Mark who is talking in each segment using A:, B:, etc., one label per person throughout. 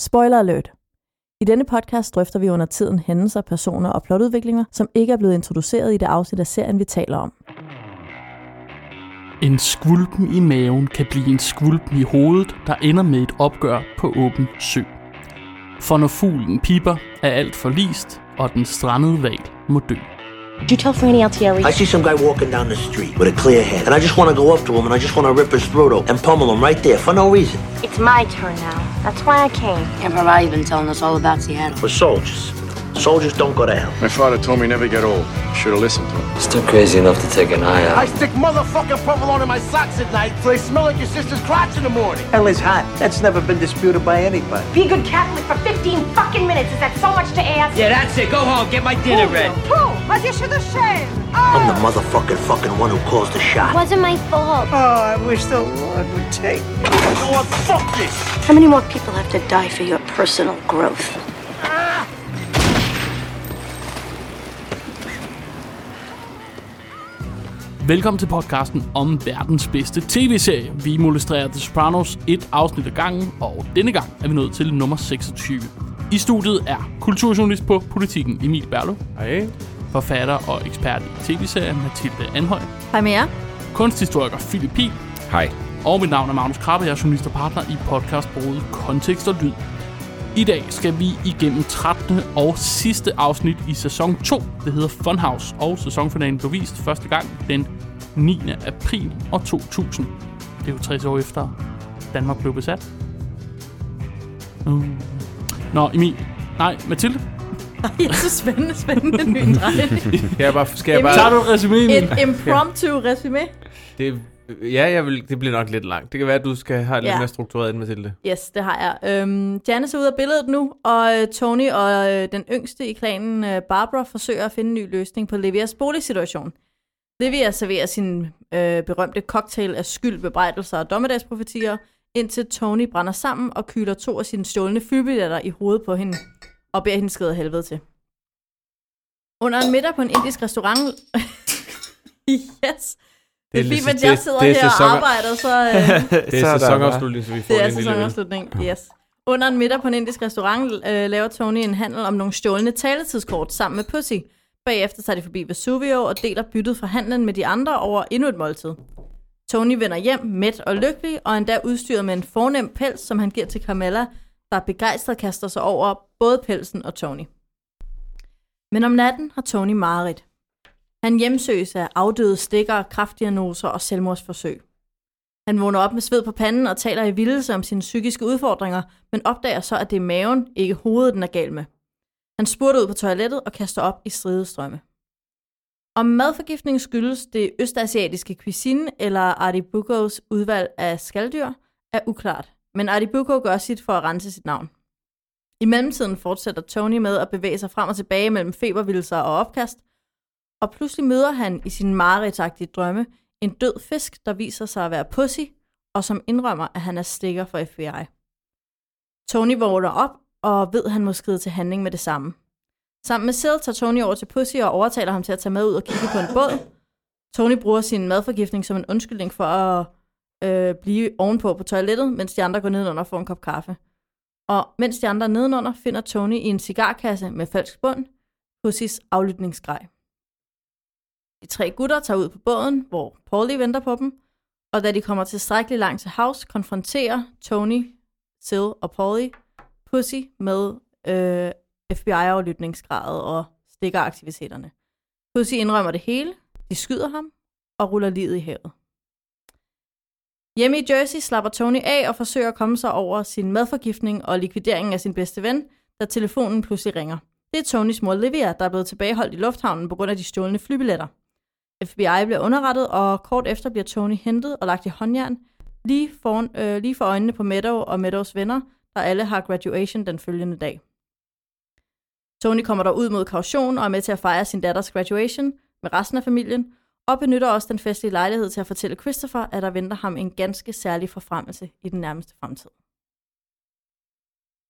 A: Spoiler alert. I denne podcast drøfter vi under tiden hændelser, personer og plotudviklinger, som ikke er blevet introduceret i det afsnit af serien, vi taler om.
B: En skvulpen i maven kan blive en skvulpen i hovedet, der ender med et opgør på åben sø. For når fuglen piper, er alt forlist, og den strandede val må dø.
C: Did you tell Franny Altieri?
D: I see some guy walking down the street with a clear head, and I just want to go up to him and I just want to rip his throat out and pummel him right there for no reason.
E: It's my turn now. That's why I came.
C: Everybody's been telling us all about Seattle.
D: We're soldiers. Soldiers don't go to hell.
F: My father told me never get old. Should have listened to him.
G: Still crazy enough to take an eye out.
H: I stick motherfucking provolone in my socks at night so they smell like your sister's crotch in the morning.
D: Hell is hot. That's never been disputed by anybody.
E: Be a good Catholic for 15 fucking minutes. Is that so much to ask?
H: Yeah, that's it. Go home. Get my dinner ready.
E: Who? Was you should have shaved.
D: I'm the motherfucking fucking one who calls the shot.
E: Wasn't my fault.
H: Oh, I wish the Lord would take me. No one fuck this.
C: How many more people have to die for your personal growth?
B: Velkommen til podcasten om verdens bedste tv-serie. Vi molestrerer The Sopranos et afsnit ad gangen, og denne gang er vi nået til nummer 26. I studiet er kulturjournalist på Politiken Emil Berlo. Hej. Forfatter og ekspert i tv-serier Mathilde Anhøj.
A: Hej med jer.
B: Kunsthistoriker Philip Pihl.
I: Hej.
B: Og mit navn er Magnus Krabbe, jeg er journalist og partner i podcastbruget Kontekst og Lyd. I dag skal vi igennem 13. og sidste afsnit i sæson 2. Det hedder Funhouse, og sæsonfinalen blev vist første gang den 9. april år 2000. Det er jo 60 år efter Danmark blev besat. Mm. Nå, Emil. Nej, Mathilde.
A: Ja, så spændende, spændende ny drejning.
I: Skal jeg bare... Skal jeg
B: Tager
I: bare
B: du resuméen?
A: Et impromptu resume.
I: det, ja, jeg vil, det bliver nok lidt langt. Det kan være, at du skal have det
A: Ja.
I: lidt mere struktureret end Mathilde.
A: Yes, det har jeg. Øhm, Janice er ude af billedet nu, og øh, Tony og øh, den yngste i klanen, øh, Barbara, forsøger at finde en ny løsning på Livias boligsituation. Livia serverer sin øh, berømte cocktail af skyld, bebrejdelser og dommedagsprofetier, indtil Tony brænder sammen og kyler to af sine stjålne flybilletter i hovedet på hende og beder hende skride af helvede til. Under en middag på en indisk restaurant... yes! Det er, det er fint,
I: ligesom-
A: at jeg
I: det-
A: sidder
I: det er
A: her og
I: sæsoner-
A: arbejder, så... Øh,
I: Det er sæsonafslutning, så vi får
A: det er altså
I: en lille ven.
A: sæsonafslutning, yes. Under en middag på en indisk restaurant øh, laver Tony en handel om nogle stjålne taletidskort sammen med Pussy. Bagefter tager de forbi Vesuvio og deler byttet fra handlen med de andre over endnu et måltid. Tony vender hjem mæt og lykkelig, og er endda udstyret med en fornem pels, som han giver til Carmella, der begejstret kaster sig over både pelsen og Tony. Men om natten har Tony mareridt. Han hjemsøges af afdøde stikker, kraftdiagnoser og selvmordsforsøg. Han vågner op med sved på panden og taler i vildelse om sine psykiske udfordringer, men opdager så, at det er maven, ikke hovedet, den er gal med. Han spurter ud på toilettet og kaster op i stridestrømme. Om madforgiftning skyldes det østasiatiske cuisine eller Artibugos udvalg af skalddyr, er uklart, men Artibugo gør sit for at rense sit navn. I mellemtiden fortsætter Tony med at bevæge sig frem og tilbage mellem febervildelser og opkast, og pludselig møder han i sine mareridtagtige drømme en død fisk, der viser sig at være pussy, og som indrømmer, at han er stikker for FBI. Tony vågner op, og ved, at han må skride til handling med det samme. Sammen med Sid tager Tony over til Pussy og overtaler ham til at tage med ud og kigge på en båd. Tony bruger sin madforgiftning som en undskyldning for at øh, blive ovenpå på toilettet, mens de andre går nedenunder og får en kop kaffe. Og mens de andre er nedenunder, finder Tony i en cigarkasse med falsk bund Pussys aflytningsgrej. De tre gutter tager ud på båden, hvor Paulie venter på dem, og da de kommer tilstrækkeligt langt til havs, konfronterer Tony, Sil og Paulie Pussy med øh, FBI-aflytningsgradet og stikkeraktiviteterne. Pussy indrømmer det hele, de skyder ham og ruller livet i havet. Hjemme i Jersey slapper Tony af og forsøger at komme sig over sin madforgiftning og likvideringen af sin bedste ven, da telefonen pludselig ringer. Det er Tonys mor Livia, der er blevet tilbageholdt i lufthavnen på grund af de stjålne flybilletter. FBI bliver underrettet, og kort efter bliver Tony hentet og lagt i håndjern lige, foran, øh, lige for øjnene på Meadow og Meadows venner, der alle har graduation den følgende dag. Tony kommer der ud mod kaution og er med til at fejre sin datters graduation med resten af familien, og benytter også den festlige lejlighed til at fortælle Christopher, at der venter ham en ganske særlig forfremmelse i den nærmeste fremtid.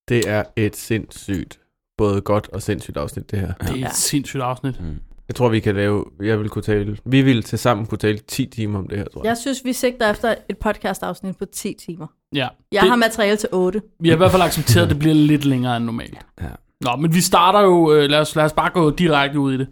I: Det er et sindssygt, både godt og sindssygt afsnit, det her.
B: Det er
A: Ja.
B: et sindssygt afsnit.
I: Mm. Jeg tror, vi kan lave... Jeg vil kunne tale... Vi vil til sammen kunne tale 10 timer om det her, tror jeg.
A: Jeg synes, vi sigter efter et podcast-afsnit på 10 timer.
B: Ja.
A: Jeg
B: det,
A: har materiale til 8.
B: Vi har i hvert fald accepteret, at det bliver lidt længere end normalt.
I: Ja.
B: Nå, men vi starter jo, øh, lad os, lad os bare gå direkte ud i det.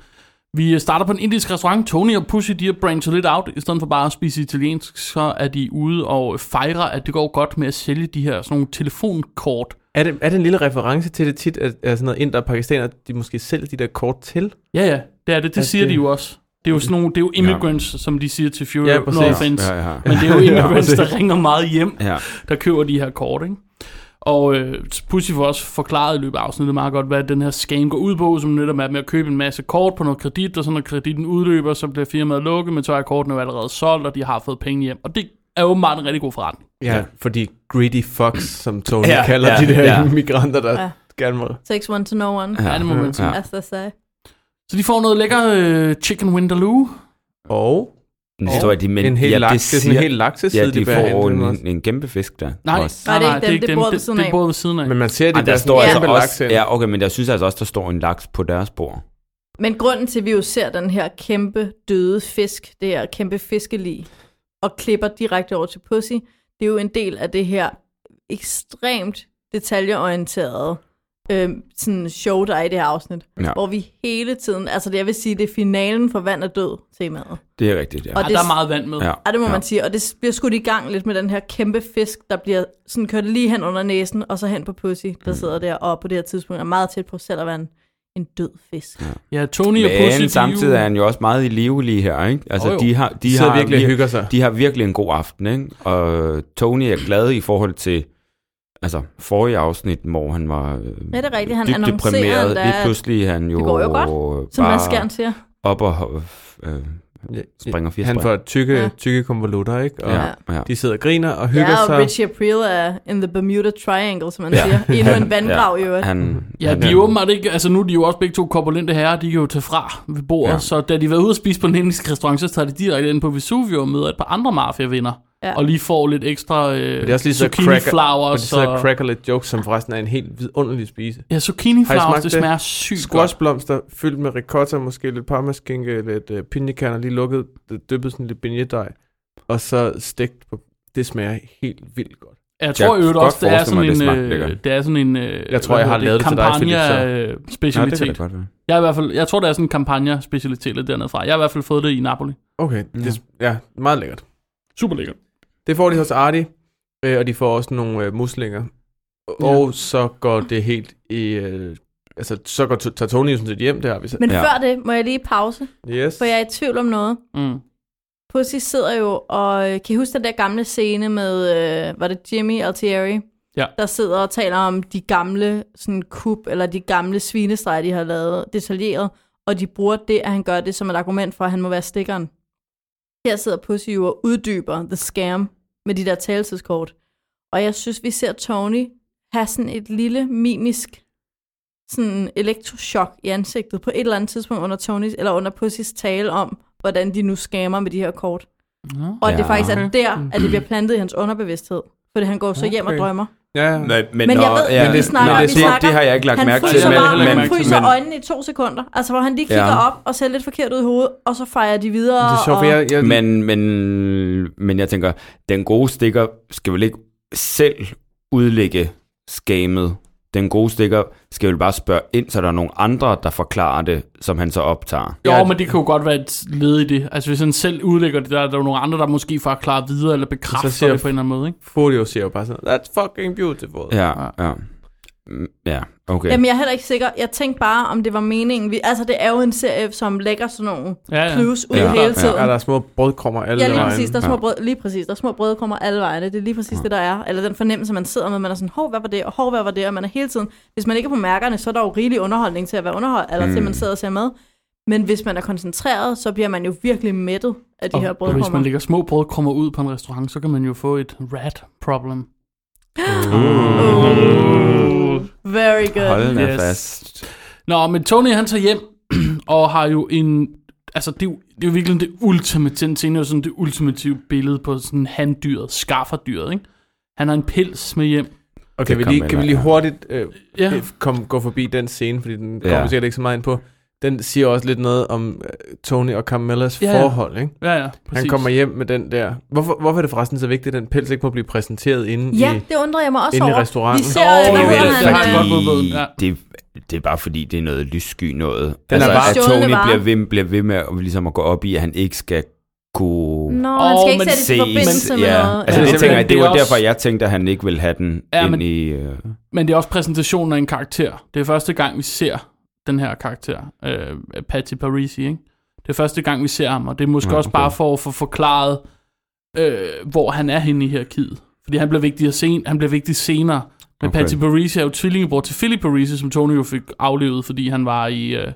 B: Vi øh, starter på en indisk restaurant. Tony og Pussy, de har branchet lidt out. I stedet for bare at spise italiensk, så er de ude og fejrer, at det går godt med at sælge de her sådan nogle telefonkort.
I: Er det, er det en lille reference til det tit, at, at sådan noget inder og pakistaner, de måske sælger de der kort til?
B: Ja, ja, det er det. Det
I: Ja,
B: siger
I: Altså, det-
B: de jo også. Det er jo sådan nogle, det er jo immigrants, ja. som de siger til Fury,
I: Ja,
B: ja,
I: præcis.
B: no offense.
J: Ja, ja.
B: Øh, Men det er jo immigrants, der ringer meget hjem,
J: Ja.
B: der køber de her kort, ikke? Og øh, Pussy får også forklaret i løbet af afsnittet meget godt, hvad den her scam går ud på, som netop er med at købe en masse kort på noget kredit, og så når kreditten udløber, så bliver firmaet lukket, men så er kortene jo allerede solgt, og de har fået penge hjem. Og det er åbenbart en rigtig god forretning.
I: Ja, ja. for de greedy fucks, som Tony ja,
J: Ja,
I: kalder ja,
J: ja,
I: de der ja.
J: ja.
I: migranter, der
A: Ja.
I: ja. gerne må...
A: Takes one to know one,
J: Ja,
B: det må man sige.
J: ja.
A: as they say.
B: Så de får noget lækker øh, chicken Winterloo.
I: Og
J: En historie, de, men,
I: en hel
J: ja,
I: ja,
J: det
I: laks, det er sådan en
J: siger-
I: hel lakseside,
J: Ja, de får
I: hentet
J: en,
I: også.
J: en kæmpe fisk der.
B: Nej,
J: Også.
A: Nej, det er ikke dem. Det er bordet ved
B: det,
A: siden
B: det er
A: af.
B: bordet ved siden af.
I: Men man ser, at de
J: Ej, der står
A: en
J: altså
A: kæmpe
J: også, ja, okay, men jeg synes altså også, der står en laks på deres bord.
A: Men grunden til, at vi jo ser den her kæmpe døde fisk, det her kæmpe fiskelig, og klipper direkte over til Pussy, det er jo en del af det her ekstremt detaljeorienterede øh, sådan show, der er i det her afsnit.
J: Ja.
A: Hvor vi hele tiden, altså det, jeg vil sige, det er finalen for vand og død temaet.
J: Det er rigtigt, ja.
A: Og
B: Ja,
A: det-
B: Ah, der er meget vand med.
J: ja.
A: Ja, det må ja.
J: ja.
A: man sige. Og det bliver skudt i gang lidt med den her kæmpe fisk, der bliver sådan kørt lige hen under næsen, og så hen på Pussy, der mm. sidder der og på det her tidspunkt er meget tæt på selv at være en, en død fisk. Ja.
B: Ja, Tony og Pussy, de
J: Men
B: jo-
J: samtidig er han jo også meget i live lige her, ikke? Altså,
B: Jo, jo.
J: de har, de
I: De sidder
J: har
I: virkelig og
J: vir-
I: hygger sig.
J: De har virkelig en god aften, ikke? Og Tony er glad i forhold til altså forrige afsnit, hvor han var øh,
A: Er det rigtigt? Han
J: dybt
A: annoncerer
J: deprimeret.
A: endda,
J: Lige
A: at
J: pludselig er han jo,
A: det går jo
J: godt,
A: Som Mads Skjern siger.
J: op og øh, springer fire
I: Han
J: spring.
I: får tykke,
A: Ja.
I: ja. tykke konvolutter, ikke? Og ja.
J: ja, ja.
I: de sidder og griner og hygger
A: Ja, og
I: sig.
A: Richie April er in the Bermuda Triangle, som man ja.
J: Ja.
A: siger. Endnu en
J: Han-
A: vanddrag, ja. jo.
J: Han,
B: Ja,
J: han,
B: de er
I: øhm,
B: jo åbenbart ikke, altså nu er de jo også begge to korpulente herrer, de kan jo tage fra ved bordet, ja.
J: Ja.
B: så da de var ude at spise på den indiske restaurant, så tager de direkte ind på Vesuvio og møder et par andre mafiavinder,
A: Ja.
B: og lige får lidt ekstra øh,
I: Og det er også lige så
B: zucchini
I: cracker, og de
B: flowers.
I: sidder og
B: Og,
I: cracker lidt jokes, som forresten er en helt vidunderlig spise.
B: ja, zucchini
I: Har I
B: flowers,
I: smagt
B: det
I: det?
B: smager sygt godt.
I: Squashblomster fyldt med ricotta, måske lidt parmaskinke, lidt øh, pinjekerner, lige lukket, det- dyppet sådan lidt beignet og så stegt på. Det smager helt vildt godt.
B: Jeg tror
J: Jeg
B: jo
J: kunne
B: også,
J: godt
B: det er, sådan
J: forestille mig,
B: en,
J: det smagte
B: øh,
J: lækkert.
B: det er sådan en... øh,
I: Jeg tror,
B: hvad
I: jeg har
B: hedder
I: lavet det til dig, Philip, så- Nå, det
B: Kampagne-specialitet.
J: kan da godt være.
B: jeg, er i hvert fald, jeg tror, det er sådan en kampagne-specialitet lidt dernede fra. Jeg har i hvert fald fået det i Napoli.
I: Okay, det, ja, meget lækkert.
B: Super lækkert.
I: Det får de hos Arti, øh, og de får også nogle øh, muslinger. Og ja. så går det helt i... Øh, altså, så går, tager Tony jo sådan set hjem, det har vi så.
A: Men ja.
J: Ja.
A: før det må jeg lige pause,
I: yes.
A: for jeg er i tvivl om noget.
B: Mm.
A: Pussy sidder jo og... øh, Kan I huske den der gamle scene med... Øh, var det Jimmy Altieri?
B: Ja.
A: Der sidder og taler om de gamle sådan kub, eller de gamle svinestreger, de har lavet detaljeret, og de bruger det, at han gør det som et argument for, at han må være stikkeren. Her sidder Pussy jo og uddyber The Scam med de der taletidskort. Og jeg synes, vi ser Tony have sådan et lille mimisk sådan elektroschok i ansigtet på et eller andet tidspunkt under Tonys, eller under Pussys tale om, hvordan de nu skammer med de her kort.
B: Nå.
A: Og ja, det
J: Ja.
A: faktisk er der, at det bliver plantet i hans underbevidsthed. Fordi han går så hjem og
I: Okay.
A: drømmer.
I: Ja, ja.
J: Men, men,
A: Men jeg
J: nå,
A: ved,
J: ja,
A: vi snakker,
J: nå,
A: vi
J: det,
A: snakker.
J: det har jeg ikke lagt
A: Han
J: mærke til.
A: fryser,
B: det har jeg
A: bare,
B: heller ikke
A: han
B: mærke til.
A: fryser
J: men-
A: øjnene i to sekunder. Altså, hvor han lige kigger
J: Ja.
A: op og ser lidt forkert ud i hovedet, og så fejrer de videre.
I: Det er sjovt,
A: og...
I: for jeg, jeg,
J: Men, men, men jeg tænker, den gode stikker skal vel ikke selv udlægge skamet. Den gode stikker skal vel bare spørge ind, så der er nogle andre, der forklarer det, som han så optager.
B: Jo,
I: Ja,
B: men det kan jo godt være et led i det. Altså hvis han selv udlægger det, der er der jo nogle andre, der måske får klaret videre eller bekræfter
I: Så siger-
B: det på en eller anden måde. Ikke?
I: Folio siger jo bare sådan, that's fucking beautiful.
J: Ja, ja. Mm, Ja, okay.
A: Jamen, jeg er heller ikke sikker. Jeg tænkte bare, om det var meningen. Vi... Altså, det er jo en serie, som lægger sådan nogle
B: Ja, ja.
A: clues ud
J: Ja.
A: hele
J: Ja.
A: tiden.
I: Ja, der er små brødkrummer alle
A: Ja, lige
I: vejen.
A: præcis. Der er små
J: Ja.
A: brød, lige præcis. Der er små brødkrummer alle vegne. Det er lige præcis ja. det, der er. Eller den fornemmelse, man sidder med. Man er sådan, hov, hvad var det? Og hov, hvad var det? Og man er hele tiden... Hvis man ikke er på mærkerne, så er der jo rigelig underholdning til at være underholdt, eller mm. til at man sidder og ser med. Men hvis man er koncentreret, så bliver man jo virkelig mættet af de her
B: Og hvis
A: brødkrummer.
B: man lægger små brødkrummer ud på en restaurant, så kan man jo få et rat problem. Uh,
A: Very good.
J: Mm. Hold da
B: Yes.
J: fast.
B: Nå, men Tony han tager hjem og har jo en... Altså, det er jo, det er jo virkelig det ultimative, den scene er jo sådan det ultimative billede på sådan handdyret, skafferdyret, ikke? Han har en pels med hjem.
I: Okay,
J: Det
I: vi
J: kom
I: lige,
J: jeg
I: kan vi
J: med,
I: lige
J: ja.
I: hurtigt øh,
B: Ja.
I: ja. kom, gå forbi den scene, fordi den
J: Ja.
I: kommer vi sikkert ikke så meget ind på. den siger også lidt noget om øh, Tony og Carmellas
B: Ja,
I: ja,
B: ja.
I: forhold, ikke?
B: Ja, ja, præcis.
I: Han kommer hjem med den der... Hvorfor, hvorfor er det forresten så vigtigt, at den pels ikke må blive præsenteret inde
A: Ja,
I: i...
A: det undrer jeg mig også
I: Inde i
A: over.
I: restauranten.
A: Vi ser,
B: Åh,
A: oh,
J: Det
A: hvad
J: er,
B: jo,
A: hedder
J: vel,
B: det er
A: han?
B: faktisk godt
A: øh,
B: modbud,
J: fordi,
B: ja.
J: det, det er bare fordi, det er noget lyssky noget. Den
I: er
J: altså,
I: bare-
J: at
A: Stjålne
J: Tony
A: varer.
J: bliver ved, bliver ved med at, ligesom at gå op i, at han ikke skal kunne
A: Nå, han
B: Åh,
A: skal ikke
B: men
A: sætte det i forbindelse med noget.
J: Altså,
B: Ja.
J: det, tænker jeg,
B: Det
J: det
B: er
J: var
B: også-
J: derfor, jeg tænkte, at han ikke ville have den
B: Ja,
J: ja, ind
B: men-
J: i... Øh,
B: Men det er også præsentationen af en karakter. Det er første gang, vi ser den her karakter, øh, Patty Parisi, ikke? Det er første gang, vi ser ham, og det er måske
J: Ja,
B: ja, også
J: okay.
B: bare for at få forklaret, øh, hvor han er henne i hierarkiet. Fordi han bliver vigtig, sen- han bliver vigtig senere. Men
J: Okay.
B: okay. Patty Parisi er jo tvillingebror til Philip Parisi, som Tony jo fik aflevet, fordi han var i øh,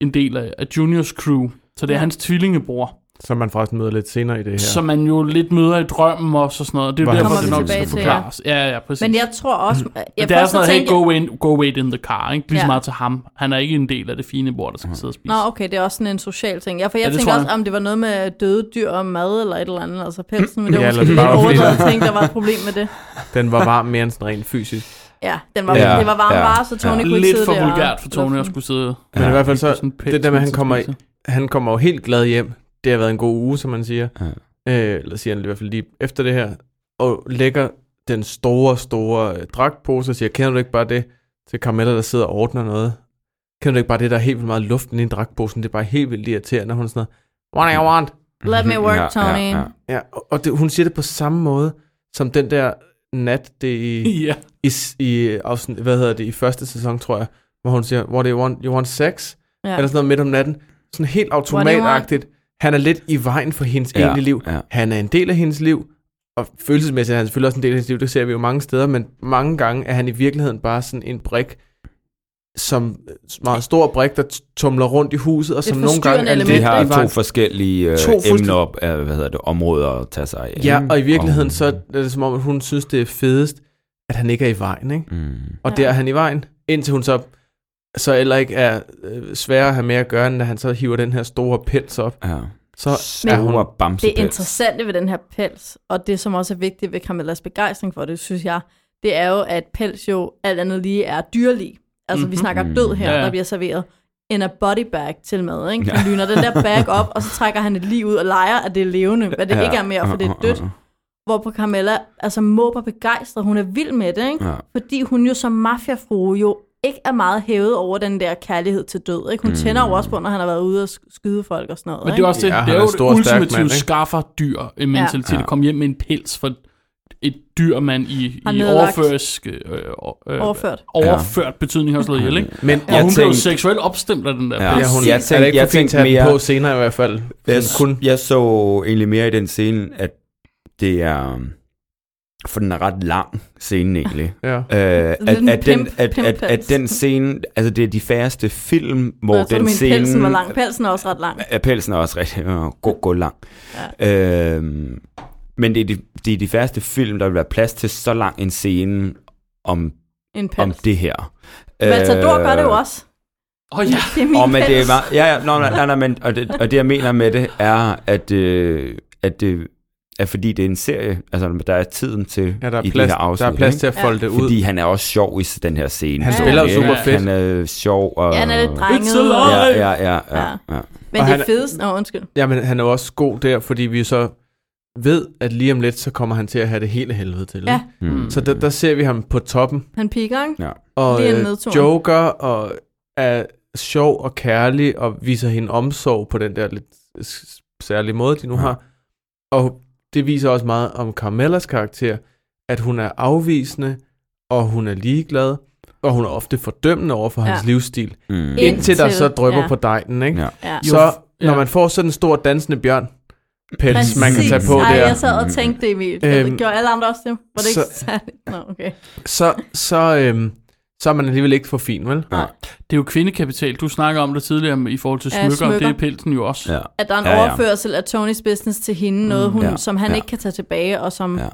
B: en del af, af Juniors crew. Så det er hans tvillingebror, ja.
I: Som man forresten møder lidt senere i det her.
B: som man jo lidt møder i drømmen også og sådan noget. Det er jo
I: Hvor han
B: derfor, det
I: kommer vi
B: nok skal
I: tilbage til, ja.
B: forklares. Ja, ja, præcis.
A: Men jeg tror også...
B: Jeg
A: Jeg
B: det er
A: først så
B: sådan noget, hey,
A: tænkte-
B: go, in, go wait in the car, ikke? Lige ja.
A: Ja.
B: så meget til ham. Han er ikke en del af det fine bord, der
I: Mhm.
B: skal sidde og spise.
A: Nå, okay, det er også sådan en social ting. Ja, for jeg
B: Ja, det
A: ja,
B: tror
A: tænker
B: jeg.
A: også, om det var noget med døde dyr og mad eller et eller andet, altså pelsen, men det var
I: Ja,
A: ja,
I: eller
A: måske lidt
I: det bare var fordi,
A: overdrevet
I: der-
A: ting, der var et problem med det.
I: Den var varm mere end sådan rent fysisk.
A: Ja, den var,
J: Ja,
A: ja, det var varme
J: ja,
A: ja, bare, så Tony
J: ja.
A: ja. kunne ikke
B: Lidt
A: sidde
B: for
A: der. og-
B: vulgært for Tony at skulle sidde
I: Men ja, i hvert fald
B: på
I: så,
B: sådan en pæl
I: det der med, at han
B: spise.
I: kommer, han kommer jo helt glad hjem. Det har været en god uge, som man siger.
J: Ja.
I: Øh, eller siger han i hvert fald lige efter det her. Og lægger den store, store øh, dragtpose og siger, kender du ikke bare det til Carmella, der sidder og ordner noget? Kender du ikke bare det, der er helt vildt meget luft inde i dragtposen? Det er bare helt vildt irriterende. Hun er sådan noget, what do you want?
A: Let me work, Tony.
I: Ja, og- og det, hun siger det på samme måde, som den der nat, det er i...
B: Ja,
I: i, i afsnit, hvad hedder det, i første sæson, tror jeg, hvor hun siger, what do you want, you want sex? Ja.
A: Ja.
I: Eller sådan noget midt om natten. Sådan helt automatagtigt. Han er lidt i vejen for hendes
J: Ja,
I: ja. egentlige liv.
J: ja.
I: Ja. Han er en del af hendes liv, og følelsesmæssigt er han selvfølgelig også en del af hendes liv, det ser vi jo mange steder, men mange gange er han i virkeligheden bare sådan en brik, som meget stor brik, der tumler rundt i huset, og som nogle gange er
A: forstyrrende
I: lidt
J: De
A: element,
I: i
J: har to
I: vejen.
J: forskellige øh,
I: To fuldstændig-
J: emner op af, hvad hedder det, områder at tage sig af.
I: Ja,
J: ikke?
I: og i virkeligheden så er det som om, at hun synes, det er fedest, at han ikke er i vejen, ikke?
J: Mm.
I: Og ja.
A: Ja.
I: der er han i vejen, indtil hun så, så heller ikke er øh, sværere at have med at gøre, end da han så hiver den her store pels op.
J: Ja.
I: Så
J: Men,
I: er hun...
J: Store bamse
A: Det interessante ved den her pels, og det som også er vigtigt ved Camillas begejstring for det, synes jeg, det er jo, at pels jo alt andet lige er dyrlig. Altså, mm-hmm. vi snakker død her,
B: Mhm. Ja, ja.
A: der bliver serveret en a body bag til mad, ikke?
J: Ja.
A: Han lyner den der bag op, og så trækker han et liv ud og leger, at det er levende, hvad det ikke er mere, for det er dødt. hvor på Carmella altså måber begejstret. Hun er vild med det, ikke?
J: Ja.
A: Fordi hun jo som mafiafrue jo ikke er meget hævet over den der kærlighed til død. Ikke? Hun mm. tænder jo også på, når han har været ude og sk- skyde folk og sådan noget.
B: men det
A: ikke?
B: er også det.
I: Ja,
B: Ja,
I: han
B: det er
I: er
B: jo
I: en
B: det
I: stor, stærk mand,
B: ultimative
I: ikke?
B: skaffer dyr øh, mentalitet.
J: Ja.
B: At komme hjem med en pels for et dyr, man i,
A: Har
B: i
A: nedlagt.
B: overførsk, øh, øh,
A: Overført.
B: overført betydning har slået ihjel, ikke?
I: Men
B: Og
J: Jeg
B: hun blev jo
J: tænkte-
B: seksuelt opstemt af den der
J: Ja.
B: pels.
I: ja, hun
J: Jeg
I: jeg tænkte, er
J: tænkte-
I: det ikke
J: jeg
I: for
J: tænkte
I: fint til at have den
J: mere-
I: på senere i hvert fald.
J: Jeg,
I: Sådan kun,
J: jeg så egentlig mere i den scene, at det er... For den er ret lang, scenen egentlig.
I: ja.
J: Øh, at,
A: lidt en
J: at, den,
A: pimp-
J: at, at, at
A: pimppels.
J: den scene, altså det er de færreste film, hvor
A: Nå, jeg tror,
J: den
A: min
J: scene...
A: pelsen var lang. Pelsen er også ret lang.
J: Ja, pelsen er også rigtig øh, god, god lang. Ja. Øhm, men det er, de, det er de færreste film, der vil være plads til så lang en scene om,
A: En
J: om
A: pels.
J: det her. Øh,
A: Matador gør det jo også.
B: Åh oh, ja,
A: Det er min
J: og men det er
A: pels.
J: meget, ja, ja, nå, nej, nej, nej, men, og, det, og det jeg mener med det er, at, øh, at det er fordi det er en serie, altså der er tiden til
I: ja, der
J: i
I: er plads,
J: det her afsnit.
I: der er plads
J: ikke?
I: til at folde det ud.
J: Fordi han er også sjov i den her scene.
I: han
A: Ja.
I: spiller jo
J: Ikke?
I: super
B: Ja.
I: fedt.
J: Han er sjov. Og,
A: Ja, han er lidt
B: It's a
A: drenget.
B: lie.
J: Ja, ja, ja, ja,
A: Ja.
J: ja.
A: Men
I: Og
A: det
I: han er-
A: fedeste... Nå, undskyld.
I: Jamen, han er jo også god der, fordi vi så ved, at lige om lidt, så kommer han til at have det hele helvede til.
A: Ja.
I: ikke?
J: Mm.
I: Så der, der ser vi ham på toppen,
A: Han piker, ikke?
I: og
A: Lige en
I: øh,
A: nedtur.
I: joker og er sjov og kærlig og viser hende omsorg på den der lidt s- særlige måde, de nu
J: Ja.
I: har. Og det viser også meget om Carmellas karakter, at hun er afvisende, og hun er ligeglad, og hun er ofte fordømmende over for
A: Ja.
I: ja. hans livsstil.
J: Mm.
A: Ind-
I: Indtil der så
A: Indtil,
I: drypper
A: ja.
I: på dejen, ikke?
J: Ja.
A: Ja.
I: Så
B: Jo,
I: når
B: ja.
I: man får sådan en stor dansende bjørn, pels, man kan tage på
A: Ej, altså-
I: der,
A: jeg sad og tænkte det, Emil. Øhm,
I: Øhm,
A: Gjorde alle andre også det? Var det ikke
I: så-
A: særligt? Nå, okay.
I: så, så, øhm, så er man alligevel ikke for fin, vel?
B: det er jo kvindekapital. Du snakker om det tidligere med- i forhold til
A: Ja,
B: smykker.
A: smykker.
B: Det er pelsen jo også.
J: Ja.
A: At der er en
J: Ja,
A: ja,
J: ja.
A: ja. overførsel af Tonys business til hende, noget
I: Mm,
A: hun,
J: Ja,
A: ja, som han
J: ja.
A: ja. ikke kan tage tilbage, og som,
J: Ja.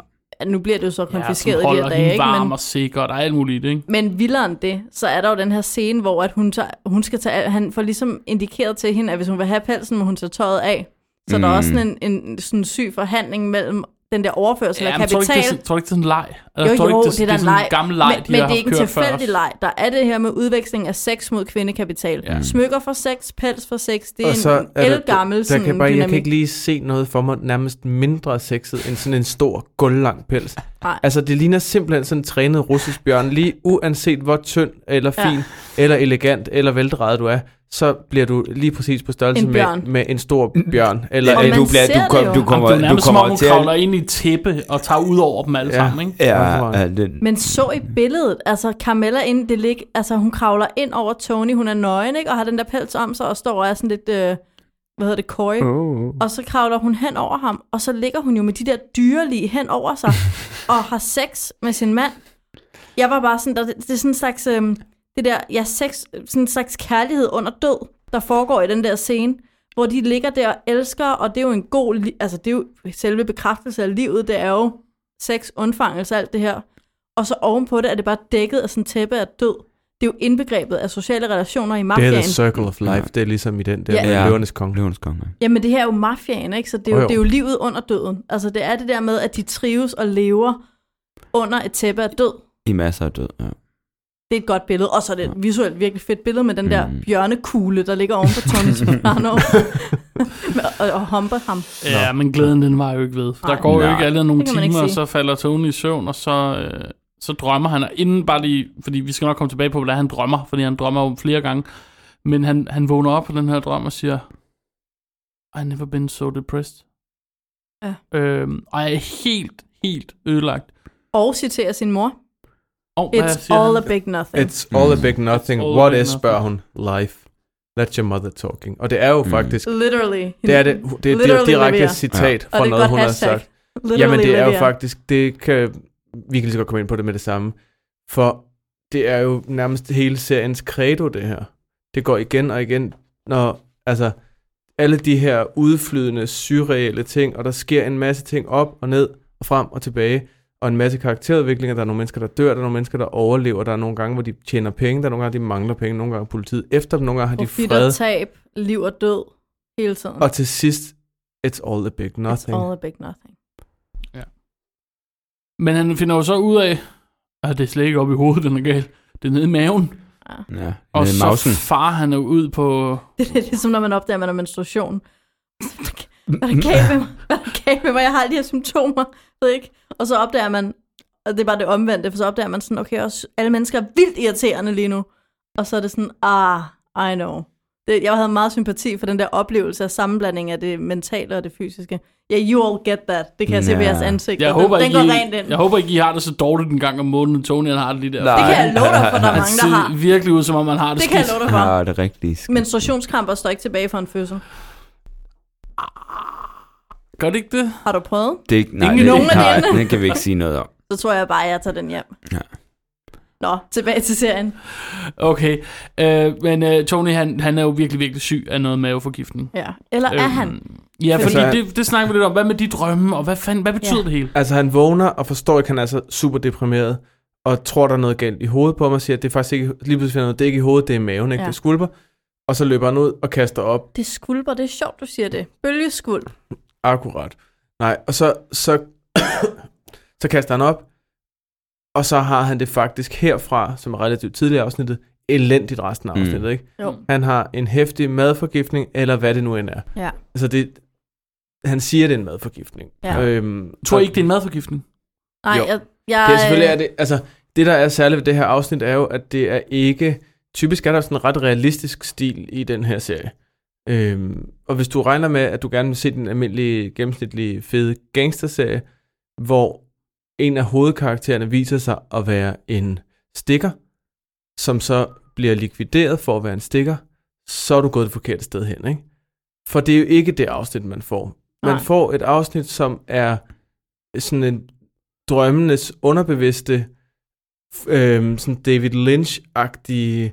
A: ja. nu bliver det jo så konfiskeret
B: som
A: ja, i de
B: holder
A: her
B: hende
A: dage, ikke?
B: varm
A: Men,
B: og sikker, og der er alt muligt i det, ikke?
A: men vildere end det, så er der jo den her scene, hvor at hun, tager, hun skal tage, al- han får ligesom indikeret til hende, at hvis hun vil have pelsen, må hun tage tøjet af. Så mm. der er også sådan en, en sådan syg forhandling mellem den der overførsel ja, af
B: men tror du ikke, det er,
A: kapital.
B: sådan- tror du ikke, det er sådan en leg?
A: Jo,
B: tror du
A: jo,
B: ikke,
A: det er da en
B: sådan
A: leg.
B: gammel leg,
A: men,
B: de
A: men
B: har
A: det er ikke en
B: haft kørt før
A: tilfældig
B: os.
A: leg. Der er det her med udveksling af sex mod kvindekapital.
B: Ja.
A: Ja. Smykker for sex, pels for sex. Det er,
I: Og så
A: en
I: er der-
A: elgammel
I: der
A: sådan
I: kan bare,
A: dynamik.
I: jeg kan ikke lige se noget for mig nærmest mindre sexet end sådan en stor, gulvlang pels.
A: Nej.
I: Altså, det ligner simpelthen sådan en trænet russisk bjørn. Lige uanset hvor tynd, eller fin,
A: Ja.
I: ja. eller elegant, eller veldrejet du er, så bliver du lige præcis på størrelse
A: En
I: med,
A: bjørn.
I: med en stor bjørn. Eller
A: Og
J: Ja,
A: man
J: øh, du, bliver,
A: ser det
J: du, kom,
A: jo.
J: du
B: Jamen,
J: kommer,
B: det er
J: du
B: nærmest, som om
J: kommer
B: hun
J: til
B: kravler
J: at...
B: ind i et tæppe og tager ud over dem alle
I: Ja.
B: sammen, ikke?
J: Ja, ja, det,
A: Men så i billedet, altså Carmella ind, det lig, altså hun kravler ind over Tony, hun er nøgen, ikke? Og har den der pels om sig og står og er sådan lidt, øh, hvad hedder det, køje.
I: Oh.
A: Og så kravler hun hen over ham, og så ligger hun jo med de der dyrelige hen over sig, og har sex med sin mand. Jeg var bare sådan, der, det er sådan en slags, øhm, det der, ja, sex, sådan en slags kærlighed under død, der foregår i den der scene, hvor de ligger der og elsker, og det er jo en god, li- altså det er jo selve bekræftelse af livet, det er jo sex, undfangelse, alt det her. Og så ovenpå det er det bare dækket af sådan en tæppe af død. Det er jo indbegrebet af sociale relationer i
I: Det er
A: mafiaen.
I: the circle of life. Det er ligesom i den der
A: Ja.
I: ja. med
J: Ja.
I: løvernes konge.
J: Løvens konge.
A: Jamen det her er jo mafiaen, ikke? Så det er jo,
I: Jo,
A: oh,
I: jo.
A: jo. Det er jo livet under døden. Altså det er det der med, at de trives og lever under et tæppe af død.
J: I masser af død, ja.
A: Det er et godt billede, og så er det et visuelt virkelig fedt billede med den der
J: Mm.
A: bjørnekugle, der ligger oven på Tony Soprano og, og humper ham.
B: Ja, men glæden den var jo ikke ved. For der
A: Nej.
B: går jo
J: Nej.
B: ikke alle nogle
A: Det kan man ikke
B: timer, og
A: sige.
B: så falder Tony i søvn, og så, øh, så drømmer han. Og Inden bare lige, fordi vi skal nok komme tilbage på, hvad han drømmer, fordi han drømmer jo flere gange. Men han, han vågner op på den her drøm og siger, I never been so depressed.
A: Ja.
B: Øhm, og jeg er helt, helt ødelagt.
A: Og citerer sin mor.
B: Og hvad
A: It's
B: siger
A: all
B: han?
A: a big nothing.
I: It's all a big nothing.
B: It's all a
I: What
B: big
I: is,
B: nothing.
I: spørger hun. Life. That's your mother talking. Og det er jo
J: Mm.
I: faktisk...
A: Literally.
I: Det er det, det er
A: Literally,
I: et direkte
A: Olivia.
I: citat
A: Og
I: fra
A: det er et
I: noget,
A: godt
I: hun har
A: hashtag.
I: sagt.
A: Literally,
I: Jamen det er jo
A: Olivia.
I: faktisk, det kan, vi kan lige så godt komme ind på det med det samme, for det er jo nærmest hele seriens credo det her. Det går igen og igen, når altså alle de her udflydende, surreale ting, og der sker en masse ting op og ned og frem og tilbage, og en masse karakterudviklinger, der er nogle mennesker, der dør, der er nogle mennesker, der overlever, der er nogle gange, hvor de tjener penge, der er nogle gange, de mangler penge, nogle gange er politiet efter dem, nogle gange har de
A: Profit
I: fred,
A: og tab, liv og død, hele tiden.
I: og til sidst, it's all a big nothing.
A: It's all a big nothing.
B: Men han finder jo så ud af, at det er slet ikke op i hovedet, den er galt. Det er nede i maven.
J: ja.
B: Og
J: Nede i mausen.
B: så farer han jo ud på...
A: Det er ligesom, når man opdager, at man har menstruation. Hvad er der galt med mig? Hvad er der galt med mig? Jeg har alle de her symptomer, ved ikke? Og så opdager man, og det er bare det omvendte, for så opdager man sådan, okay, også, alle mennesker er vildt irriterende lige nu. Og så er det sådan, ah, I know. Det, jeg havde meget sympati for den der oplevelse af sammenblanding af det mentale og det fysiske. Ja, yeah, you all get that. Det kan jeg se på
J: Ja.
A: jeres ansigt.
B: Jeg
A: den,
B: håber,
A: den
B: ikke,
A: går
B: I-
A: rent ind.
B: jeg håber ikke, I har det så dårligt en gang om måneden, Tony han har det lige der.
A: det kan jeg love dig for, der er
B: Han
A: mange, der har.
B: ser virkelig ud, som om man har det,
A: Det kan jeg
B: skidt.
A: love dig for.
J: Ja, det er rigtigt. skidt.
A: Menstruationskramper står ikke tilbage for en fødsel.
B: Gør det ikke det?
A: Har du prøvet?
J: Det er ikke, nej,
B: Ingen
J: det,
A: nogen af
J: nej,
A: delene.
J: det kan vi ikke sige noget om.
A: Så tror jeg bare, at jeg tager den hjem.
J: Ja.
A: Nå, tilbage til serien.
B: Okay. Øh, men øh, Tony, han, han er jo virkelig, virkelig syg af noget maveforgiftning.
A: Ja. Eller er
B: Øhm,
A: han?
B: Ja, fordi
I: Altså,
B: det, det snakker vi lidt om. Hvad med de drømme, og hvad, fanden, hvad betyder
A: Ja.
B: det hele?
I: Altså han vågner og forstår ikke, han er så super deprimeret, og tror, der er noget galt i hovedet på mig, og siger, at det er faktisk ikke, lige pludselig finder han ud af, det er ikke i hovedet, det er i maven,
A: Ja.
I: ikke? Ja. det er skulper. Og så løber han ud og kaster op,
A: Det er skulper, det er sjovt, du siger det. Bølgeskuld.
I: akkurat. Nej, og så, så, så kaster han op, og så har han det faktisk herfra, som er relativt tidligere i afsnittet, elendigt resten af
J: Mm.
I: afsnittet, ikke?
A: Jo.
I: Han har en hæftig madforgiftning, eller hvad det nu end er.
A: Ja.
I: Altså det, han siger, det er en madforgiftning.
A: Ja.
I: Øhm,
B: Tror I
I: så-
B: ikke, det er en madforgiftning?
A: Nej,
I: Jo.
A: jeg... jeg øh,
I: Det er selvfølgelig, er det, altså, det der er særligt ved det her afsnit, er jo, at det er ikke... Typisk er der sådan en ret realistisk stil i den her serie. Øhm, og hvis du regner med, at du gerne vil se den almindelige, gennemsnitlige, fede gangsterserie, hvor en af hovedkaraktererne viser sig at være en stikker, som så bliver likvideret for at være en stikker, så er du gået det forkerte sted hen, ikke? For det er jo ikke det afsnit, man får. Man
A: Nej.
I: får et afsnit, som er sådan en drømmenes underbevidste, f- øhm, sådan David Lynch-agtige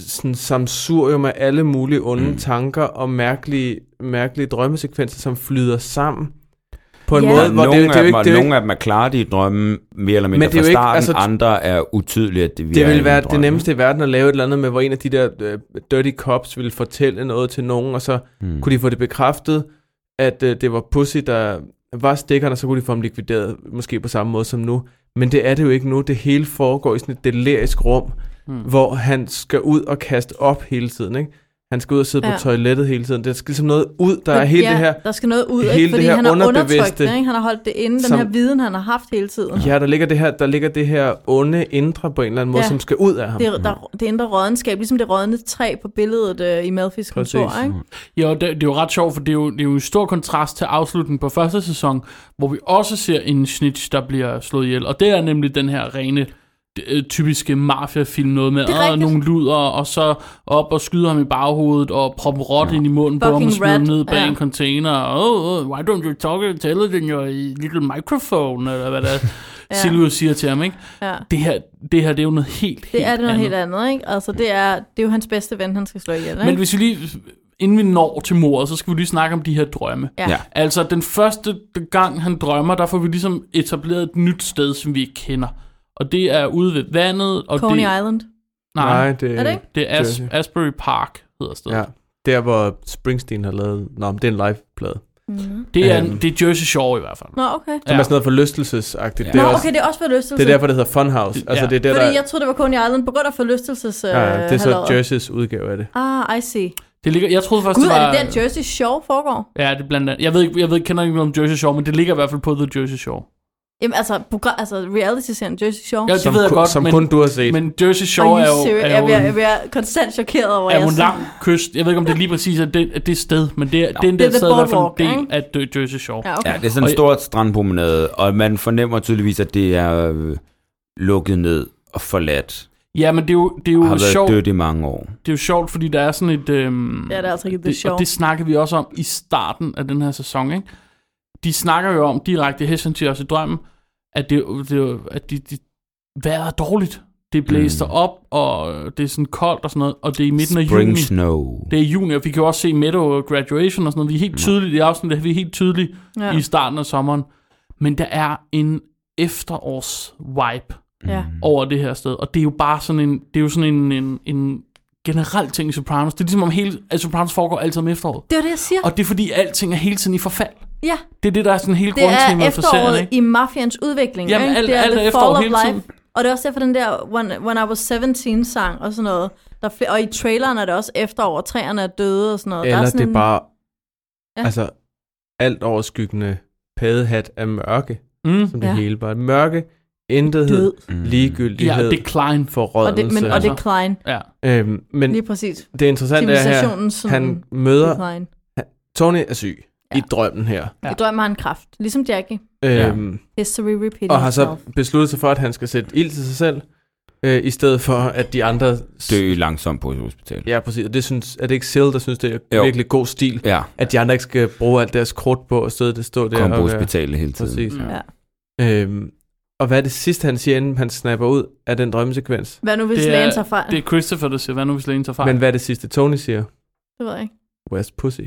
I: sådan samsurium af alle mulige onde
J: Mm.
I: mm. tanker og mærkelige, mærkelige drømmesekvenser, som flyder sammen på en
A: Ja.
I: måde, hvor
J: Nogle,
I: det, det, er jo ikke, det er jo ikke
J: nogle af dem er klare de drømme, mere eller mindre
I: det er
J: fra
I: jo ikke-
J: starten.
I: altså,
J: andre er utydelige, at det,
I: Det
J: er
I: ville
J: en
I: være
J: drøm.
I: det nemmeste i verden at lave et eller andet med, hvor en af de der øh, dirty cops ville fortælle noget til nogen, og så
J: Mm.
I: kunne de få det bekræftet, at øh, det var Pussy, der var stikkerne, så kunne de få dem likvideret, måske på samme måde som nu. Men det er det jo ikke nu. Det hele foregår i sådan et delirisk rum,
A: Hmm.
I: mm. hvor han skal ud og kaste op hele tiden, ikke? Han skal ud og sidde ja.
A: Ja.
I: på toilettet hele tiden. Der skal ligesom noget ud, der er hele
A: ja,
I: det her
A: Der skal noget ud, ikke?
I: hele
A: fordi
I: det her
A: han har undertrykt
I: underbevidste,
A: det. Ikke? Han har holdt det inde,
I: som-
A: den her viden, han har haft hele tiden.
I: Ja, der ligger det her, der ligger det her onde indre på en eller anden måde, ja.
A: Ja.
I: som skal ud af ham.
A: Det, er- der, det indre rådenskab, ligesom det rådne træ på billedet øh, i Malfis kontor. Ikke?
I: Mm.
B: Ja, og det, det er jo ret sjovt, for det er jo, det er jo en stor kontrast til afslutningen på første sæson, hvor vi også ser en snitch, der bliver slået ihjel. Og det er nemlig den her rene, øh, typiske mafiafilm, noget med
A: Det er
B: "Ah,
A: rigtigt."
B: nogle luder, og så op og skyde ham i baghovedet, og proppe rot ind i munden på ham, og
A: Fucking
B: smide ham
A: rat,
B: ned bag
A: ja.
B: en container. Oh, oh, why don't you talk intelligent in your eh, little microphone, eller hvad der ja. Silvio siger til ham, ikke?
A: Ja.
B: Det, her, det her, det er jo noget helt,
A: Det
B: helt
A: er det noget
B: andet.
A: helt andet, ikke? Altså, det er, det er jo hans bedste ven, han skal slå ihjel, ikke?
B: Men hvis vi lige, inden vi når til mordet, så skal vi lige snakke om de her drømme.
A: Ja. Ja.
B: Altså, den første gang, han drømmer, der får vi ligesom etableret et nyt sted, som vi ikke kender. Og det er ude ved vandet, og
A: Coney
B: det...
A: Island.
B: Nej,
I: det,
A: Er det ikke?
B: det er As-
I: Jersey.
B: Asbury Park, hedder stedet.
I: Ja, der hvor Springsteen har lavet... Nå, men det er en live-plade.
B: Det, er,
I: Øhm.
B: det er Jersey Shore i hvert fald.
A: Mm. Nå, okay.
I: Som er sådan noget forlystelsesagtigt. Ja. Det,
A: Nå,
I: er også,
A: okay, det er også forlystelse.
I: det er derfor, det hedder Funhouse.
B: Det-
I: Altså,
B: ja.
I: det er der,
A: Fordi
I: der...
A: jeg troede, det var Coney Island på grund af forlystelses... Øh,
I: ja, det er så
A: halløjet.
I: Jerseys udgave af det.
A: Ah, I see.
B: Det ligger, jeg troede først,
A: Gud,
B: det
A: er
B: var...
A: det der Jersey Shore foregår?
B: Ja, det er blandt andet. Jeg ved ikke, jeg ved, ikke- kender ikke noget om Jersey Shore, men det ligger i hvert fald på The Jersey Shore.
A: Jamen, altså, program, altså reality-serien Jersey Shore.
B: Ja, det ved jeg
I: ku-
B: godt,
I: som
B: men,
I: kun du har set. Men,
B: men Jersey Shore er
A: Are you
B: jo,
A: serious?
B: er
A: jeg,
B: jo
A: bliver, jeg
B: en,
A: bliver konstant chokeret over,
B: er jo
A: jeg
B: en lang kyst. Jeg ved ikke, om det lige præcis er det, er det sted, men det er, den
A: Det
B: der
A: er the
B: sted er i hvert fald
A: boardwalk,
B: en del
A: ikke?
B: af Dø- Jersey Shore.
A: Ja, okay.
J: Ja, det er sådan en
B: Og-
J: stor strandpromenade, og man fornemmer tydeligvis, at det er øh, lukket ned og forladt.
B: Ja, men det er jo, det er
J: Og
B: jo
J: har været
B: sjovt.
J: dødt i mange år.
B: Det er jo sjovt, fordi der er sådan et... Øhm,
A: Ja, det er altså ikke det
B: det,
A: sjovt.
B: Og det snakker vi også om i starten af den her sæson, ikke? De snakker jo om direkte, Hessen til os i drømmen, at, det, det, er jo- at de, de, vejret er dårligt. Det blæser mm. op, og det er sådan koldt og sådan noget, og det er i midten af juni.
J: Spring snow.
B: Det er i juni, og vi kan jo også se Meadow Graduation og sådan noget. Vi er
J: Mm.
B: helt tydelige i afsnittet, vi er helt tydelige ja.
A: Ja.
B: i starten af sommeren. Men der er en efterårs-vibe
A: Ja.
B: Mm. over det her sted. Og det er jo bare sådan en, det er jo sådan en, en, en generel ting i Sopranos. Det er ligesom om hele, at Sopranos foregår altid om efteråret.
A: Det var det, jeg siger.
B: Og det er fordi, alting er hele tiden i forfald.
A: Ja,
B: Det er det, der er sådan hele
A: det er
B: grundtemaet for serien,
A: efteråret
B: ikke?
A: i mafians udvikling.
B: Jamen,
A: ikke?
B: alt-
A: det er
B: alt
A: the
B: er efterår
A: fall of
B: hele
A: life.
B: tiden.
A: Og det er også derfor den der When, When I Was 17 sang og sådan noget. Der er flere, og i traileren er det også efterår, og træerne er døde og sådan noget. der
I: Eller
A: er sådan
I: det er bare...
A: Ja.
I: Altså, alt overskyggende padehat af mørke,
B: Mm.
I: som det
A: Ja.
I: hele bare. Mørke,
A: død.
I: intethed,
J: Mm.
B: Ja,
I: ligegyldighed,
B: det er Klein.
A: Og det, men,
I: forrådnelse.
A: og det er Klein.
B: Ja.
I: Øhm, men
A: Lige præcis.
I: det interessante er her,
A: Civilisationen sådan...
I: han
A: det er
I: møder...
A: Klein.
I: Tony er syg
A: Ja.
I: i drømmen her.
B: Ja.
A: Ja. I drømmen har han kraft. Ligesom Jackie.
I: Øhm,
A: History repeating
I: Og har så
A: itself.
I: besluttet sig for, at han skal sætte ild til sig selv, øh, i stedet for, at de andre... s-
J: Dø langsomt på et hospital.
I: Ja, præcis. Og det synes, er det ikke Sil, der synes, det er
J: Jo.
I: jo. virkelig god stil,
J: Ja,
I: at de andre ikke skal bruge alt deres krudt på at stå det stå der
J: kom på
I: og gøre-
J: hospitalet hele tiden.
I: Præcis.
B: Mm.
A: Ja.
I: Øhm, og hvad er det sidste, han siger, inden han snapper ud af den drømmesekvens?
A: Hvad nu, hvis
B: Det er-
A: lægen tager fejl?
B: Det er Christopher, der siger, hvad nu hvis lægen tager fejl?
I: Men hvad er det sidste, Tony siger?
A: Det ved jeg ikke.
I: Where's pussy?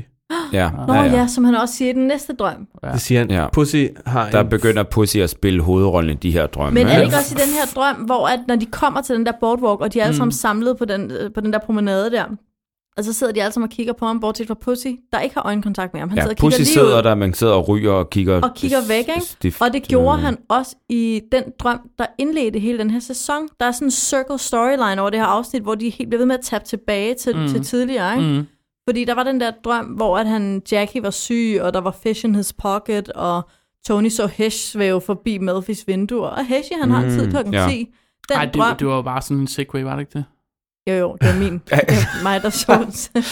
J: Ja.
A: Nå ja,
J: ja, ja.
A: som han også siger i den næste drøm.
B: Ja.
I: Det siger han.
J: Ja.
I: Ja. Pussy har
J: Der
I: en...
J: begynder Pussy at spille hovedrollen i de her drømme.
A: Men er det
J: ikke?
A: ikke også i den her drøm, hvor at når de kommer til den der boardwalk, og de er alle sammen samlet på den, øh, på den der promenade der, og så sidder de alle sammen og kigger på ham, bortset fra Pussy, der ikke har øjenkontakt med ham. Han
J: Ja,
A: sidder og
J: Pussy
A: altså, kigger lige
J: sidder
A: ud,
J: der, man sidder og ryger og kigger...
A: og kigger væk, ikke?
J: stift.
A: Og det gjorde
J: Mm.
A: han også i den drøm, der indledte hele den her sæson. Der er sådan en circle storyline over det her afsnit, hvor de helt bliver ved med at tabe tilbage til, mm. til tidligere, ikke?
B: Mm.
A: Fordi der var den der drøm, hvor at han, Jackie var syg, og der var fish in his pocket, og Tony så Hesh svæve forbi Melfis vinduer. Og Hesh, han har en tid
J: Mm,
A: klokken
J: ja.
A: 10. Den
B: Ej,
A: drøm...
B: det, det var jo bare sådan en segway, var det ikke det?
A: Jo, jo, det var min. det var mig, der så den.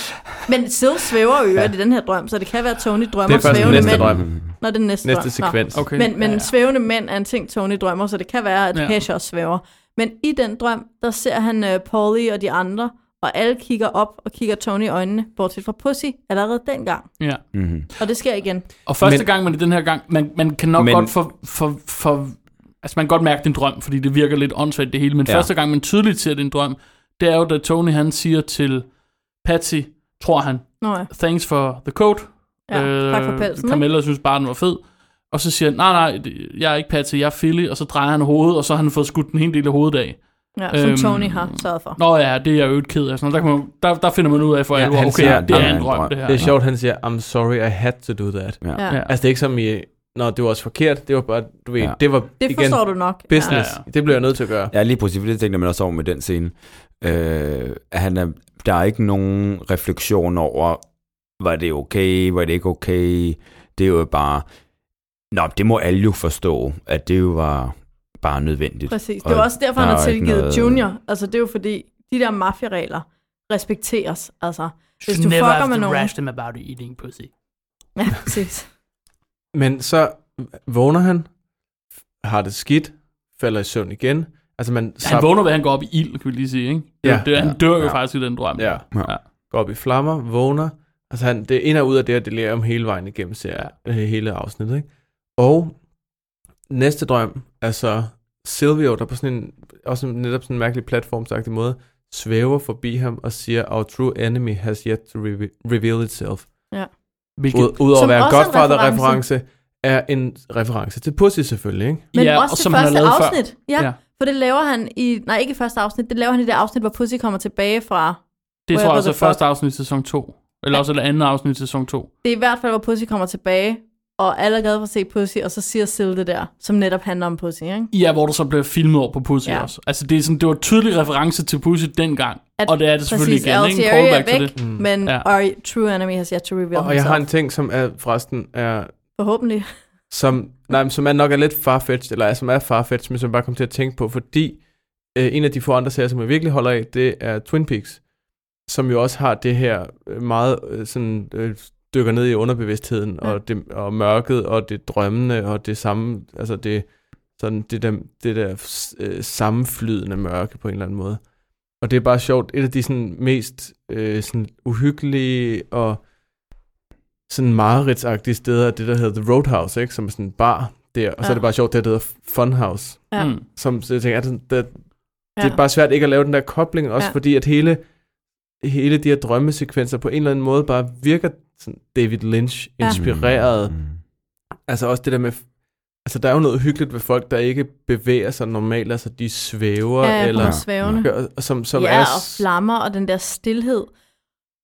A: Men Sid svæver jo i den her drøm, så det kan være, at Tony
I: Det
A: drømmer
I: er først den
A: svævende
I: næste
A: mænd.
I: drøm.
A: Når det er næste,
I: Næste
A: drøm. Nå.
I: sekvens.
B: Okay.
A: Men, men
B: ja,
A: ja,
B: ja.
A: svævende mænd er en ting, Tony drømmer, så det kan være, at
B: Ja.
A: ja. Hesh også svæver. Men i den drøm, der ser han uh, Paulie og de andre, og alle kigger op og kigger Tony i øjnene, bortset fra Pussy, allerede dengang.
B: Ja.
J: Mm-hmm.
A: Og det sker igen.
B: Og første men,
I: Men-
B: gang, men det er den her gang, man, man kan nok men,
J: Men-
B: godt for, for, for, altså man kan godt mærke, det er en drøm, fordi det virker lidt åndssvagt det hele, men ja.
J: Ja.
B: første gang, man tydeligt ser, det er en drøm, det er jo, da Tony han siger til Patsy, tror han,
A: Nå ja.
B: thanks for the coat.
A: Ja,
B: Øh,
A: tak for pelsen,
B: Carmella synes bare, den var fed. Og så siger han, nej, nej, det- jeg er ikke Patsy, jeg er Philly, og så drejer han hovedet, og så har han fået skudt en hel del af hovedet af.
A: Ja, som
B: Øhm,
A: øhm, Tony har sørget for.
B: Nå ja, det er jeg jo ikke ked af. Sådan noget. Der, kan man, der, der finder man ud af for ja,
I: Ja,
B: alvor,
I: han
B: okay,
I: siger,
B: det er
J: "Ah,
B: en drøm, det her.
I: Det er sjovt, han siger, I'm sorry, I had to do that.
J: Ja.
A: Ja.
B: Ja.
I: Altså, det er ikke som i Nå, det var også forkert. Det var bare, du ved, ja.
J: Ja.
I: det var
A: Det
I: igen
A: forstår du nok. Ja.
I: business.
B: Ja,
I: Ja,
B: ja.
I: ja. Det blev jeg nødt til at gøre.
J: Ja, lige præcis, for det tænkte jeg man også over med den scene. Øh, at han er, der er ikke nogen refleksion over, var det okay, var det ikke okay. Det er jo bare, nå, det må alle jo forstå, at det jo var bare nødvendigt.
A: Præcis. Det var også derfor, han
J: der
A: har
J: er ikke
A: tilgivet
J: noget-
A: Junior. Altså, det er jo fordi, de der mafiaregler respekteres. Altså, hvis
B: Should
A: du
B: never
A: fucker
B: have
A: med
B: to
A: nogen...
B: rash them about eating pussy.
A: Ja, præcis.
I: Men så vågner han, har det skidt, falder i søvn igen. Altså man
B: Ja, han vågner ved, at han går op i ild, kan vi lige sige, ikke? Det, ja,
I: Ja.
B: det, han
J: Ja,
B: dør jo
J: ja.
B: faktisk i den drøm.
I: ja,
J: Ja.
I: går op i flammer, vågner. Altså han, det er ind og ud af det, og det lærer om hele vejen igennem serien, øh, hele afsnittet. Ikke? Og næste drøm er så Silvio, der på sådan en, også netop sådan en mærkelig platformsagtig måde, svæver forbi ham og siger, our true enemy has yet to reve- reveal itself.
B: Hvilket,
I: Ud- Udover
A: Som
I: at være
A: også er en
I: Godfather-reference, er en reference til Pussy selvfølgelig, ikke?
A: Men
B: ja,
A: ja, også
B: og
A: det
B: som han har
A: første
B: lavet
A: afsnit.
B: før.
A: Ja,
B: Ja.
A: ja, for det laver han i... Nej, ikke i første afsnit. Det laver han i det afsnit, hvor Pussy kommer tilbage fra...
B: Det tror
A: Where
B: jeg også er
A: the fuck?
B: første afsnit i sæson 2. Eller også er det andet afsnit i sæson 2.
A: Det er i hvert fald, hvor Pussy kommer tilbage, og alle er glade for at se Pussy, og så siger Sil det der, som netop handler om Pussy, ikke?
B: Ja, hvor der så blev filmet over på Pussy ja.
A: Ja.
B: også. Altså, det, er sådan, det var en tydelig reference til Pussy dengang. At,
A: At-
B: og det er det selvfølgelig
A: Præcis,
B: igen, ikke?
A: Altieri er
B: Callback til
A: væk,
B: det.
A: men
B: Mm. Ja.
A: our true enemy has yet to reveal
I: Og jeg har en
A: himself.
I: ting, som er, forresten er
A: Forhåbentlig.
I: som, nej, men som er nok er lidt farfetched, eller som er farfetched, men som jeg bare kom til at tænke på, fordi øh, en af de få andre serier, som jeg virkelig holder af, det er Twin Peaks, som jo også har det her øh, meget øh, sådan, øh, dykker ned i underbevidstheden, ja.
A: Ja.
I: og, det, og mørket, og det drømmende, og det samme, altså det, sådan det der, det der øh, sammenflydende mørke på en eller anden måde. Og det er bare sjovt. Et af de sådan, mest øh, sådan, uhyggelige og sådan mareridtsagtige steder er det, der hedder The Roadhouse, ikke? som er sådan en bar der. Og ja. så
A: Ja.
I: er det bare sjovt, det der hedder Funhouse.
A: Ja.
B: Mm.
I: Som, så jeg tænker, er det, sådan- der, ja.
A: Ja.
I: det er bare svært ikke at lave den der kobling, også ja.
A: Ja.
I: fordi at hele, hele de her drømmesekvenser på en eller anden måde bare virker sådan David Lynch-inspireret. Ja.
J: Mm.
I: Altså også det der med, altså der er jo noget hyggeligt ved folk, der ikke bevæger sig normalt, altså de svæver,
A: Ja,
I: eller
A: eller svævende.
I: gør, som, som
A: ja,
I: er...
A: og flammer og den der stillhed.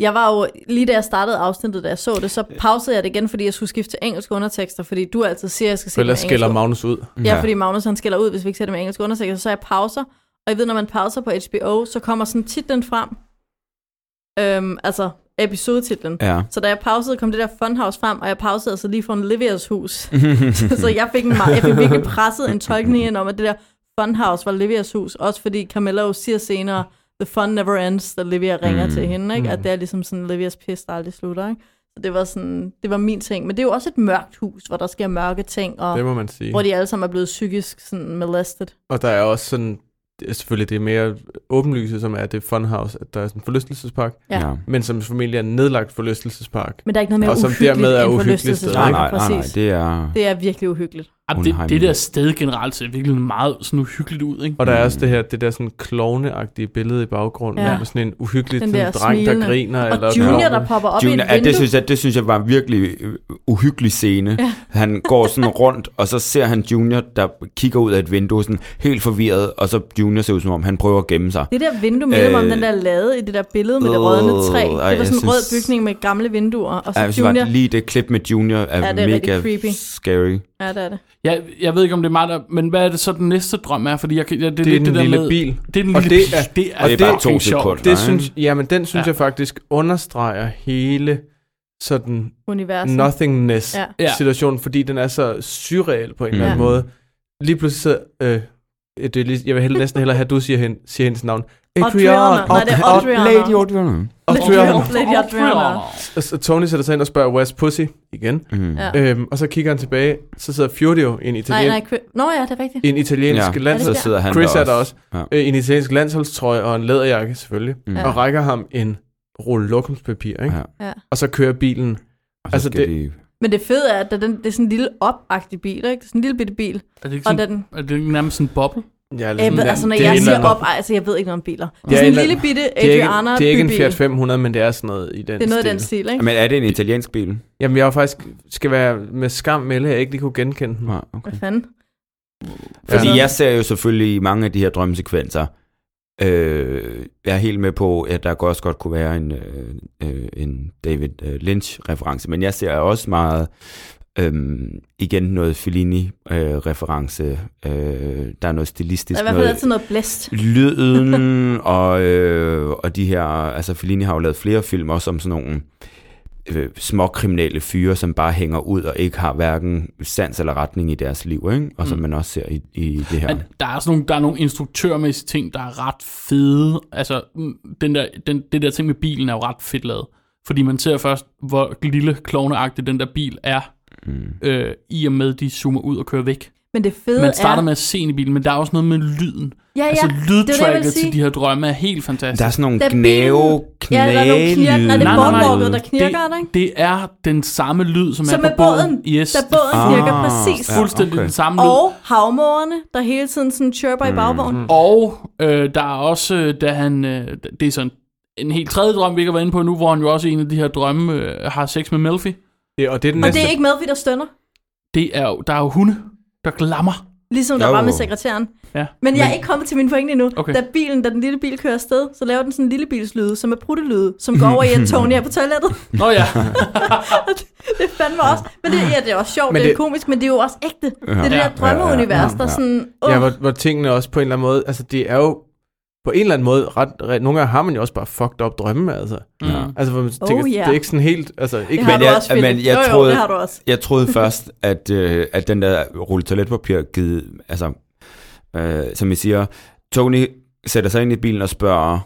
A: Jeg var jo, lige da jeg startede afsnittet, da jeg så det, så pausede jeg det igen, fordi jeg skulle skifte til engelske undertekster, fordi du altid siger, at jeg skal se det med
I: Ellers skælder
A: engelske-
I: Magnus ud.
A: Ja, fordi Magnus han skælder ud, hvis vi ikke ser det med engelske undertekster, så jeg pauser. Og jeg ved, når man pauser på HBO, så kommer sådan titlen frem. Øhm, altså episodetitlen.
J: Ja.
A: Så da jeg pausede, kom det der Funhouse frem, og jeg pausede altså lige for en Livias hus. så jeg fik, en meget, jeg fik virkelig presset en tolkning ind om, at det der Funhouse var Livias hus. Også fordi Camilla jo siger senere, the fun never ends, da Livia ringer
J: Mm.
A: til hende. Ikke? At det er ligesom sådan Livias pis, der aldrig slutter. Ikke? Så det var, sådan, det var min ting. Men det er jo også et mørkt hus, hvor der sker mørke ting. Og
I: Det må man sige.
A: hvor de alle sammen er blevet psykisk sådan molested.
I: Og der er også sådan, det er selvfølgelig det mere åbenlyse, som er det funhouse, at der er sådan en forlystelsespark,
A: Ja.
J: ja.
I: men som formentlig er en nedlagt forlystelsespark.
A: Men der er ikke noget mere
I: Og som
A: uhyggeligt
I: dermed er
A: end
I: uhyggeligt
J: Nej,
A: forlystelsesparken,
J: nej, nej, nej,
A: præcis.
J: det er...
A: Det er virkelig uhyggeligt.
B: Ja, det,
J: Unheimelig.
B: det der sted generelt ser virkelig meget sådan uhyggeligt ud, ikke?
I: Og der er også det her, det der sådan klovneagtige billede i baggrunden, ja.
A: Ja.
I: med sådan en uhyggelig
A: Den
I: sådan
A: der
I: dreng,
A: smilende.
I: der griner.
A: Og
I: eller
A: Junior, der popper op i
J: Junior,
A: et
J: ja,
A: vindue.
J: det, synes jeg, det synes jeg var en virkelig øh, uhyggelig scene. Ja. Han går sådan rundt, og så ser han Junior, der kigger ud af et vindue, sådan helt forvirret, og så Junior ser ud som om, han prøver at gemme sig.
A: det der vindue minder mig om
J: Øh,
A: den der lade i det der billede med det
J: øh,
A: rådne træ.
J: ej,
A: Det var
J: jeg
A: sådan en rød
J: synes-
A: bygning med gamle vinduer. Og så
J: Ja, hvis det
A: Junior.
J: var lige det klip med Junior er,
A: Ja,
J: ja,
A: det er
J: mega
A: rigtig creepy.
J: scary.
A: Ja, det er det.
B: Jeg, jeg ved ikke, om det er mig, der... Men hvad er det så, den næste drøm er? Fordi jeg, kan- ja, det, er
I: Det er
B: lidt
I: den
B: det der
I: lille
B: med,
I: bil.
B: Det er den
I: Og
B: lille
I: det er-
B: bil. Det er,
J: Og det er bare
B: fucking
J: to
B: sjovt.
J: sekunder.
I: Det
J: Nej.
I: synes, ja, men den synes
B: Ja.
I: ja. jeg faktisk understreger hele sådan
A: Universet. Altså. Ja.
I: nothingness-situationen, fordi den er så surreal på en eller anden
A: Ja.
I: måde. Lige pludselig så... Øh, det er lige, jeg vil hellere, næsten hellere have, at du siger, hende, siger hendes navn.
A: Audriana. Nej, det er Audriana.
J: Lady Audriana.
I: Audriana.
A: Lady Adriana.
I: Og så Tony sætter sig ind og spørger, where's pussy? Igen.
J: Mm.
A: Ja.
I: Øhm, og så kigger han tilbage, så sidder Fjordio i en,
A: Nej,
I: italien,
A: nej. Chris- Nå ja, det er rigtigt.
I: i en italiensk ja.
J: så
I: landsholds...
J: sidder han
I: Chris
J: der
I: er der også.
J: Ja.
I: Øh, i en italiensk landsholdstrøje og en læderjakke selvfølgelig. Mm.
A: Ja.
I: Og rækker ham en rulle lokumspapir, ikke?
J: Mm. Ja.
A: Ja.
I: Og så kører bilen.
J: Og så altså,
I: Altså,
J: skal
I: det-
J: det... de...
A: Men det fede er, at der er den, det er sådan en lille opagtig bil, ikke? Det er sådan en lille bitte bil.
B: Er det ikke
A: Og
B: sådan,
A: den,
B: er det ikke nærmest sådan en boble?
I: Ja,
A: jeg ved, altså når
I: det er
A: jeg
I: en
A: siger
I: eller anden-
A: op, ej, altså jeg ved ikke noget om biler. Det er
I: Det er
A: sådan
I: en
A: en
I: eller
A: lille bitte
I: det er,
A: Adriana
I: ikke, det er ikke en
A: bybil.
I: Fiat 500, men det er sådan noget i den
A: Det er noget af
I: stil.
A: den stil, ikke?
J: Men er det en italiensk bil?
I: Jamen, jeg var faktisk, skal være med skam melde, at jeg ikke lige kunne genkende den.
J: Nej, okay.
A: Hvad fanden?
J: Fordi
A: Ja.
J: jeg ser jo selvfølgelig i mange af de her drømmesekvenser, øh, jeg er helt med på, at der også godt kunne være en, øh, øh, en David øh, Lynch-reference, men jeg ser også meget Øhm, igen noget Fellini-reference. Øh, der er noget
A: Der
J: stilistisk.
A: er i hvert fald altid noget blæst.
J: lyden og, øh, og de her, altså Fellini har jo lavet flere film også om sådan nogle øh, små kriminelle fyre, som bare hænger ud og ikke har hverken sans eller retning i deres liv, ikke? og som man også ser i, i det her.
B: Mm. Men der er sådan nogle, der er nogle instruktørmæssige ting, der er ret fede. Altså, mm, den der, den, det der ting med bilen er jo ret fedt lavet. Fordi man ser først, hvor lille klovneagtig den der bil er, mm. øh, i og med, de zoomer ud og kører væk.
A: Men det fede
B: Man starter
A: er...
B: med at se ind i bilen, men der er også noget med lyden.
A: Ja, ja,
B: altså,
A: det var det, jeg ville
B: lydtracket
A: sige.
B: til de her drømme er helt fantastisk.
J: Der er sådan nogle
A: Da bilen-
J: gnave,
A: Ja, der er nogle knirk- Nej, det er
B: Nej, nej, nej.
A: båndvognet, der knirker, der, ikke?
B: det, det er den samme lyd, som,
A: Som
B: er
A: med
B: på
A: båden,
B: Yes,
A: da båden
J: Ah,
A: knirker præcis.
J: ja.
B: fuldstændig
J: okay.
B: den samme lyd.
A: Og havmorerne, der hele tiden sådan chirper
I: Mm.
A: i bagvognen.
B: Og øh, der er også, øh, da han, øh, det er sådan en helt tredje drøm, vi ikke har været inde på nu, hvor han jo også i en af de her drømme øh, har sex med Melfi.
I: Det, og det er den
A: Og
I: næste.
A: det er ikke med, vi der stønner.
B: Det er jo, der er jo hunde, der glammer.
A: Ligesom der
J: Jo.
A: var med sekretæren.
B: Ja.
A: Men jeg er ikke kommet til min pointe endnu.
B: Okay.
A: Okay. Da bilen, da den lille bil kører afsted, så laver den sådan en lille bilslyde, som er pruttelyde, som går over i, at Tony er på toilettet.
B: Nå ja, Mm.
A: det er fandme også. Men det, ja, det er også sjovt,
I: Men
A: det, det er
I: det-
A: komisk, men det er jo også ægte. Det er det
B: Ja.
A: der drømmeunivers, der er sådan... Uh,
I: Ja, hvor, hvor tingene også på en eller anden måde, altså det er jo på en eller anden måde, ret, ret, nogle gange har man jo også bare fucked up drømme, altså.
J: Ja.
I: Altså, hvor man
A: Oh,
I: tænker,
A: ja.
I: det er ikke sådan helt, altså ikke
A: det har
J: Men
A: du
J: jeg-
A: også, Philip.
J: men jeg
A: jo, jo,
J: troede-
A: det har du også.
J: Jeg troede først, at, øh, at den der rulle toiletpapir givet, altså, øh, som I siger, Tony sætter sig ind i bilen og spørger,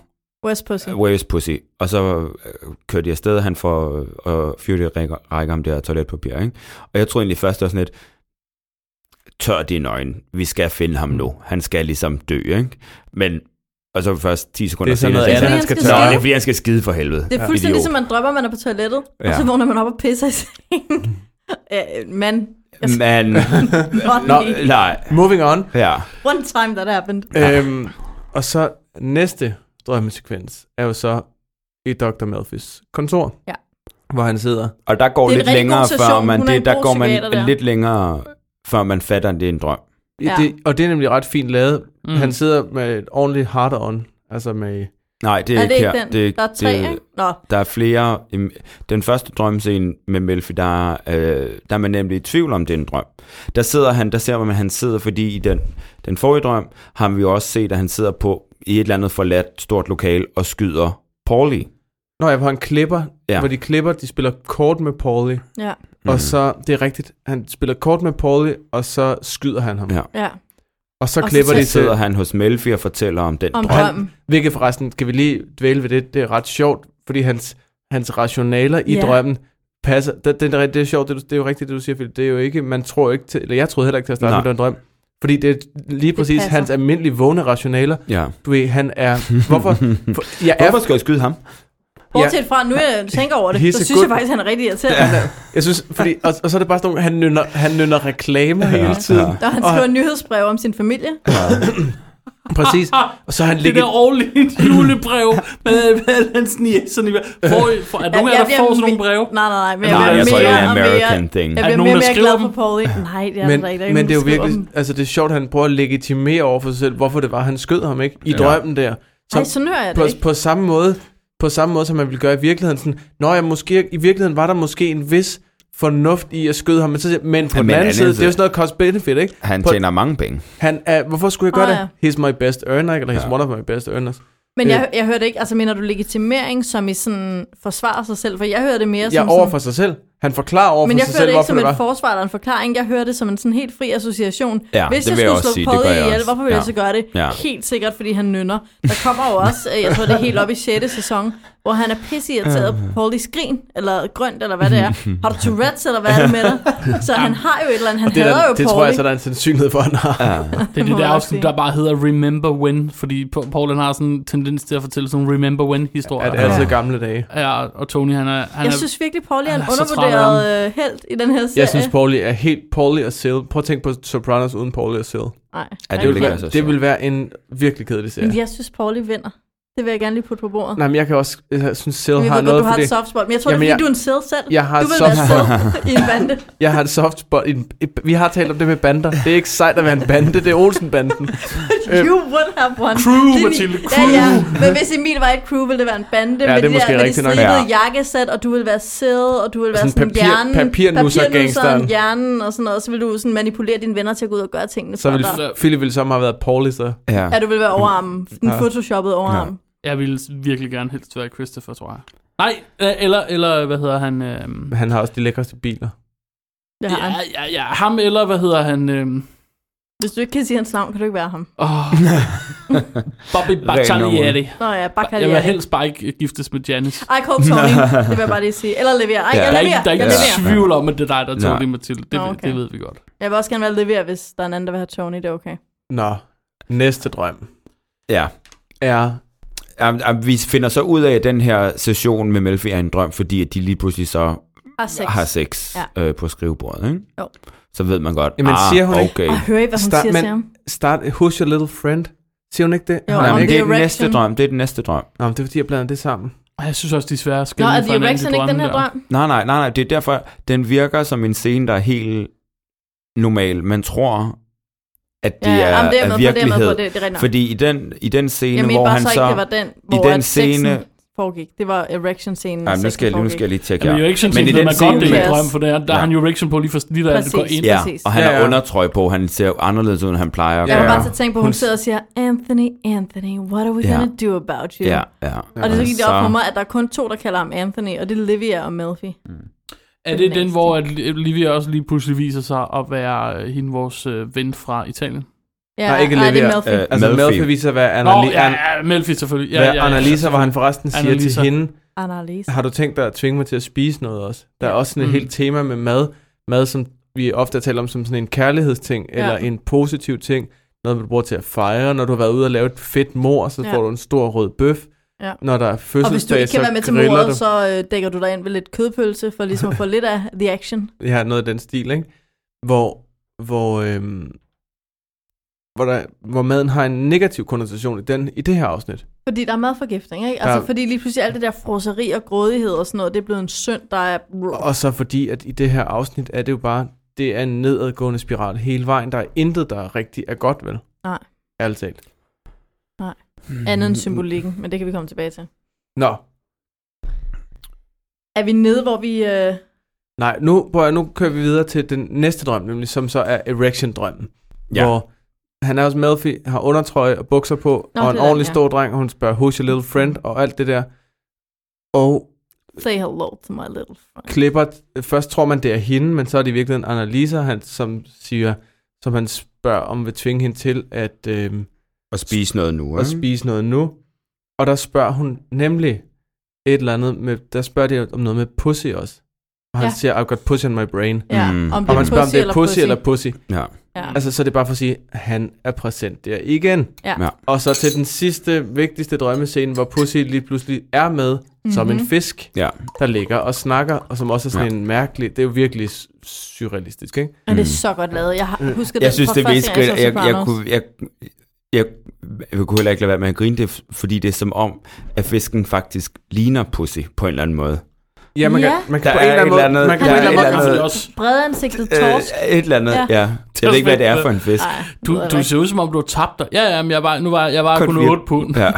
A: West Pussy.
J: Where is pussy? Og så øh, kører de afsted, og han får øh, og Fury rækker, rækker ham det her toiletpapir. Ikke? Og jeg tror egentlig først, det var sådan lidt, tør dine øjne, vi skal finde ham nu. Han skal ligesom dø, ikke? Men, og så først 10 sekunder
I: Det er sådan noget
J: senere,
I: andet,
A: han
I: han skal
A: skal
J: Nå,
I: tørre.
A: skide.
J: det er fordi, han skal skide for helvede.
A: Det er fuldstændig ligesom, man drømmer, man er på toilettet, og
J: Ja.
A: så vågner man op og pisser i sengen. ja, man. Jeg skal
J: Man, nå,
A: no.
J: nej,
I: Moving on.
J: ja.
A: One time that happened.
I: Øhm, og så næste drømmesekvens er jo så i Dr. Malfis kontor.
A: Ja.
I: Hvor han sidder.
J: Og der går
A: Det er en
J: lidt
A: rigtig
J: længere,
A: god
J: før
A: session.
J: man,
A: Hun er
J: det,
A: en
J: der
A: god
J: går man
A: psykiater der.
J: lidt længere, før man fatter, at det er en drøm.
A: Ja.
I: Ja. Det, og det er nemlig ret fint lavet. Mm. Han sidder med et ordentligt hard on. Altså med...
J: Nej, det er,
A: Er det ikke
J: her.
A: den? Det, der er tre,
J: det-
A: ikke? Nå,
J: Der er flere. Im- Den første drømscene med Melfi, der, er, øh, der er man nemlig i tvivl om, det er en drøm. Der sidder han, der ser man, at han sidder, fordi i den, den forrige drøm har vi jo også set, at han sidder på i et eller andet forladt stort lokal og skyder Paulie.
I: Nå, jeg var en klipper,
J: Ja. Mhm.
I: ja. hvor de klipper, de spiller kort med Paulie.
A: ja,
I: Mm. Og så, det er rigtigt, han spiller kort med Paulie, og så skyder han ham.
J: Ja.
I: Ja.
A: ja.
I: Og så
A: Og så
I: klipper
A: tager-
I: de
J: Der
I: til,
J: sidder han hos Melfi og fortæller om den
A: Om
J: drøm.
A: drømmen.
I: hvilket forresten, skal vi lige dvæle ved det, det er ret sjovt, fordi hans, hans rationaler i
A: Ja.
I: drømmen passer. Det, det, det er sjovt, det, du- det er jo rigtigt, det du siger, Philip. Det er jo ikke, man tror ikke til, eller jeg troede heller ikke til at starte
J: Nej.
I: med, det var en drøm. Fordi det er lige præcis
A: passer.
I: hans almindelige vågne rationaler.
J: Ja.
I: Du ved, han er... Hvorfor? For, jeg, er,
J: Hvorfor skal jeg skyde ham?
A: Bortset fra, nu jeg tænker over det,
I: He's
A: så
I: a
A: synes
I: good-
A: jeg faktisk, han er rigtig irriterende.
I: jeg synes, fordi, og, og, så er det bare sådan nogle, han nynner, han nynner reklamer hele tiden.
J: ja.
A: Og han skriver nyhedsbrev om sin familie.
I: Præcis. Og så er han
B: det
I: ligger...
B: der årlige julebrev med Valens niæserne. Får, I- får, er der nogen af jer, der
A: bliver
B: får sådan nogle
A: me-
B: breve?
A: Nej, nej, nej. Men
J: Nej,
A: bliver
J: jeg
A: mere
J: tror, det er en
A: og mere-
J: American
A: Jeg
J: thing. Er
A: bliver
B: der nogen,
A: mere og
B: der
A: mere
B: skriver
A: glad
B: dem?
A: for Paul. ikke? Nej, det er
I: Men,
A: der ikke. Der er ikke
I: men
A: nogen,
I: det er jo
A: der skriver
I: virkelig,
A: dem.
I: altså det er sjovt, at han prøver at legitimere over for sig selv, hvorfor det var, han skød ham, ikke? I
J: Ja.
I: drømmen der.
A: Ej, sådan hører jeg det
I: på,
A: ikke.
I: på samme måde, på samme måde, som man ville gøre i virkeligheden. Sådan, Nå ja, måske, i virkeligheden var der måske en vis fornuft i at skyde ham, men, så, siger jeg, men på
J: Ja,
I: ja, den
J: men
I: anden
J: anden
I: side, det er
J: side-
I: jo sådan noget cost-benefit, ikke?
J: Han
I: På-
J: tjener mange penge.
I: Han er, hvorfor skulle jeg gøre
A: Nå,
I: det? He's my best earner, ikke? eller he's
J: Ja.
I: one of my best earners.
A: Men jeg,
I: øh.
A: jeg hørte ikke, altså mener du legitimering, som i sådan forsvarer sig selv? For jeg hører det mere
I: Jeg
A: som
I: er over
A: sådan,
I: for sig selv. Han forklarer over
A: Men
I: for
A: jeg
I: sig
A: hører
I: selv,
A: det ikke
I: hvorfor
A: som
I: det var.
A: et forsvar eller en forklaring. Jeg hører det som en sådan helt fri association.
J: Ja,
A: Hvis
J: det
A: jeg
J: vil jeg
A: skulle
J: også
A: slå
J: sige, det
A: Paul
J: gør jeg
A: ihjel,
J: også.
A: hvorfor ville
J: Ja.
A: jeg så gøre det?
J: Ja.
A: Helt sikkert, fordi han nynner. Der kommer jo også, øh, jeg tror det er helt op i 6. sæson, hvor han er pisseirriteret på Paul i skrin, eller grønt, eller hvad det er. Har du Tourette's, eller hvad er det med dig? Så han har jo et eller andet, han
I: Og det, er
A: hader
I: der,
A: jo
I: det
A: Paul.
I: tror jeg
A: ikke?
I: så, der er en sandsynlighed for, at han har. Ja.
B: Det er
A: må
B: det der
A: jeg også sige.
B: afsnit, der bare hedder Remember When, fordi Pa- Paul han har sådan en tendens til at fortælle sådan nogle Remember When-historier.
I: At altid gamle dage.
B: Ja, og Tony, han er...
A: Jeg
B: Han er
A: synes virkelig, Pauli er en
B: han er så træt af
A: undervurderet øh, held i den her serie.
I: Jeg synes, Pauli er helt Pauli og Sil. Prøv at tænke på Sopranos uden Pauli og Sil.
A: Nej,
J: Ja, det
A: nej.
J: vil
I: Det,
J: ikke
I: vil,
J: altså
I: det vil være en virkelig kedelig serie.
A: Men jeg synes, Pauli vinder. Det vil jeg gerne lige putte på bordet.
I: Nej, men jeg kan også, jeg synes selv
A: jeg ved
I: har
A: godt,
I: noget
A: du har
I: for
A: et
I: det.
A: soft spot, men jeg tror, det er, fordi
I: Jamen, jeg-
A: du er en sæd selv.
I: Jeg har
A: du
I: et
A: vil
I: soft
A: være sæd i en bande.
I: Jeg har et soft spot. i En, vi har talt om det med bander. Det er ikke sejt at være en bande, det er Olsen-banden.
A: You would have one.
B: Crew,
A: Det er min-
B: Mathilde,
A: Ja, ja. Men hvis Emil var et crew, ville det være en bande.
I: Ja,
A: med
I: det er
A: de
I: måske
A: der,
I: rigtigt
A: med
I: nok.
A: de stribede
J: Ja.
A: jakkesæt, og du ville være sæd, og du ville være
I: Sådan
A: sådan,
I: papir-
A: hjernen.
I: papirnusser-gangsteren.
A: papirnusseren, hjernen og sådan noget. Og så ville du sådan manipulere dine venner til at gå ud og gøre tingene.
I: Så
A: for
I: vil
A: dig.
I: Philip ville som have været Paul i stedet.
J: Ja.
A: Ja, du vil være overarmen. Den
I: Ja.
A: photoshoppede overarm.
B: Jeg ville virkelig gerne helst være Christopher, tror jeg. Nej, øh, eller, eller hvad hedder han? Øhm,
I: Men han har også de lækreste biler.
A: Det har
B: ja,
A: han.
B: ja, ja, ham eller hvad hedder han? Øhm,
A: Hvis du ikke kan sige hans navn, kan du ikke være ham.
B: oh, Bobby
J: Ren
B: Baccialietti.
A: Nå ja, bare kald
B: Jeg vil
A: jer det.
B: helst bare ikke øh, giftes med Janice.
A: Ej, Cold Tony. Det vil jeg bare lige sige. Eller Levia. Ej,
J: Ja.
A: jeg
B: Der er ikke,
A: Levia.
B: der er ikke
A: Jeg,
J: Ja.
A: Levia.
B: ja. tvivl om, at det er dig, der tog
J: Nej.
B: det, Mathilde. Det,
A: Nå,
B: ved-
A: okay.
B: det ved vi godt.
A: jeg vil også gerne være Levia, hvis der er en anden, der vil have Tony. Det er okay.
I: Nå, næste drøm
J: ja.
I: er...
J: Am- am- Vi finder så ud af, at den her session med Melfi er en drøm, fordi at de lige pludselig så
A: Har sex.
J: har sex
A: Ja.
J: øh, på skrivebordet. Ikke?
A: Jo.
J: Så ved man godt,
I: Jamen,
J: ah,
I: siger hun ikke-
J: okay.
A: Og hør I, hvad hun
I: Start-
A: siger
I: men-
A: til ham.
I: Start Who's Your Little Friend. Siger hun ikke det?
A: Jo,
I: Har
J: Nej,
I: hun
A: om
J: men
I: ikke?
J: det er
A: The
J: den næste
A: Erection.
J: drøm. Det er den næste drøm.
I: Nå, men det er fordi, jeg blander det sammen.
B: Og jeg synes også, de er svære at
A: Nå,
B: skille
A: er
B: fra
A: The
B: hinanden,
A: Erection
B: de
A: ikke den
B: drømme
A: her
B: der.
A: drøm?
J: Nej, nej, nej, nej. Det er derfor, den virker som en scene, der er helt normal. Man tror, at det
A: Ja, ja,
J: er,
A: jamen, det er med
J: er
A: på, det er med
J: virkelighed.
A: på, det, det er rigtig nok.
J: Fordi i den, i den
A: Jeg
J: scene,
A: mente
J: hvor
A: bare
J: han
A: så
J: så...
A: ikke, det var den, hvor
J: den
A: at sexen
J: scene-
A: foregik. Det var erection-scenen, og
J: Ej, men nu
A: sexen
J: skal jeg lige, nu
A: foregik.
J: skal jeg lige tjekke
B: Jamen,
J: her.
B: erection
J: Men i
B: scene ved
J: den
B: man godt, det
J: scene-
B: er en drøm, for der, der
J: Ja.
B: har han jo erection på lige for lige da det går
A: Præcis.
B: ind.
J: Ja,
A: Præcis.
J: og han
I: Ja,
J: har
I: ja.
J: undertrøj på. Han ser jo anderledes ud, end han plejer at
A: Jeg
I: Ja.
A: var
J: gøre.
A: bare så tænke på, at hun
I: Hun-
A: sidder og siger, Anthony, Anthony, what are we
J: Ja.
A: gonna do about you?
J: Ja, ja.
A: Og det så gik det op
J: Så-
A: for mig, at der er kun to, der kalder ham Anthony, og det er Livia og Melfi.
B: Er det den, hvor at øh, Livia også lige pludselig viser sig at være øh, hende vores øh, ven fra Italien?
A: Ja,
I: Nej, ikke
A: nej, det er
I: Livia.
A: Melfi.
J: Øh,
I: Altså,
J: Melfi.
I: Melfi viser, hvad
B: Nå,
I: Anna,
B: ja, ja, Melfi selvfølgelig. Ja,
I: hvad
B: ja, ja,
I: Annalisa, hvor han forresten siger
B: Annalisa.
I: til hende,
J: Øh,
A: Annalise.
I: har du tænkt dig at tvinge mig til at spise noget også? Der er også sådan et
B: Mm.
I: mm. helt tema med mad. Mad, som vi ofte taler om som sådan en kærlighedsting,
A: Ja.
I: ja. eller en positiv ting. Noget, du bruger til at fejre. Når du har været ude og lave et fedt mor, så
A: Ja.
I: ja. får du en stor rød bøf.
A: Ja.
I: Når der er
A: Og hvis du
I: fødselsdag,
A: ikke kan
I: så
A: være med til
I: griller du.
A: mordet, så øh, dækker du dig ind ved lidt kødpølse, for ligesom at få lidt af the action.
I: Ja, noget af den stil, ikke? Hvor, hvor, øhm, hvor, der, hvor maden har en negativ konnotation i, den, i det her afsnit.
A: Fordi der er madforgiftning, ikke? Altså,
I: Der-
A: fordi lige pludselig alt det der froseri og grådighed og sådan noget, det er blevet en synd, der er...
I: Og så fordi, at i det her afsnit er det jo bare, det er en nedadgående spiral hele vejen. Der er intet, der rigtig er godt, vel?
A: Nej.
I: Ærligt talt.
A: Andet end symbolikken, men det kan vi komme tilbage til.
I: Nå,
A: Er vi nede, hvor vi... Øh,
I: nej, nu, prøv, at- nu kører vi videre til den næste drøm, nemlig som så er erection-drømmen.
J: Ja.
I: Hvor han er hos Melfi, har undertrøje og bukser på,
A: Nå,
I: Nå, og
A: det
I: en
A: er den,
I: ordentlig
A: ja.
I: stor dreng, og hun spørger, who's your little friend, og alt det der. Og
A: say hello to my little friend.
I: klipper, først tror man, det er hende, men så er det i virkeligheden Annalisa, han, som siger, som han spørger, om vil tvinge hende til at, øh,
J: Og spise noget nu,
I: at
J: ikke?
I: spise noget nu. Og der spørger hun nemlig et eller andet, med, der spørger de om noget med pussy også. Og han
A: Ja.
I: ja. siger, I've got pussy on my brain.
A: Ja,
J: Mm.
A: om det
I: Og
A: er
I: man spørger, om
A: pussy
I: det er
A: eller
I: pussy, pussy eller pussy.
J: Ja.
A: Ja.
I: Altså, så er det bare for at sige, han er præsent der igen.
A: Ja.
J: Ja.
I: Og så til den sidste, vigtigste drømmescene, hvor pussy lige pludselig er med,
A: Mhm.
I: mm-hmm. som en fisk
J: Ja.
I: der ligger og snakker, og som også er sådan
J: Ja.
I: ja. en mærkelig... Det er jo virkelig s- surrealistisk, ikke?
A: Og det er så godt lavet. Jeg har husket
J: Jeg synes,
A: fra
J: det er
A: første
J: mest
A: gang,
J: jeg,
A: så
J: jeg, jeg,
A: Sopranos.
J: kunne, jeg, jeg, jeg kunne heller ikke lade være med at grine det, er f- fordi det er som om, at fisken faktisk ligner pussy på en eller anden måde.
I: Ja, man
A: Ja.
I: kan, man kan
J: Der
I: på en
J: er
I: eller anden
J: et
I: måde...
J: eller andet-
I: Man kan
A: der
I: på en
A: er
I: eller
A: et
I: anden
A: eller
I: måde...
B: Selvfølgelig
J: andet-
B: også.
A: Bredansigtet
J: Øh,
A: torsk.
J: et eller andet,
A: Ja.
J: ja. ja. Jeg ved ikke, hvad det er for en fisk.
A: Nej,
B: Du, du ser ud som om, du har tabt dig. Ja, ja, men jeg var, nu var jeg var kun
J: Konflikt.
B: 8 pund.
J: Ja.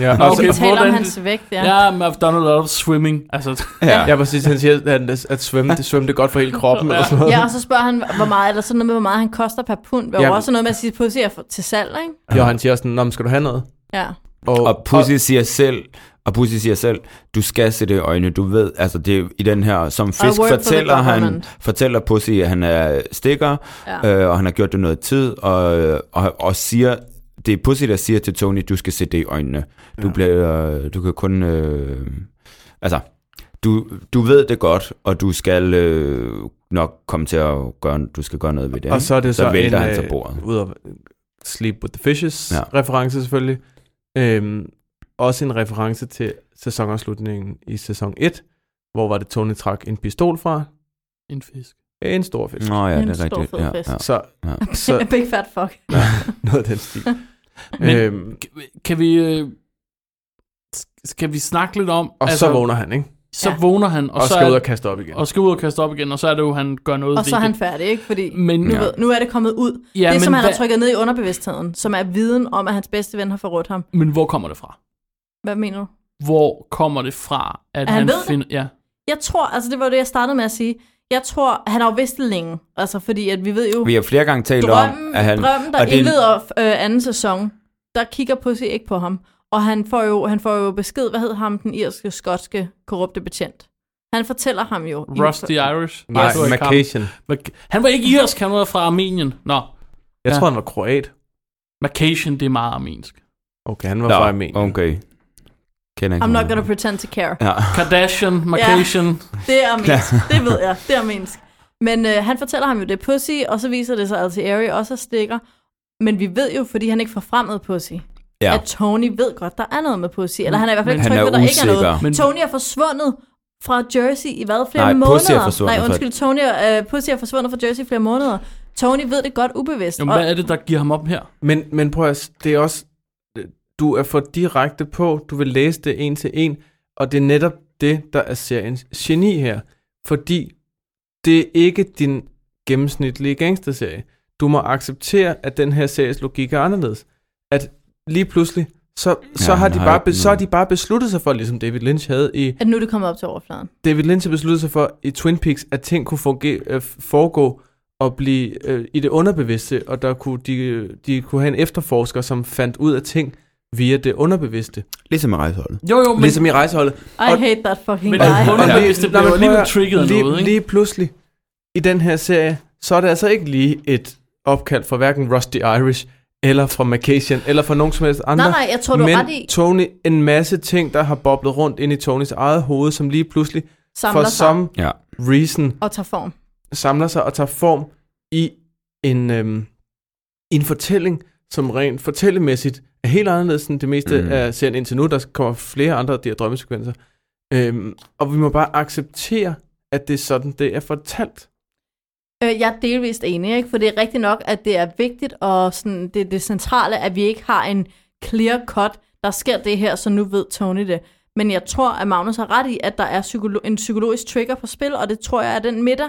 I: Ja,
B: Nå,
I: og
A: okay.
I: så,
A: Vi
B: okay.
A: taler om
B: hvordan-
A: hans vægt, ja.
B: Ja, men I've done a lot of swimming. Altså,
J: ja.
I: ja, præcis. Han siger, at, at svømme, det svømme det er godt for hele kroppen. Eller sådan noget.
A: Ja, og så spørger han, hvor meget, eller sådan noget med, hvor meget han koster per pund. Det var
I: Ja.
A: også noget med at sige, at pussy er for, til salg, ikke?
I: Ja, og han siger også sådan, Nå, men skal du have noget?
A: Ja.
J: Og Pussy siger selv, og Pussy siger selv, du skal se det i øjnene, du ved, altså det er i den her, som fisk
A: work for the
J: fortæller han,
A: government.
J: fortæller Pussy, at han er stikker,
A: Ja.
J: ja. øh, og han har gjort det noget tid, og, øh, og, og siger, det er Pussy, der siger til Tony, du skal se det i øjnene. Du, ja. bliver, øh, du kan kun, øh, altså, du, du ved det godt, og du skal øh, nok komme til at gøre, du skal gøre noget ved det.
I: og
J: ikke?
I: så er det
J: så
I: så,
J: vælter
I: en,
J: han sig
I: øh,
J: bordet.
I: Ud af Sleep with the Fishes
J: Ja.
I: ja. reference selvfølgelig. Øhm, også en reference til sæsonafslutningen i sæson 1, hvor var det Tony trak en pistol fra
B: en fisk.
I: en stor fisk.
J: Nå ja,
A: En
J: det er
A: stor
J: rigtigt.
A: fed
J: Ja,
A: fisk.
J: ja.
I: Så,
J: Ja.
I: så
A: Big fat fuck.
I: noget af den stil.
B: Men-
I: øhm,
B: Kan vi... Øh, skal vi snakke lidt om...
I: Og altså, så vågner han, ikke?
B: Så
A: Ja.
B: vågner han, og,
I: Og, og
B: så
I: skal
B: er,
I: ud og kaste op igen.
B: og skal ud og kaste op igen, og så er det jo, han gør noget
A: Og
B: ved
A: så er
B: det.
A: han færdig, ikke? Fordi
B: Men
A: nu,
J: Ja.
A: ved, nu er det kommet ud.
B: Ja,
A: Ja, det,
B: men
A: som han
B: hvad-
A: har trykket ned i underbevidstheden, som er viden om, at hans bedste ven har forrådt ham.
B: Men hvor kommer det fra?
A: Hvad mener du?
B: Hvor kommer det fra, at
A: At han
B: han
A: ved det?
B: finder... Ja.
A: Jeg tror, altså det var det, jeg startede med at sige. Jeg tror, han har jo vidst det længe. Altså fordi, at vi ved jo,
J: Vi har flere gange talt om,
A: drømmen,
J: at han...
A: drømmen der
J: og det-
A: indleder øh, anden sæson, der kigger Pussy ikke på ham. Og han får jo, han får jo besked, hvad hed ham, den irske, skotske, korrupte betjent. Han fortæller ham jo. i-
B: Rusty Irish?
I: Nej,
B: det var ikke ham.
I: Macation.
B: Mac- Han var ikke irsk, han var fra Armenien. Nå,
I: Jeg
B: Ja.
I: tror, han var kroat.
B: Macation, det er meget armensk.
I: Okay, han var
J: Nå,
I: fra Armenien.
J: okay. Kender ikke
A: I'm not
J: nogen.
A: gonna pretend to care.
J: Ja.
B: Kardashian, Macation. Ja.
A: Det er armensk, det ved jeg, det er armensk. Men øh, han fortæller ham jo, det er Pussy, og så viser det sig, at Altieri også er stikker. Men vi ved jo, fordi han ikke får fremmed Pussy,
J: Ja.
A: at Tony ved godt, der er noget med Pussy. Eller han er i hvert fald ikke
J: han
A: tryg
J: er
A: ved, der ikke er
J: usikker.
A: noget.
B: Men-
A: Men... Tony er forsvundet fra Jersey i hvad, flere
J: Nej, Pussy er
A: måneder?
J: forsvundet
A: Nej,
J: fra-
A: undskyld, Tony, er- øh, Pussy er forsvundet fra Jersey i flere måneder. Tony ved det godt ubevidst.
B: Jamen, hvad er det, der giver ham op her?
I: Men, men prøv at, s- det er også, du er for direkte på, du vil læse det en til en, og det er netop det, der er seriens geni her, fordi det er ikke din gennemsnitlige gangsterserie. Du må acceptere, at den her series logik er anderledes. At lige pludselig, så, så,
J: Ja,
I: har,
J: han
I: de
J: har
I: bare,
J: ikke
I: be, så har
J: nogen-
I: de bare besluttet sig for, ligesom David Lynch havde i
A: at nu er det kommet op til overfladen.
I: David Lynch har besluttet sig for i Twin Peaks, at ting kunne funge, øh, foregå og blive øh, i det underbevidste, og der kunne de, de kunne have en efterforsker, som fandt ud af ting via det underbevidste.
J: Ligesom med rejseholdet.
B: Jo, jo,
I: Men,
B: men,
I: ligesom i rejseholdet.
A: I og,
I: Og-
A: hate that fucking
B: men
A: guy.
B: det
I: og- og lige-
B: underbevidste
I: nej,
B: bliver
I: men
B: jo alligevel
I: prøv at-
B: trigget af
I: lige,
B: noget, ikke?
I: Lige pludselig, i den her serie, så er det altså ikke lige et opkald fra hverken Rusty Irish, eller fra Macation, eller fra nogen som helst andre.
A: Nej, nej, jeg tror, du
I: men
A: er ret i.
I: Tony, en masse ting, der har boblet rundt ind i Tonys eget hoved, som lige pludselig,
A: Samler
I: for
A: sig
I: some
J: Ja.
I: reason,
A: og tager form.
I: samler sig og tager form i en, øhm, en fortælling, som rent fortællemæssigt er helt anderledes end det meste
J: Mm.
I: mm. af serien indtil nu. Der kommer flere andre af de her drømmesekvenser. Øhm, og vi må bare acceptere, at det er sådan, det er fortalt.
A: Øh, jeg er delvist enig, ikke? for det er rigtigt nok, at det er vigtigt, og sådan, det er det centrale, at vi ikke har en clear cut, der sker det her, så nu ved Tony det. Men jeg tror, at Magnus har ret i, at der er psykolo- en psykologisk trigger på spil, og det tror jeg er den middag,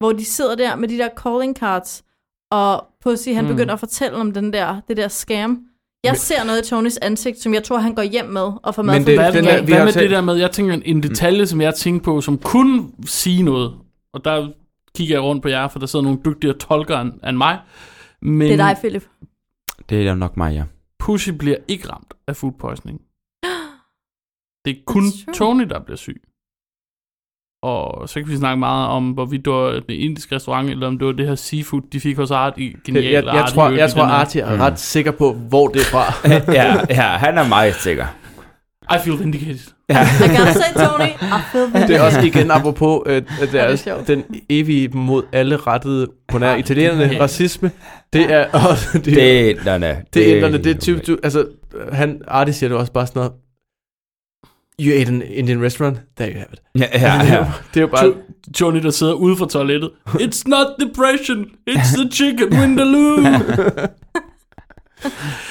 A: hvor de sidder der med de der calling cards, og Pussy, han
B: Mm.
A: mm. begynder at fortælle om den der, det der scam. Jeg
I: Hmm. Men-
A: men, ser noget i Tonys ansigt, som jeg tror, han går hjem med og får med
I: Men
A: for
I: det-
B: Hvad,
I: den
B: den
I: der-
B: der,
I: vi
B: hvad
I: har
B: med
I: selv-
B: det der med, jeg tænker en- en detalje, som jeg tænker på, som kunne sige noget, og der kigger jeg rundt på jer, for der sidder nogle dygtigere tolkere end, end mig, men
A: det er dig, Philip.
J: Det er nok mig, ja.
B: Pussy bliver ikke ramt af food poisoning. Det er kun
A: That's true.
B: Tony, der bliver syg. Og så kan vi snakke meget om, hvorvidt det var den indiske restaurant, eller om det var det her seafood, de fik hos Art i
I: Jeg,
B: genial
I: jeg, jeg
B: Arti
I: tror,
B: Ø i
I: jeg tror
B: den her.
I: Arti er
J: Mm.
I: ret sikker på, hvor det er fra.
J: ja, ja, han er meget sikker.
B: I feel vindicated.
J: Ja.
A: I gotta say, Tony, Ah, I feel
I: Det er
A: vindicated.
I: også igen apropos øh, at det
A: er
I: er
A: sjovt.
I: den evige mod alle rettede, på nær
B: det er-
I: italienerne, racisme. Det er også...
J: Det er inderne.
I: Det er inderne, det er typisk, du, altså, han, Artie siger det også bare sådan noget, you ate an Indian restaurant, there you have it.
J: Ja, ja,
I: altså,
J: ja.
I: Det, er jo- det er jo bare,
B: To- Tony, der sidder ude for toilettet. It's not depression, it's the chicken Windaloo.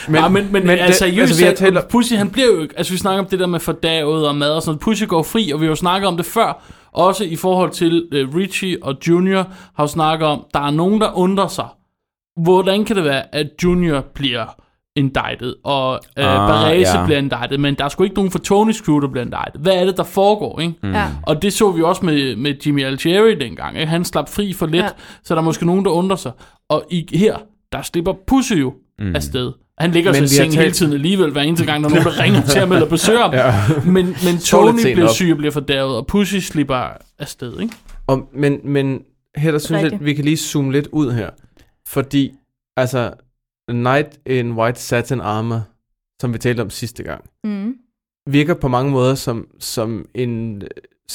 B: men, ja, men, men, men
I: det-
B: altså, seriøst,
I: altså, vi har
B: altså,
I: talt om-
B: Pussy, han bliver jo ikke- altså vi snakker om det der med fordavet og mad og sådan noget. Pussy går fri, og vi har jo snakket om det før, også i forhold til uh, Richie og Junior, har jo snakket om, der er nogen, der undrer sig. Hvordan kan det være, at Junior bliver indicted, og uh, ah,
J: Ah,
B: Barese ja.
J: ja.
B: bliver indicted, men der er sgu ikke nogen fra Tony's crew, der bliver indicted. Hvad er det, der foregår, ikke? Mm.
A: Ja.
B: Og det så vi også med, med Jimmy Altieri dengang. Ikke? Han slap fri for lidt, ja.
A: Ja.
B: så der er måske nogen, der undrer sig. Og i, her, der slipper Pussy jo mm. afsted. Han ligger
I: Men
B: sig i
I: vi har
B: sengen hele
I: talt-
B: tiden alligevel, hver eneste gang, der er nogen, der ringer til ham eller besøger ham. ja. men, men Tony
I: lidt sent
B: bliver
I: op.
B: syg og bliver fordavet, og Pussy slipper afsted. Ikke?
I: og, men, men her der synes jeg,
A: Rigtigt.
I: at vi kan lige zoome lidt ud her, fordi, altså, A Knight in White Satin Armor, som vi talte om sidste gang,
A: Mm.
I: virker på mange måder som, som en øh,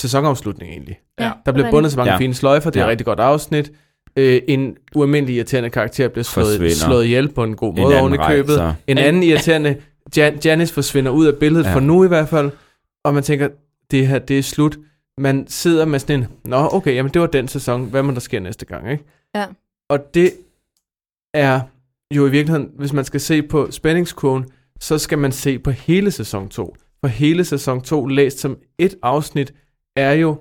I: sæsonafslutning egentlig.
A: Ja,
I: Der bliver
A: det er
I: bundet så mange
J: Ja.
I: ja. fine sløjfer, det er ja.
J: Ja.
I: et rigtig godt afsnit. Øh, en ualmindelig irriterende karakter bliver slået,
J: Forsvinder.
I: slået ihjel på en god
J: En
I: måde
J: anden
I: oven i købet.
J: rejser.
I: En anden irriterende, Jan, Janice forsvinder ud af billedet,
J: Ja.
I: ja. for nu i hvert fald, og man tænker, det her, det er slut. Man sidder med sådan en, nå okay, jamen det var den sæson, hvad må der sker næste gang, ikke?
A: Ja.
I: Og det er jo i virkeligheden, hvis man skal se på spændingskurven, så skal man se på hele sæson 2. for hele sæson 2 læst som et afsnit, er jo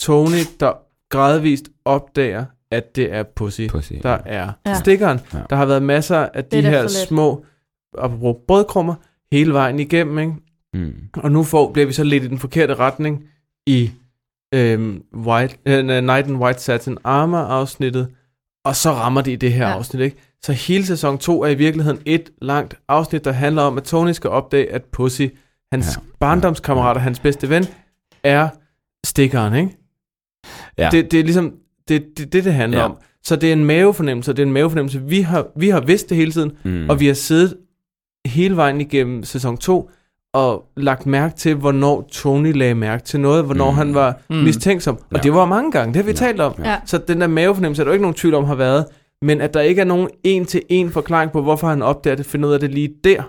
I: Tony, der gradvist opdager, at det er pussy,
J: Pussy.
I: der er
A: Ja.
I: ja. stikkeren.
J: Ja.
I: Ja. Der har været masser af
A: Det er
I: de
A: da
I: her
A: for let.
I: små apropos brødkrummer hele vejen igennem, ikke?
J: Mm.
I: Og nu får, bliver vi så lidt i den forkerte retning i øhm, White, øh, nej, Night in White Satin Armor afsnittet, og så rammer de i det her
A: Ja.
I: ja. afsnit, ikke? Så hele sæson 2 er i virkeligheden et langt afsnit, der handler om, at Tony skal opdage, at Pussy, hans
J: Ja.
I: ja. barndomskammerat og hans bedste ven, er stikkeren, ikke?
J: Ja.
I: Det, det er ligesom, det det, det, det handler
J: Ja.
I: ja. om. Så det er en mavefornemmelse, og det er en mavefornemmelse, vi har, vi har vidst det hele tiden,
J: Mm.
I: og vi har siddet hele vejen igennem sæson 2 og lagt mærke til, hvornår Tony lagde mærke til noget, hvornår
J: Mm.
I: mm. han var
B: Mm.
I: mm. mistænksom. Og
J: Ja.
I: det var mange gange, det har vi
J: Ja.
I: ja. talt om.
A: Ja.
I: Så den der mavefornemmelse er der jo ikke nogen tvivl om har været, men at der ikke er nogen en-til-en forklaring på, hvorfor han opdager det, finder ud af det lige der.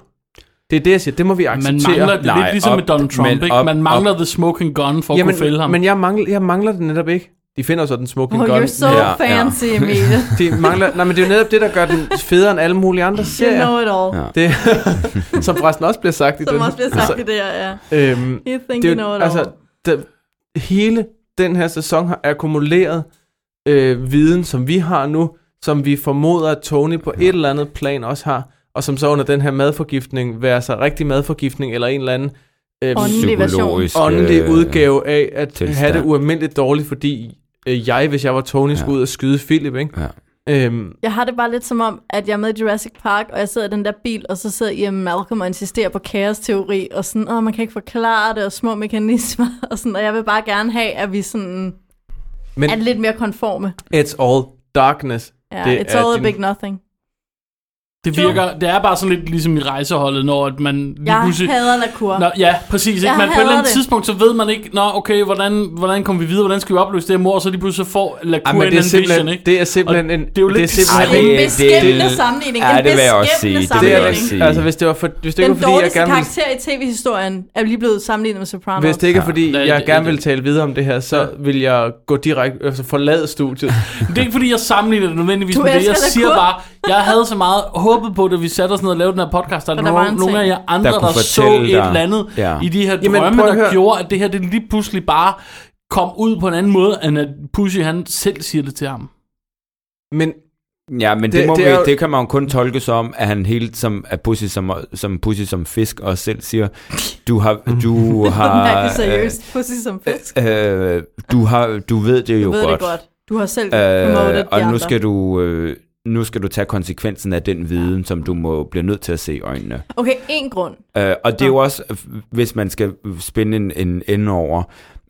I: Det er det, jeg siger. Det må vi
B: Man
I: acceptere.
B: mangler, det er lidt
J: Nej,
B: ligesom
J: op,
B: med Donald Trump,
J: men
B: ikke?
J: op,
B: man mangler the smoking gun for at kunne fælde ham.
I: men jeg mangler, jeg mangler det netop ikke. De finder så den smukke
A: Oh,
I: gun.
A: you're so
J: Ja, ja.
A: fancy, Emil.
I: De mangler, nej, men det er jo netop det, der gør den federe end alle mulige andre
A: You
I: serier.
A: know it all.
J: Ja.
A: Ja.
I: Det, som forresten også bliver sagt i
A: Som
I: den. Altså,
A: også bliver sagt i det her, ja.
I: øhm,
A: Altså, You think
I: det
A: you
I: er
A: know
I: jo,
A: it
I: altså,
A: all.
I: der, hele den her sæson har akkumuleret øh, viden, som vi har nu, som vi formoder, at Tony på et eller andet plan også har, og som så under den her madforgiftning, være sig rigtig madforgiftning eller en eller anden øh,
A: Åndelig
J: psykologisk
I: åndelig
J: øh,
I: udgave af at
J: tilstand.
I: tilstand. have det ualmindeligt dårligt, fordi øh, jeg, hvis jeg var Tony, skulle ud og skyde Philip, ikke?
J: Ja.
I: Øhm,
A: Jeg har det bare lidt som om, at jeg er med i Jurassic Park, og jeg sidder i den der bil, og så sidder Ian Malcolm og insisterer på kaosteori, og sådan, åh, man kan ikke forklare det, og små mekanismer, og sådan, og jeg vil bare gerne have, at vi sådan
I: men
A: er lidt mere konforme.
I: it's all darkness.
A: Ja,
I: Det
A: it's
I: er
A: all a
I: din-
A: big nothing.
B: Det virker, det er bare sådan lidt ligesom i rejseholdet, når at man lige
A: Jeg
B: pludselig...
A: hader La Cour.
B: Nå, ja, præcis. Ikke?
A: Jeg
B: Men på et
A: hader
B: eller andet
A: det.
B: tidspunkt, så ved man ikke, nå, okay, hvordan, hvordan kommer vi videre, hvordan skal vi opløse det her mor, og så lige pludselig så får La
I: Ej,
B: Cour
I: men
B: en
I: det er
B: ambition,
I: simpelthen,
B: ikke?
I: det er simpelthen en,
B: det er jo lidt det
J: Ej,
A: det
J: det-
A: er
J: det-
A: en beskæmmende
J: det-
A: sammenligning.
J: Ja,
A: en
J: det vil jeg også
A: beskæmmende
J: sige. Det vil
I: Det
J: jeg
I: er
J: vil
I: da
J: også
A: sammenligning.
J: sige.
I: ikke, altså hvis det var for, hvis det ikke
A: Den
I: var fordi jeg
A: dårligste
I: gerne ville
A: karakter i tv-historien er lige blevet sammenlignet med Sopranos.
I: Hvis det ikke er, fordi
B: Ja.
I: ja.
B: Nej,
I: jeg
B: det-
I: gerne
B: det-
I: vil tale videre om det her, så vil jeg gå direkte, altså forlade studiet.
B: Det er ikke fordi, jeg sammenligner det nødvendigvis
A: Du
B: med det.
A: elsker
B: Jeg
A: La
B: siger
A: Cour.
B: bare, jeg havde så meget håbet på, da vi satte os ned og lavede den her podcast, at
A: der
B: der
A: var en
B: var nogle
A: ting.
B: af jer andre,
J: Der
B: der,
J: kunne
B: der så
J: fortælle
B: et
J: dig.
B: eller andet
J: Ja.
B: i de her
I: Jamen,
B: drømme,
I: prøv at
B: der
I: høre.
B: gjorde, at det her det lige pludselig bare kom ud på en anden måde, end at Pussy han selv siger det til ham.
I: Men
J: Ja, men det, det,
I: Det-
J: må
I: det
J: det,
I: er
J: man,
I: jo-
J: det kan man jo kun tolke som, at han helt som er pussy som, som, pussy som fisk, og selv siger, du har, du
A: har...
J: har,
I: Ah,
A: Mærkelig seriøst. Pussy som fisk.
J: øh, øh, du har, du ved det jo
A: Du ved
J: godt,
A: det godt. Du har selv promoted
J: Øh,
A: de
J: og nu
A: andre.
J: skal du, øh, nu skal du tage konsekvensen af den viden, som du må bliver nødt til at se i øjnene.
A: Okay, en grund.
J: Øh, og det er jo også, hvis man skal spænde en, en ende over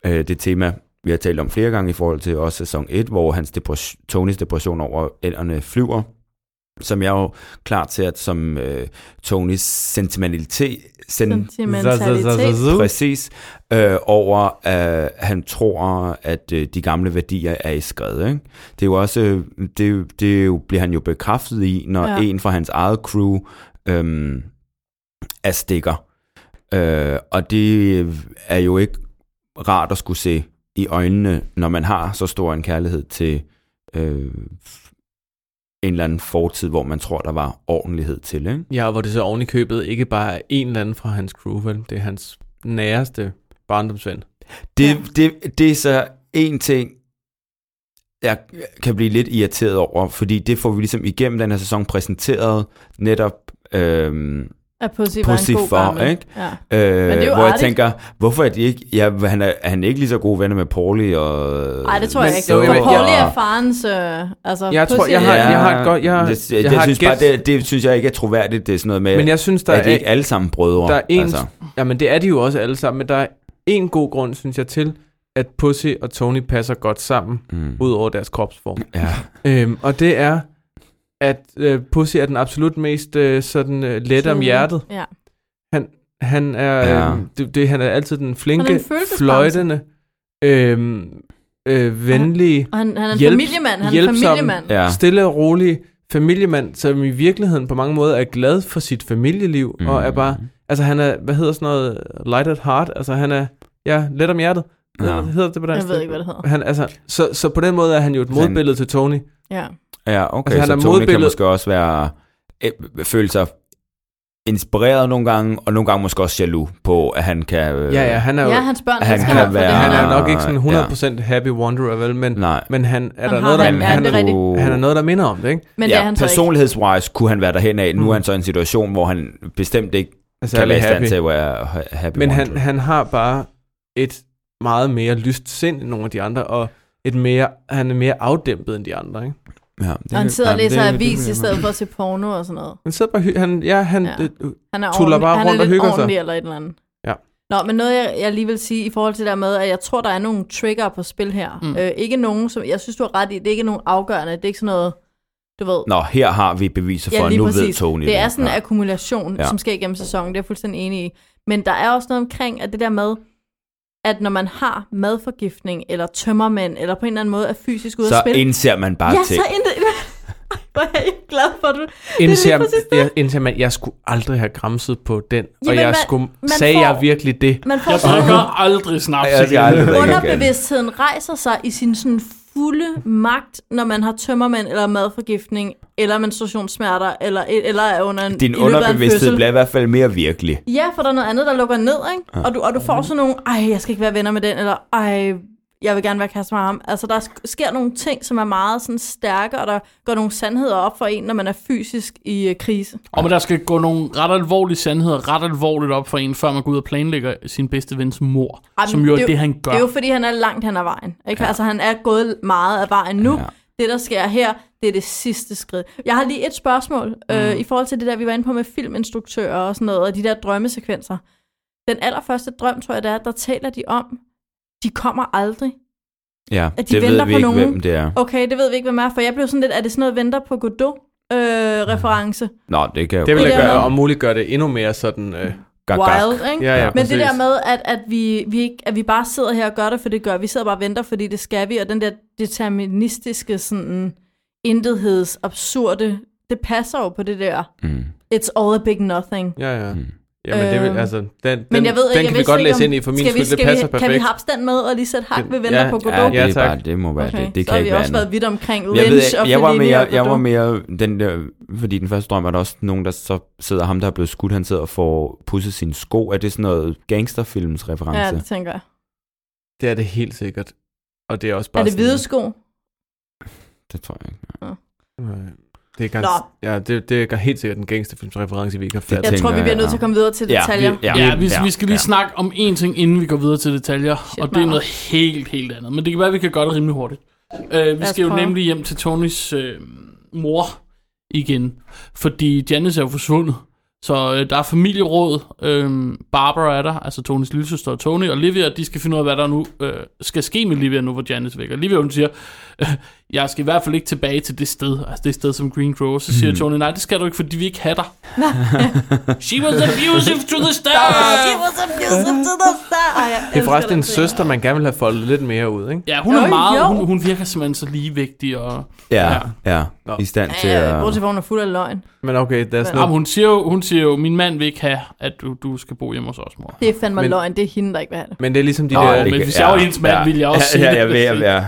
J: øh, det tema, vi har talt om flere gange i forhold til også sæson 1, hvor hans depression, Tonys depression over ænderne flyver, som jeg jo klar til at som øh, Tonys sentimentalitet, sen,
A: Sentimentalitet.
J: præcis, øh, over at øh, han tror, at øh, de gamle værdier er i skred. Ikke? Det er jo også, øh, det, er jo- det er jo, bliver han jo bekræftet i, når
A: Ja.
J: ja. en fra hans eget crew øhm, er stikker. Øh, og det er jo ikke rart at skulle se i øjnene, når man har så stor en kærlighed til øh, en eller anden fortid, hvor man tror, der var ordentlighed til. Ikke?
I: ja, hvor det så oven i købet ikke bare er en eller anden fra hans crew, vel? Det er hans næreste barndomsven.
J: Det,
A: Ja.
J: ja. det, det er så en ting, jeg kan blive lidt irriteret over, fordi det får vi ligesom igennem den her sæson præsenteret netop øhm,
A: At Pussy,
J: Pussy
A: var en god
J: for,
A: gammel.
J: ikke?
A: Ja.
J: Øh,
A: er jo
J: hvor jeg
A: artigt.
J: tænker, hvorfor er de ikke, ja, han er, er han ikke lige så gode venner med Pauli og...
A: Ej, det tror jeg
I: Men-
A: ikke.
I: Jo,
A: Jo,
I: jo,
A: jo,
I: men-
A: Pauli
J: ja.
A: er farens... Øh, altså,
I: Jeg tror,
A: Pussy
I: jeg
A: er-
I: har- jeg har et godt- jeg har-
J: det,
I: jeg
J: jeg, jeg
I: har et
J: synes bare,
I: gæt.
J: det, det synes jeg ikke er troværdigt, det er sådan noget med,
I: Men jeg synes, der
J: at de
I: er-
J: ikke alle sammen brødre.
I: Der er en, altså. Jamen, det er de jo også alle sammen, men der er en god grund, synes jeg, til, at Pussy og Tony passer godt sammen,
J: Mm.
I: ud over deres kropsform.
J: Ja.
I: Øhm, og det er, at øh, Pussy er den absolut mest øh, sådan øh, let om hjertet.
A: Ja.
I: Han er,
J: Ja.
I: ja. øh, det, det, han er altid den
A: Han er
I: flinke,
A: en følelsesbamse.
I: fløjtende, øh, øh, venlige,
A: Og han, han er en
I: Hjælp-
A: familiemand. Han er en
I: hjælpsom.
A: familiemand.
J: Ja.
I: stille og rolig familiemand, som i virkeligheden på mange måder er glad for sit familieliv, mm. og er bare, altså han er, hvad hedder sådan noget, light at heart, altså han er, ja, let om hjertet,
J: Mm. Ja.
I: ja. hedder det på dansk?
A: Jeg ved ikke, hvad det hedder.
I: Han, altså, så, så på den måde er han jo et
J: Han-
I: modbillede til Tony.
A: Ja.
J: Ja, okay,
I: Altså, han
J: altså,
I: er
J: så Tony kan
I: modbilledet-
J: måske også være, øh, føle sig inspireret nogle gange, og nogle gange måske også jaloux på, at han kan... Øh,
I: Ja, ja, han er jo...
A: Ja, hans børn
J: han
A: elsker
J: kan
A: ham for det,
J: være-
I: Altså, han er nok ikke
J: Ja.
I: sådan 100% happy wanderer, vel? Men,
J: Nej.
I: men han, er
A: Han
I: der
A: har
I: noget, der,
A: været- ja,
I: han,
A: det er
I: er,
A: rigtigt.
I: han er noget, der minder om det, ikke?
A: Men det er
J: ja,
A: han så ikke.
J: personlighedswise kunne han være derhen af. Nu er han så i en situation, hvor han bestemt ikke
I: Altså,
J: kan
I: han Mm. er
J: være i stand
I: happy.
J: til at være ha- happy.
I: Men han,
J: wanderer.
I: han har bare et meget mere lyst sind end nogle af de andre, og et mere, han er mere afdæmpet end de andre, ikke?
J: ja,
A: Og han sidder og
I: Jamen, det-
A: læser
I: det- det-
A: avis
I: det-
A: i stedet for at se porno og sådan noget.
I: Han sidder bare hy- han, ja, han, øh,
A: Ja.
I: ja.
A: Han er,
I: Tuller
A: ordentlig-
I: bare
A: han er
I: rundt og
A: lidt
I: hygger sig.
A: ordentlig eller et eller andet.
I: Ja.
A: Nå, men noget, jeg, jeg lige vil sige i forhold til det der med, at jeg tror, der er nogle trigger på spil her. Mm. Øh, ikke nogen, som... Jeg synes, du har ret i, det er ikke nogen afgørende. Det er ikke sådan noget, du ved...
J: Nå, her har vi beviser for, at nu ved Tony
A: det er sådan en
J: ja.
A: akkumulation,
J: Ja.
A: ja. som sker igennem sæsonen. Det er jeg fuldstændig enig i. Men der er også noget omkring, at det der med, at når man har madforgiftning, eller tømmermænd, eller på en eller anden måde er fysisk ude at
J: Så
A: spille...
J: indser man bare
A: ja,
J: ting.
A: så intet... Ej, Hvor er jeg glad for, at du...
I: Indser,
A: præcis det.
I: jeg, indser man, jeg skulle aldrig have græmset på den, og
A: Jamen,
I: jeg
A: man-
I: skulle,
A: man
I: sagde
A: får-
I: jeg virkelig det?
A: Man får
B: Jeg
A: sådan nogle-
B: drikker aldrig snaps
J: Ja, det er
B: igen.
J: aldrig rigtigt.
A: underbevidstheden rejser sig i sin sådan fulde magt, når man har tømmermænd eller madforgiftning, eller menstruationssmerter, eller, eller er under en,
J: Din
A: i løbet af en
J: underbevidsthed
A: fødsel.
J: bliver i hvert fald mere virkelig.
A: Ja, for der er noget andet, der lukker ned, ikke?
J: Ah.
A: Ja. Og, du, og du får sådan nogle, ej, jeg skal ikke være venner med den, eller ej, jeg vil gerne være kæreste med ham. Altså, der sk- sker nogle ting, som er meget sådan stærke, og der går nogle sandheder op for en, når man er fysisk i øh, krise.
B: Og men der skal gå nogle ret alvorlige sandheder ret alvorligt op for en, før man går ud og planlægger sin bedste vens mor.
A: Ej,
B: som
A: men
B: jo er det, han gør.
A: Det er jo, fordi han er langt hen ad vejen. Ikke? Ja. Altså, han er gået meget af vejen nu.
J: Ja.
A: Ja. Det, der sker her, det er det sidste skridt. Jeg har lige et spørgsmål mm. øh, i forhold til det der, vi var inde på med filminstruktører og sådan noget, og de der drømmesekvenser. Den allerførste drøm, tror jeg, det er, der taler de om, de kommer aldrig.
J: Ja,
A: At de
J: det ved
A: venter
J: vi
A: på
J: ikke,
A: nogen.
J: hvem det er.
A: Okay, det ved vi ikke, hvem er, for jeg blev sådan lidt, er det sådan noget venter på Godot-reference? Øh,
J: Nå, det kan jo
I: Det vil
A: Det
I: jeg
A: der
I: gøre,
A: med-
I: og muligt gøre det endnu mere sådan... Øh,
J: gak, gak.
A: Wild, ikke?
I: ja, ja,
A: Men det
I: præcis.
A: der med, at, at, vi, vi ikke, at vi bare sidder her og gør det, for det gør vi. vi. sidder bare og venter, fordi det skal vi. Og den der deterministiske sådan, intetheds absurde, det passer jo på det der.
J: Mm.
A: It's all a big nothing.
I: Ja, ja. Jamen, det vil,
A: Øhm,
I: altså, den, den,
A: Men jeg ved
I: den
A: ikke,
I: kan
A: jeg
I: vi godt
A: vidste
I: læse
A: ikke, om-
I: ind i for min
A: skal vi-
I: skyld, det
A: skal
I: passer
A: vi,
I: perfekt.
A: Kan vi hapse den med og lige sætte hak ved
I: Ja,
A: venter på
I: ja,
A: Godot?
J: Ja, det,
I: Ja,
J: er
I: tak.
J: bare, det må være
A: okay,
J: det. Det
A: så
J: kan
A: har
J: ikke
A: vi
J: være
A: også været
J: andet.
A: vidt omkring
J: jeg, ved,
A: Lynch og
J: jeg, var
A: Fellini
J: mere,
A: og
J: jeg var
A: Godot.
J: mere, den der, fordi den første drøm er der også nogen, der så sidder, ham der er blevet skudt, han sidder og får pudset sine sko. Er det sådan noget gangsterfilms
A: Ja,
J: reference?
A: det tænker jeg.
I: Det er det helt sikkert. Og det er også bare
A: Er det
I: sådan-
A: hvide sko?
J: Det tror jeg ikke.
I: Nej. Øh, Det er,
A: Nå.
I: gans, ja, det, det er helt sikkert en gangsterfilmsreference, vi ikke har
J: Det
A: Jeg
I: fattet.
A: tror, vi
J: tænker
A: bliver
J: jeg,
A: nødt til
J: ja.
A: at komme videre til detaljer.
J: vi- ja,
B: Ja, vi, ja, vi skal lige ja. snakke om én ting, inden vi går videre til detaljer, Shit,
A: Shit,
B: og det er
A: mand.
B: noget helt, helt andet. Men det kan være, at vi kan gøre det rimelig hurtigt. Uh, vi
A: os
B: skal jo
A: prøve.
B: nemlig hjem til Tonys øh, mor igen, fordi Janice er jo forsvundet. Så øh, der er familieråd, øh, Barbara er der, altså Tonys lillesøster og Tony, og Livia, de skal finde ud af, hvad der nu øh, skal ske med Livia nu, hvor Janice er væk. Og Livia, hun siger, øh, jeg skal i hvert fald ikke tilbage til det sted, altså det sted som Green Grove. Så siger mm. Tony, nej, det skal du ikke, fordi vi ikke have dig. She was abusive to the stars!
A: Give us a music to the star. Ej, jeg
I: Det er
A: elsker
I: forresten en
A: den scene.
I: søster, man gerne vil have foldet lidt mere ud, ikke?
B: Ja, hun er
A: Øj,
B: meget,
A: jo.
B: hun, hun virker simpelthen så ligevægtig, og
J: Ja, ja.
I: Nå.
J: I stand til
A: Ja,
J: at...
A: bortset fra, hun er fuld af løgn.
I: Men okay, der er sådan
B: Jamen,
I: noget.
B: hun, siger jo, hun siger jo, min mand vil ikke have, at du, du skal bo hjemme hos os, mor.
A: Det er fandme
I: Men-
A: løgn. Det er hende, der ikke vil have det.
I: Men det er ligesom de
J: Nå,
I: der...
J: det
B: men
J: kan-
B: hvis jeg var hendes mand, ville jeg også
J: ja,
B: sige
J: ja,
B: det.
J: jeg vil, jeg, ja.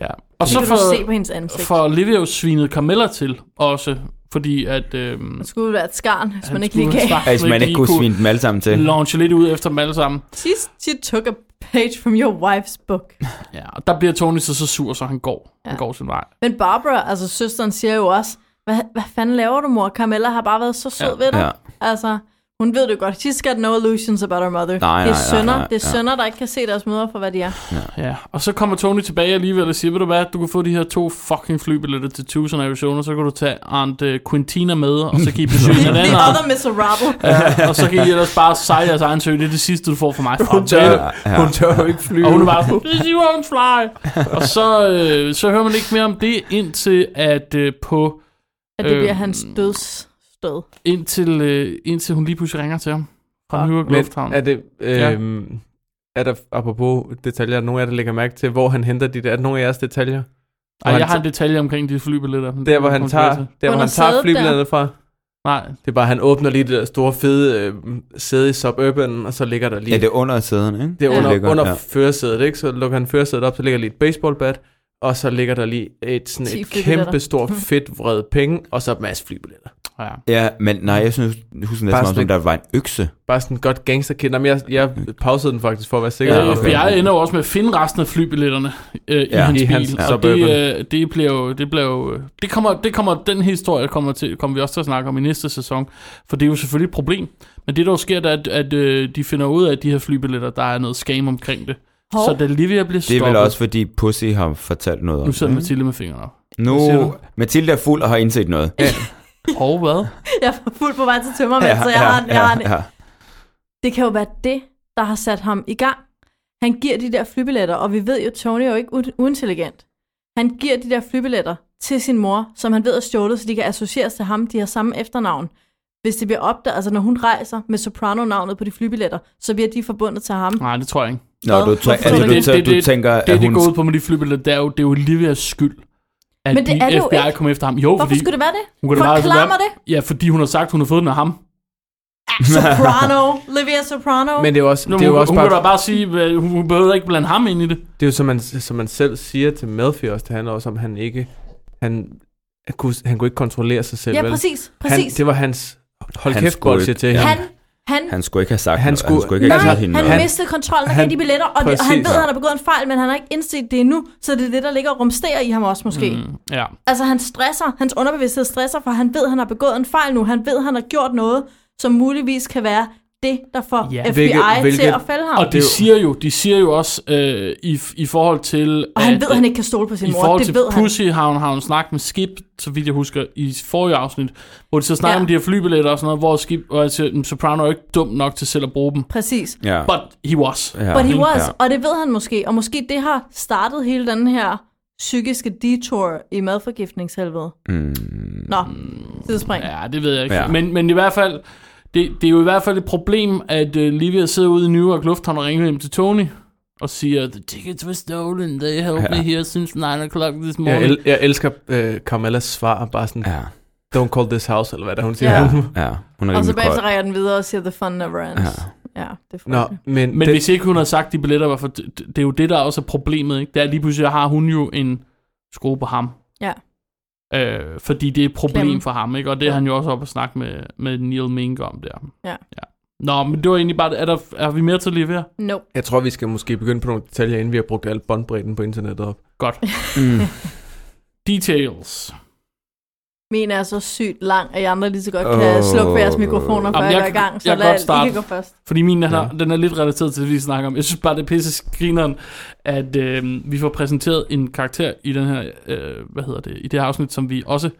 B: Ja. Og
A: Så
B: så
A: kan
B: for,
A: du se på hendes ansigt. For...
B: for Livia jo svinede Carmella til også, fordi at... Øhm,
A: Det skulle være et skarn, hvis man ikke lige
B: skulle
A: gav.
B: svare,
J: Hvis man ikke kunne svine dem alle sammen til.
B: launche lidt ud efter dem alle sammen.
A: She, she took a page from your wife's book.
B: Ja, og der bliver Tony så, så sur, så han går. Ja. Han
A: Ja.
B: går sin vej.
A: Men Barbara, altså søsteren, siger jo også, hvad, hvad fanden laver du, mor? Carmella har bare været så sød
B: Ja.
A: ja. ved dig.
J: Ja.
A: Ja. Altså, hun ved det godt. She's got no illusions about her mother.
J: nej,
A: det er
J: nej,
A: sønner,
J: nej,
A: det er
J: ja.
A: sønner, der ikke kan se deres mødre for, hvad de er.
B: Ja. Og så kommer Tony tilbage alligevel og siger, ved du hvad, du kan få de her to fucking flybilletter til Tucson, Arizona, så kan du tage Aunt øh, Quintina med, og så kan I besøge hinanden.
A: The
B: og-
A: other miserable.
B: Ja, og så kan I ellers bare sejle jeres egen sø. Det er det sidste, du får fra mig.
I: Hun
B: Fuck, det
I: tør,
B: er-
I: hun tør jo ikke flyve.
B: Og hun er bare sådan, "Please, you won't fly. Og så, øh, så hører man ikke mere om det, indtil at øh, på...
A: At det bliver
B: Øhm.
A: hans dødsstød.
B: Indtil, øh, indtil hun lige pludselig ringer til ham. Fra New York Lufthavn.
I: Ah, Men er det...
B: Ja.
I: Øh, er der, apropos detaljer, er der nogen af jer, der lægger mærke til, hvor han henter de der... Er der nogen af jeres detaljer?
B: Ej,
I: hvor
B: jeg
I: han
B: har en detalje omkring de flybilletter. men det
I: Der, hvor
B: kan
I: han
B: vi komme
I: tager,
B: tilbage
I: der, hvor
A: Under
I: han tager
A: sædet
I: flybladene fra.
B: til. Nej,
I: Det er bare, han åbner lige det der store, fede øh, sæde i Suburban, og så ligger der lige...
J: Ja, det er under sæden, ikke?
I: Det er under,
J: ligger,
I: under
J: ja.
I: førersædet, ikke? Så lukker han førersædet op, så ligger lige et baseballbat, og så ligger der lige et, sådan
A: 10
I: et
A: flybilletter.
I: kæmpe stort fedt vred penge, og så en masse flybilletter.
B: tror jeg.
J: Ja, men nej, jeg synes, jeg husker
I: Bare
J: næsten om,
I: sådan-
J: som der var en økse.
I: Bare sådan en godt gangsterkind. Jamen, jeg, jeg pausede den faktisk for at være sikker.
J: Ja,
B: Ja,
I: på,
J: okay.
B: okay. Jeg Øh, ender jo også med at finde resten af flybilletterne øh, ja, i
J: Ja,
B: hans
I: i
B: bil,
I: hans
B: og
I: Suburban.
B: det, øh, det bliver jo, det bliver jo, øh, det kommer, det kommer, den historie kommer, til, kommer vi også til at snakke om i næste sæson, for det er jo selvfølgelig et problem. Men det der jo sker, det er, at, at øh, de finder ud af, at de her flybilletter, der er noget scam omkring det.
A: Hov.
B: Hov. Så da Livia bliver
J: Det er
B: stoppet,
J: vel også, Mm. fordi Pussy har fortalt noget om
B: nu sidder
J: det.
B: Mathilde med fingrene op.
J: Nu,
I: Hvad siger du?
J: Mathilde er fuld og har indset noget. Ja,
B: Og hvad?
A: Jeg er fuldt på vej til tømmermænd, så altså, jeg har, den, jeg har den.
J: ja.
A: Det kan jo være det, der har sat ham i gang. Han giver de der flybilletter, og vi ved jo, at Tony er jo ikke u- uintelligent. Han giver de der flybilletter til sin mor, som han ved er stjålet, så de kan associeres til ham. De har samme efternavn. Hvis det bliver opdaget, altså når hun rejser med Soprano-navnet på de flybilletter, så bliver de forbundet til ham.
B: Nej, det tror jeg ikke.
J: Nå, du,
A: Hvorfor
J: tror,
A: tror
J: altså,
A: du
J: du,
B: ikke?
J: tæ-
B: Det-
J: du
B: det-
J: tænker,
B: Det er det
J: at hun...
B: gået på med de flybilletter, det er jo, det er jo Livias skyld. At
A: Men det er det
B: de
A: jo
B: FBI
A: ikke.
B: kom efter ham. Jo,
A: Hvorfor
B: fordi,
A: skulle det være det?
B: hun kunne da meget-
A: Forklar mig det!
B: Ja, fordi hun har sagt, hun har fået den af ham.
A: Soprano! Livia Soprano!
I: Men det er jo også,
B: Nu,
I: det er jo også
B: hun bare... kan da
I: bare,
B: bare sige, hvad- hun hun behøver ikke blande ham ind i det.
I: det er jo, som, man, som man selv siger til Melfi også, det handler også om, at han ikke, han, han, kunne, han kunne ikke kontrollere sig selv.
A: ja,
I: vel?
A: præcis.
I: Han,
A: præcis.
I: det var hans, hold
J: Han
I: kæft,
J: skulle-
I: bolsje til
J: ja.
I: ham.
A: han, han,
J: Han skulle ikke have sagt
I: Han
J: han noget. Skulle, han
I: skulle-
J: skulle ikke
A: Nej,
J: have
A: han,
J: sagt hende
A: han,
J: noget.
A: mistede kontrollen af
I: han-
A: de billetter, og, og han
I: præcis.
A: ved, at han har begået en fejl, men han har ikke indset det endnu, så det er det, der ligger og rumsterer i ham også måske. Mm.
B: Ja.
A: Altså han stresser, hans underbevidsthed stresser, for han ved, at han har begået en fejl nu. Han ved, at han har gjort noget, som muligvis kan være det, der får
B: Ja.
A: FBI
I: Hvilket-
A: til
I: hvilket-
A: at fælde ham. Og,
B: Og de
I: det er jo-
B: siger jo, de siger jo også øh, i, i forhold til... øh,
A: og han ved, at han ikke kan stole på sin
B: i
A: mor.
B: forhold
A: Det
B: til
A: ved han.
B: Pussy har hun, har hun snakket med Skip, så vidt jeg husker, i forrige afsnit, hvor de så snakker
A: Ja.
B: ja. om de her flybilletter og sådan noget, hvor Skip og jeg siger, "Men Soprano er jo ikke dum nok til selv at bruge dem.
A: Præcis.
J: Ja.
B: But he was.
J: Ja.
A: But he was,
J: Ja.
A: og det ved han måske. Og måske det har startet hele den her psykiske detour i madforgiftningshelvede.
J: Mm.
A: Nå, tidsspring.
B: Ja, det ved jeg ikke.
J: Ja.
B: Ja. Men, men i hvert fald, det, det er jo i hvert fald et problem, at uh, Livia sidder ude i New York Lufthavn og ringer hjem til Tony og siger, The tickets were stolen, they held ja. me
J: Ja.
B: here since 9 o'clock this
I: Jeg,
B: morning.
I: el, jeg elsker øh, Carmelas svar, bare sådan,
J: Ja.
I: don't call this house, eller hvad der hun siger.
A: Ja.
J: ja. Hun er
A: Og så
J: rimelig
A: bagefter
J: kold.
A: rækker den videre og siger, the fun never ends. Ja, ja det er
I: Nå,
A: frygteligt.
I: men,
B: Men
I: den-
B: hvis ikke hun har sagt, de billetter var for... Det, det er jo det, der også er problemet, ikke? Det er lige pludselig har hun jo en skrue på ham.
A: Ja.
B: Øh, fordi det er et problem
A: Klemme.
B: for ham, ikke? Og det er han jo også oppe og snakke med, med Neil Mink om der.
A: Ja.
B: ja. Nå, men det var egentlig bare... Er, der, er vi mere til lige her?
A: No.
I: Jeg tror, vi skal måske begynde på nogle detaljer, inden vi har brugt al båndbredden på internettet op.
B: Godt.
J: Mm.
B: Details.
A: Min er så sygt lang, at I andre lige så godt kan
J: Åh.
A: slukke for jeres mikrofoner, før jeg,
B: Jamen, jeg
A: går i
B: kan-
A: gang. Så
B: jeg kan
A: lad
B: godt
A: I
B: starte.
A: kan gå først.
B: Fordi min, den, er,
I: Ja.
B: den er lidt relateret til det, vi snakker om. Jeg synes bare, det er pisse grineren, at øh, vi får præsenteret en karakter i den her, øh, hvad hedder det, i det her afsnit, som vi også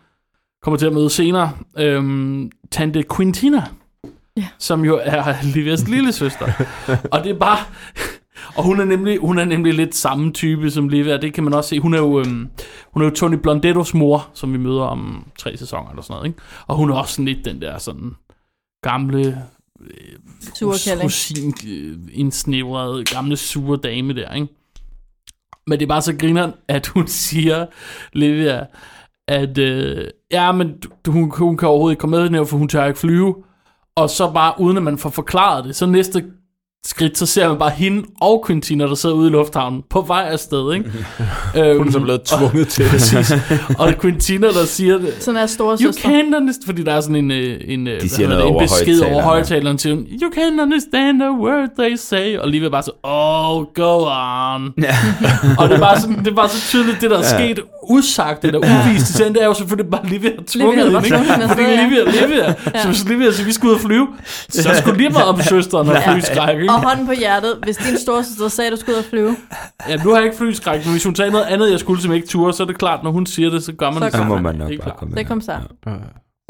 B: kommer til at møde senere. Øh, Tante Quintina,
A: Ja.
B: som jo er Livias lille søster. og det er bare... Og hun er, nemlig, hun er nemlig lidt samme type som Livia, det kan man også se. Hun er jo, øhm, hun er jo Tony Blondettos mor, som vi møder om tre sæsoner eller sådan noget. Ikke? Og hun er også sådan lidt den der sådan gamle,
A: Surkælling.
B: rosin øh, indsnævrede gamle sure dame der, ikke? Men det er bare så grineren, at hun siger, Livia, at øh, ja, men du- hun, hun kan overhovedet ikke komme med i den her, for hun tør ikke flyve. Og så bare, uden at man får forklaret det, så næste skridt, så ser man bare hende og Quintina, der sidder ude i lufthavnen, på vej afsted, ikke? øhm,
I: Hun er så blevet tvunget til det.
B: og, og Quintina, der siger det,
A: Sådan er store
B: You
A: søster.
B: can't understand, fordi der er sådan en, øh, en, øh, hvad
J: siger
B: hedder
J: noget
B: det, en
J: over
B: besked over
J: højttalerne.
B: højtaleren til hende. You can't understand a word they say. Og lige ved bare så, oh, go on. Ja. og det er, bare sådan, det er bare så tydeligt, det der er sket usagt, det der uvist. Ja. Det er jo selvfølgelig bare lige ved at tvunget
A: havde bare
B: hende, ikke?
A: tvunget hende
B: Fordi
A: afsted, ja.
B: lige ved at, lige ved at, så hvis lige ved at sige, vi skulle ud og flyve, så skulle lige være om søsteren og flyskræk, ikke?
A: Og hånden på hjertet, hvis din storsøster sagde, at du skulle ud og flyve.
B: Ja, nu har jeg ikke flyskræk, men hvis hun sagde noget andet, jeg skulle, som jeg ikke turde, så er det klart, når hun siger det, så gør man
A: Så
B: det.
A: gør
J: Så må
B: samme.
J: man nok
B: Helt
J: bare
B: klart.
J: komme
A: Det kom
J: ind.
A: så.
I: Ja.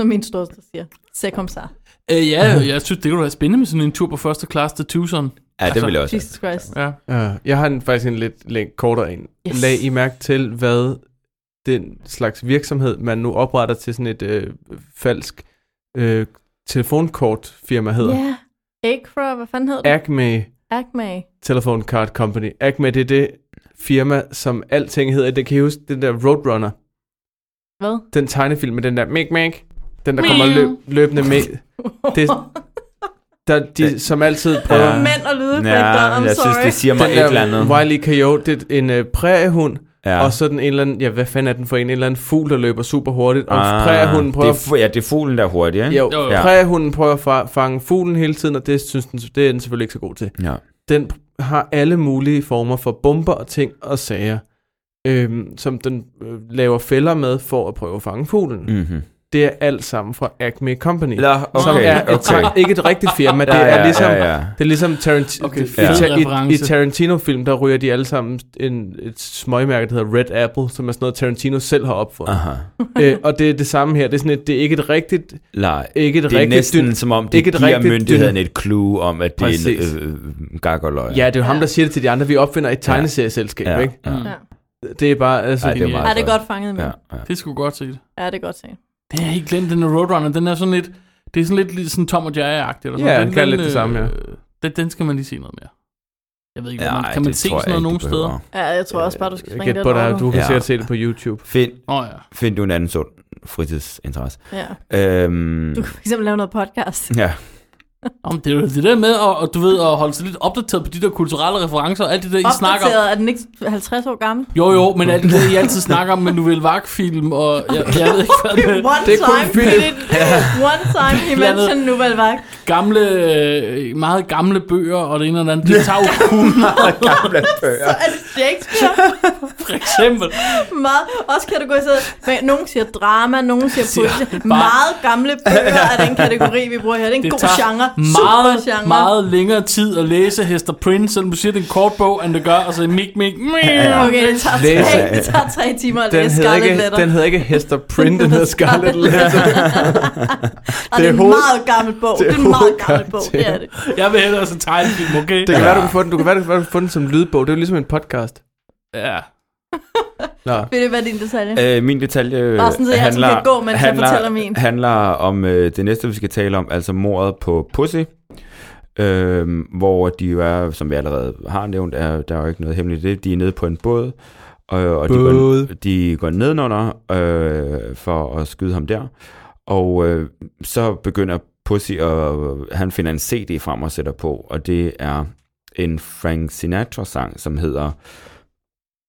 A: Som min storsøster siger. Se kom så.
B: Øh, ja, jeg synes, det kunne være spændende med sådan en tur på første klasse til Tucson.
J: Ja,
A: altså,
J: det ville jeg også.
A: Jesus Christ.
B: Ja.
I: Ja. Jeg har en, faktisk en lidt læng, kortere en.
A: Yes.
I: Yes. Lag I mærke til, hvad den slags virksomhed, man nu opretter til sådan et øh, falsk øh, telefonkortfirma hedder. Yeah.
A: Ja. Acra, hvad fanden hedder det?
I: Acme
A: Acme.
I: Telephone Card Company. Acme, det er det firma, som alting hedder. Det kan I huske, den der Roadrunner.
A: Hvad?
I: Den tegnefilm med den der mæk mæk. Den, der kommer løb, løbende med. Det, der, de, som altid prøver...
J: Ja.
A: Mænd og lydeffekter,
J: Ja,
A: I'm
J: jeg synes,
A: sorry.
J: det siger mig
I: Den
J: et eller andet.
I: der Wiley Coyote, det er en øh, præriehund,
J: Ja.
I: ja. og så er den en eller anden, ja, hvad fanden er den for en, en eller anden fugl, der løber super hurtigt, og ah, præhunden prøver...
J: det er, fu- ja, det er fuglen, der er hurtig, ikke?
I: jo,
B: Jo, jo.
I: ja. præhunden prøver at fa- fange fuglen hele tiden, og det synes den, det er den selvfølgelig ikke så god til.
J: Ja.
I: Den pr- har alle mulige former for bomber og ting og sager, øhm, som den øh, laver fælder med for at prøve at fange fuglen. Mm.
J: Mm-hmm.
I: Det er alt sammen fra Acme Company.
J: Nå,
I: som
J: okay,
I: er et,
J: okay.
I: ikke et rigtigt firma, det
J: Ja, ja,
I: er ligesom
J: ja, ja.
I: det er ligesom Tarantino.
B: Okay,
I: Okay,
B: fed
I: ja. i, i
B: reference.
I: Tarantino-film, der ryger de alle sammen en, et smøgmærke, der hedder Red Apple, som er sådan noget, Tarantino selv har opfundet.
J: Aha.
I: Æ, og det er det samme her. Det er, sådan et, det er ikke et rigtigt...
J: Nej.
I: Ikke et
J: Det er
I: rigtigt
J: næsten
I: dyn-
J: som om, det
I: ikke et
J: giver
I: rigtigt
J: myndighederne
I: dyn-
J: et clue om, at det
I: Præcis.
J: er en øh, øh, gakkerløg.
I: Ja, det er jo ham, der siger det til de andre. Vi opfinder et tegneserieselskab,
J: ja.
I: ja. ikke? Mm.
J: Ja.
A: Ja.
I: Det er bare... Altså,
J: Ej, det er
B: genialt.
A: Ja,
J: meget
A: det er
J: godt.
A: godt fanget med.
J: Ja,
A: Ja,
J: ja.
B: Det skulle godt set.
A: ja det er godt set.
B: Det har jeg helt glemt, den her Roadrunner. Den er sådan lidt... Det er sådan lidt lige sådan Tom og Jerry-agtig. Eller sådan.
I: Ja,
B: den,
I: den kan lidt det samme, ja.
B: øh, Den, den skal man lige se noget mere. Jeg ved ikke, ja, man,
J: Ej,
B: kan man
J: det
B: se
J: tror jeg
B: sådan noget
J: ikke,
B: nogen
J: du
B: steder?
J: behøver.
A: Ja, jeg tror også bare, du skal
I: jeg
A: springe
I: gætter
A: lidt
I: på dig,
A: over.
I: du kan
J: Ja.
I: ja. sikkert se det på YouTube.
J: Find,
B: Åh oh, ja.
J: find du en anden sund fritidsinteresse.
A: Ja.
J: Øhm,
A: Du kan fx lave noget podcast.
J: ja.
B: Om det er jo det der med at, og du ved, at holde sig lidt opdateret på de der kulturelle referencer og alt det der, I snakker om.
A: Opdateret, er den ikke 50 år gammel?
B: Jo, jo, men alt det der, I altid snakker om med Nouvelle Vague-film, og jeg, jeg ved ikke, hvad det
A: One
I: det er kun
A: time, Philip. One time, he
B: Blandet.
A: mentioned Nouvelle Vague.
B: gamle, øh, meget gamle bøger og det ene og det andet. Det tager jo kun,
A: Så er det Shakespeare.
B: for eksempel.
A: Meget, også kategoriseret. Men Nogen siger drama, nogen siger
B: Siger
A: politik.
B: bare-
A: Meget gamle bøger er den kategori, vi bruger her. Det er en
B: Det
A: god
B: tager
A: genre.
B: meget,
A: Super genre.
B: meget længere tid at læse Hester Prince, selvom du siger, det er en kort bog, end det gør, og så mik, mik, mik.
A: Okay, det tager,
I: Læse.
A: tre, det tager tre timer at
I: Den
A: læse
I: hedder,
A: Scarlet
I: ikke,
A: Letter.
I: den hedder ikke Hester Print, den hedder Scarlet Letter.
A: Og det er
I: det er
A: en
I: hoved-
A: meget gammel bog. Det er en meget gammel bog, det er det.
B: Jeg vil hellere se tegnefilm, okay?
I: Det kan være, du kan få den, du kan være, du kan få den som lydbog. Det er jo ligesom en podcast.
B: Ja.
I: Nå.
A: Vil det være din detalje?
J: Øh, min detalje
A: Bare sådan, så jeg altid
J: handler,
A: kan gå, mens jeg
J: handler,
A: fortæller min.
J: handler om øh, det næste, vi skal tale om, altså mordet på Pussy. Øh, hvor de jo er, som vi allerede har nævnt, er, der er jo ikke noget hemmeligt i det. De er nede på en båd, og, og de,
I: Båd.
J: går, de går nedenunder øh, for at skyde ham der. Og øh, så begynder Pussy, og han finder en CD frem og sætter på, og det er en Frank Sinatra-sang, som hedder...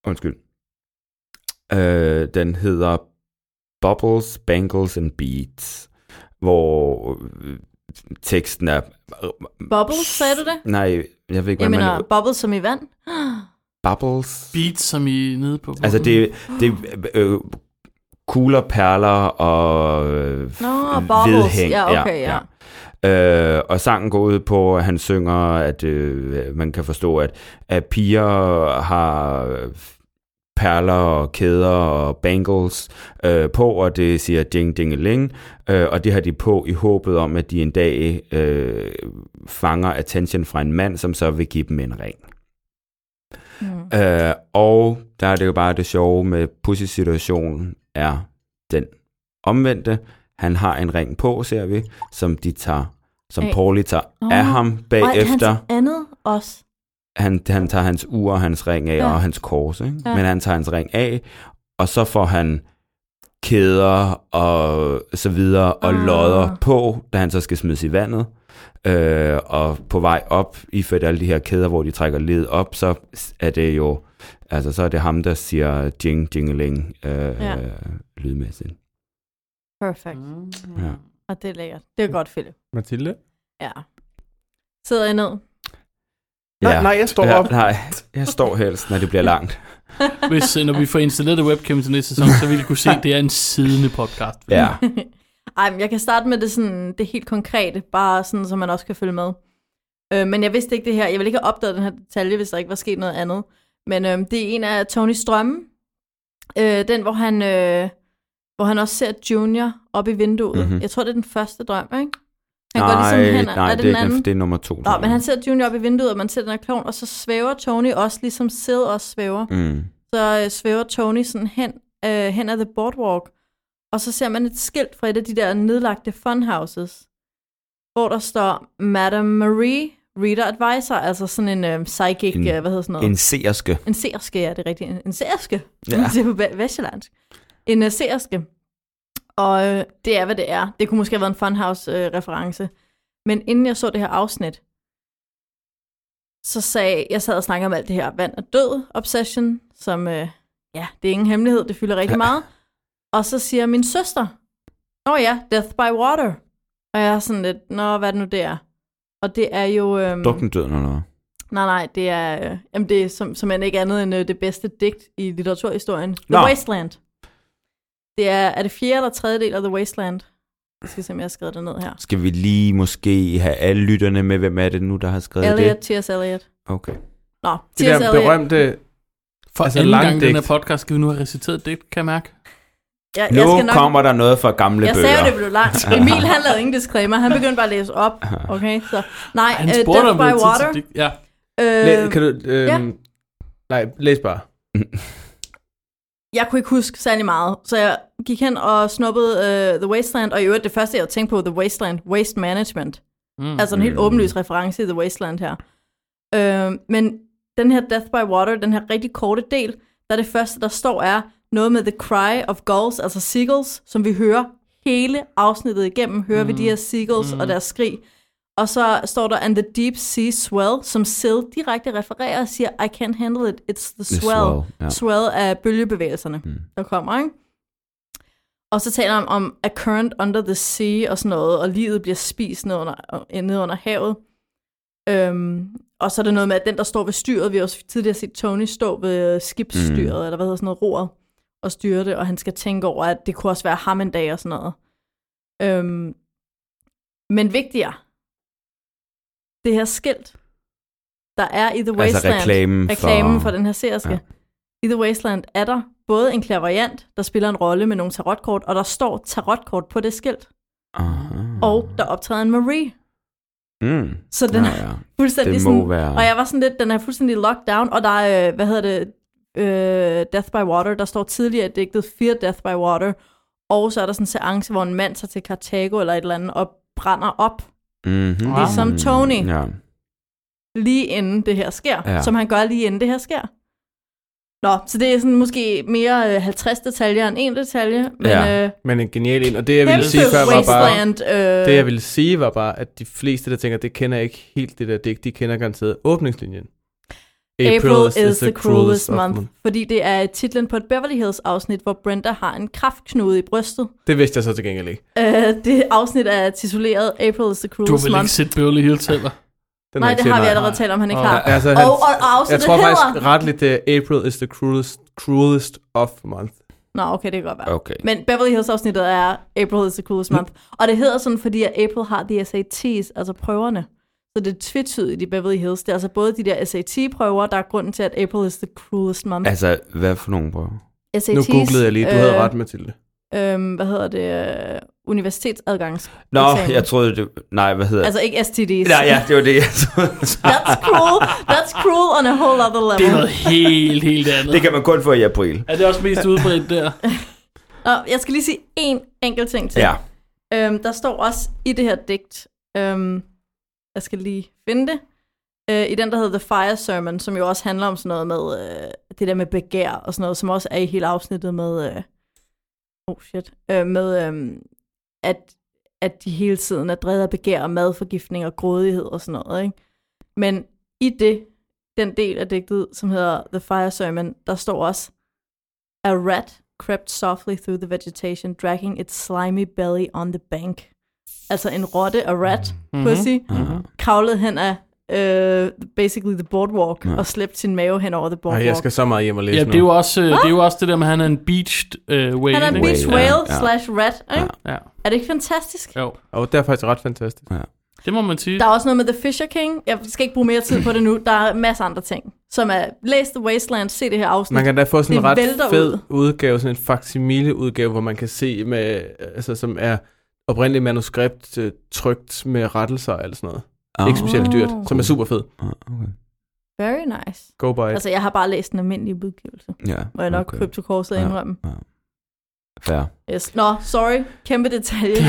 J: Undskyld. Øh, den hedder Bubbles, Bangles and Beats, hvor øh, teksten er...
A: Bubbles, sagde du det?
J: Nej, jeg ved ikke,
A: Jeg
J: hvad man...
A: mener, bubbles som i vand.
J: Bubbles?
B: Beat, som I er nede på.
J: Altså, det, det er øh, kugler, perler og øh,
A: Nå,
J: øh,
A: bubbles. Ja, okay, ja.
J: ja. Øh, og sangen går ud på, at han synger, at øh, man kan forstå, at, at piger har perler og kæder og bangles øh, på, og det siger ding ding ling øh, og det har de på i håbet om, at de en dag øh, fanger attention fra en mand, som så vil give dem en ring.
A: Mm.
J: Øh, og der er det jo bare det sjove med pussy-situationen er den omvendte. Han har en ring på, ser vi, som de tager, som
A: Af.
J: Pauli tager
A: Nå.
J: af ham bagefter.
A: Og hans andet også.
J: Han, han tager hans ur og hans ring af,
A: Ja.
J: ja. og hans kors, ikke?
A: Ja.
J: Ja. men han tager hans ring af, og så får han kæder og så videre og
A: Ah.
J: lodder på, da han så skal smides i vandet. Øh, og på vej op, iført alle de her kæder, hvor de trækker led op, så er det jo, altså så er det ham, der siger jing, jingeling øh,
A: Ja.
J: ja. lydmæssigt.
A: Perfect.
I: Mm.
A: Mm.
J: Ja.
A: Og det er lækkert. Det er godt, Philip.
I: Mathilde?
A: Ja. Sidder I ned?
I: Nej, nej, jeg står
J: ja,
I: op.
J: Nej, jeg står helst, når det bliver langt.
B: Hvis, øh, når vi får installeret et webcam til næste sæson, så vil I kunne se, at det er en siddende podcast.
J: Ja.
A: Ej, men jeg kan starte med det, sådan, det helt konkrete, bare sådan, så man også kan følge med. Øh, men jeg vidste ikke det her. Jeg ville ikke have opdaget den her detalje, hvis der ikke var sket noget andet. Men øh, det er en af Tony Strømme. Øh, den, hvor han, øh, hvor han også ser Junior op i vinduet. Mm-hmm.
J: Mhm.
A: Jeg tror, det er den første drøm, ikke? Han
J: nej,
A: går ligesom hen, og-
J: nej,
A: er
J: det,
A: det den
J: er ikke,
A: anden?
J: den- det er nummer to. tror
A: Nå,
J: jeg.
A: men han ser Junior op i vinduet, og man ser den her klovn, og så svæver Tony også, ligesom Sid også svæver.
J: Mm.
A: Så øh, svæver Tony sådan hen, øh, hen ad The Boardwalk, og så ser man et skilt fra et af de der nedlagte funhouses, hvor der står Madame Marie Reader Advisor, altså sådan en øh, psychic, en,
J: En-
A: øh, hvad hedder sådan noget?
J: En seerske.
A: En seerske, ja, det er rigtigt. En, en seerske, ja.
J: Ja.
A: man siger på ve- vestjyllandsk. En uh, seerske. Og øh, det er, hvad det er. Det kunne måske have været en Funhouse-reference. Men inden jeg så det her afsnit, så sagde jeg, sad og snakkede om alt det her vand og død obsession, som øh, ja, det er ingen hemmelighed, det fylder rigtig meget. Og så siger min søster, Nå ja, Death by Water. Og jeg er sådan lidt, nå, hvad er det nu, det er? Og det er jo... Øhm,
J: Dukken døden eller noget.
A: Nej, nej, det er, øh, jamen det er som, som end ikke andet end øh, det bedste digt i litteraturhistorien. The
J: Nå.
A: Wasteland. Det er, er det fjerde eller tredje del af The Wasteland? Jeg skal se, om jeg har skrevet det ned her.
J: Skal vi lige måske have alle lytterne med, hvem er det nu, der har skrevet
A: Elliot,
J: det?
A: T.S. Eliot.
J: Okay.
A: Nå,
I: Det
A: T.S.
I: der
A: Eliot.
I: berømte...
B: For altså,
I: Altså,
B: anden
I: lang
B: gang i den her
I: digt.
B: podcast skal vi nu have reciteret digt, kan jeg mærke.
A: Jeg,
J: Nu kommer der noget fra gamle
A: Jeg
J: bøger.
A: sagde jo, det blev langt. Emil, han lavede ingen disclaimer. Han begyndte bare at læse op. Okay, så... Nej,
B: Han
A: øh,
B: spurgte,
A: Death
B: om vi
A: by
B: havde tid
A: Water.
B: til digt. Ja.
I: Læ-
A: Øh,
I: kan du... Øh,
A: ja.
I: Nej, læs bare.
A: jeg kunne ikke huske særlig meget, så jeg gik hen og snuppede uh, The Wasteland, og i øvrigt det første, jeg tænkte på, The Wasteland, Waste Management.
B: Mm.
A: Mm. Altså en helt åbenlys reference i The Wasteland her. Uh, men den her Death by Water, den her rigtig korte del, der er det første, der står, er noget med The Cry of Gulls, altså seagulls, som vi hører hele afsnittet igennem, hører mm. vi de her seagulls mm. og deres skrig. Og så står der, and the deep sea swell, som Sid direkte refererer og siger, I can't handle it, it's the swell.
J: swell, ja.
A: swell af bølgebevægelserne, mm. der kommer, ikke? Og så taler han om a current under the sea og sådan noget, og livet bliver spist ned under, og- ned under havet. Øhm, og så er det noget med, at den, der står ved styret, vi har også tidligere set Tony stå ved skibsstyret, mm. eller hvad hedder sådan noget, roret, og styre det, og han skal tænke over, at det kunne også være ham en dag og sådan noget. Øhm, men vigtigere, det her skilt, der er i The Wasteland,
J: Altså reklamen for-
A: reklamen for den her seriske,
J: Ja.
A: ja. i The Wasteland er der både en klaverjant, der spiller en rolle med nogle tarotkort, og der står tarotkort på det skilt,
J: Aha.
A: og der optræder en Marie.
J: Mm.
A: Så den
J: Ja,
A: er
J: ja.
A: fuldstændig
J: Det må
A: sådan,
J: være-
A: og jeg var sådan lidt, den er fuldstændig locked down, og der er, øh, hvad hedder det, øh, Death by Water, der står tidligere i digtet Fear Death by Water, og så er der sådan en seance, hvor en mand tager til Carthago eller et eller andet, og brænder op,
J: Mm-hmm.
A: Ligesom Tony.
J: Ja.
A: lige inden det her sker,
J: Ja.
A: ja. som han gør lige inden det her sker. Nå, så det er sådan måske mere øh, 50 detaljer end en detalje, men
J: Ja.
A: ja. øh,
I: Men en genial en. Og det, jeg ville sige
A: kæmpe
I: før, var bare...
A: wasteland. Øh,
I: Det, jeg ville sige, var bare, at de fleste, der tænker, det kender jeg ikke helt det der digt, de kender garanteret åbningslinjen.
A: April is, is the cruelest month, fordi det er titlen på et Beverly Hills afsnit, hvor Brenda har en kraftknude i brystet.
I: Det vidste jeg så til gengæld ikke.
A: Uh, det afsnit er tituleret April is the
B: Du
A: cruelest
B: vil ikke
A: month.
B: sætte Beverly Hills heller.
I: Den
A: Nej,
I: jeg
A: det
I: set
A: har vi
I: meget.
A: allerede talt om, han ikke
B: Åh,
A: har.
B: ja.
I: Altså,
A: Og, og
I: jeg
A: afsnittet
I: tror
A: hedder...
I: faktisk retligt, det er April is the cruelest, cruelest of month.
A: Nå, okay, det kan godt være.
J: Okay.
A: Men Beverly Hills afsnittet er April is the coolest month. Og det hedder sådan, fordi at April har de SATs, altså prøverne. Så det er tvetydigt i Beverly Hills. Det er altså både de der SAT-prøver, der er grunden til, at April is the cruelest month.
J: Altså, hvad for nogle prøver?
A: SATs,
I: Nu googlede jeg lige, du havde ret, Mathilde.
A: øh, Øhm, hvad hedder det? øh, Universitetsadgangs.
J: Nå,
A: eksamen.
J: jeg troede, det... Nej, hvad hedder det?
A: Altså ikke STDs.
J: Nej, ja, det var det, jeg troede.
A: That's cruel. That's cruel on a whole other
B: Det er
A: level.
B: noget helt, helt andet.
J: Det kan man kun få i april.
B: Er det også mest udbredt der?
A: Og jeg skal lige sige én enkelt ting til.
J: Ja.
A: Øhm, der står også i det her digt, øhm, jeg skal lige finde det, øh, i den, der hedder The Fire Sermon, som jo også handler om sådan noget med øh, det der med begær og sådan noget, som også er i hele afsnittet med, øh, oh shit, øh, med øh, at, at de hele tiden er drevet af begær og madforgiftning og grådighed og sådan noget. Ikke? Men i det, den del af digtet, som hedder The Fire Sermon, der står også, A rat crept softly through the vegetation, dragging its slimy belly on the bank. Altså en rotte, a rat, mm-hmm.
B: Mhm.
A: pussy, mm-hmm. kravlede hen af uh, basically the boardwalk og slæbte sin mave hen over the boardwalk.
I: Ej, jeg skal så meget hjem og læse
B: Ja,
I: nu.
B: det er jo også, øh, det, er jo også det der med, at han er en beached øh, whale.
A: Han er en
B: ikke?
A: beach
J: Whale,
A: whale
J: ja, ja.
A: slash rat. Ikke?
B: Ja,
A: Er det ikke fantastisk?
B: jo.
I: Og det er faktisk ret fantastisk.
B: Det må man sige.
A: Der er også noget med The Fisher King. Jeg skal ikke bruge mere tid på det nu. Der er masser af andre ting, som er læs The Wasteland, se det her afsnit.
I: Man kan da få sådan en
A: Det
I: ret
A: vælter
I: fed
A: ud.
I: udgave, sådan en facsimile udgave, hvor man kan se, med, altså, som er oprindeligt manuskript øh, trygt med rettelser og alt sådan noget.
J: Ah,
I: Ikke specielt dyrt, som er super fed.
J: ah, okay.
A: Very nice.
I: Go by it.
A: Altså, jeg har bare læst den almindelige udgivelse,
J: Ja.
A: må jeg nok okay. krybe til korset og
J: Ja.
A: indrømme.
J: Fair.
A: Yes. Nå, sorry. Kæmpe detalje.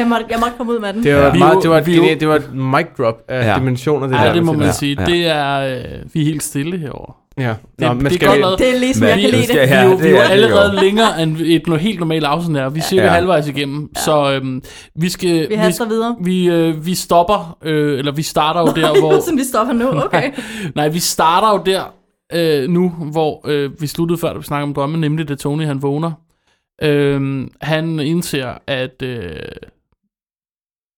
A: jeg, måtte, jeg måtte komme ud med den.
I: Det var,
B: Vi
I: ja.
B: er jo-
I: meget, det var, et,
B: vi er jo-
I: genialt- det var et mic drop af
J: Ja.
I: ja. dimensioner, det
B: Ja,
I: der.
B: det må
I: Mathilde.
B: man
J: Ja,
B: sige.
J: ja.
B: Det er, øh, vi er helt stille herovre.
I: Ja. Nå,
B: det
I: men
B: er
I: skal
B: godt
I: vi,
B: lavet.
A: det er ligesom,
J: Hvad?
A: jeg kan
J: Det
A: lide
J: skal
A: det.
B: vi
J: Ja,
B: er jo, vi
J: det
B: er jo
J: er det
B: allerede
J: jo.
B: længere end et no- helt normalt afsnit er. Vi er cirka
J: Ja.
B: ja. halvvejs igennem, ja. så øhm, vi skal...
A: Vi haster videre.
B: Vi, øh, vi stopper, øh, eller vi starter jo der,
A: Det er
B: hvor...
A: sådan, vi stopper nu. Okay.
B: Nej, vi starter jo der, øh, nu, hvor øh, vi sluttede før, da vi snakkede om drømme, nemlig det Tony, han vågner. Øh, han indser, at øh,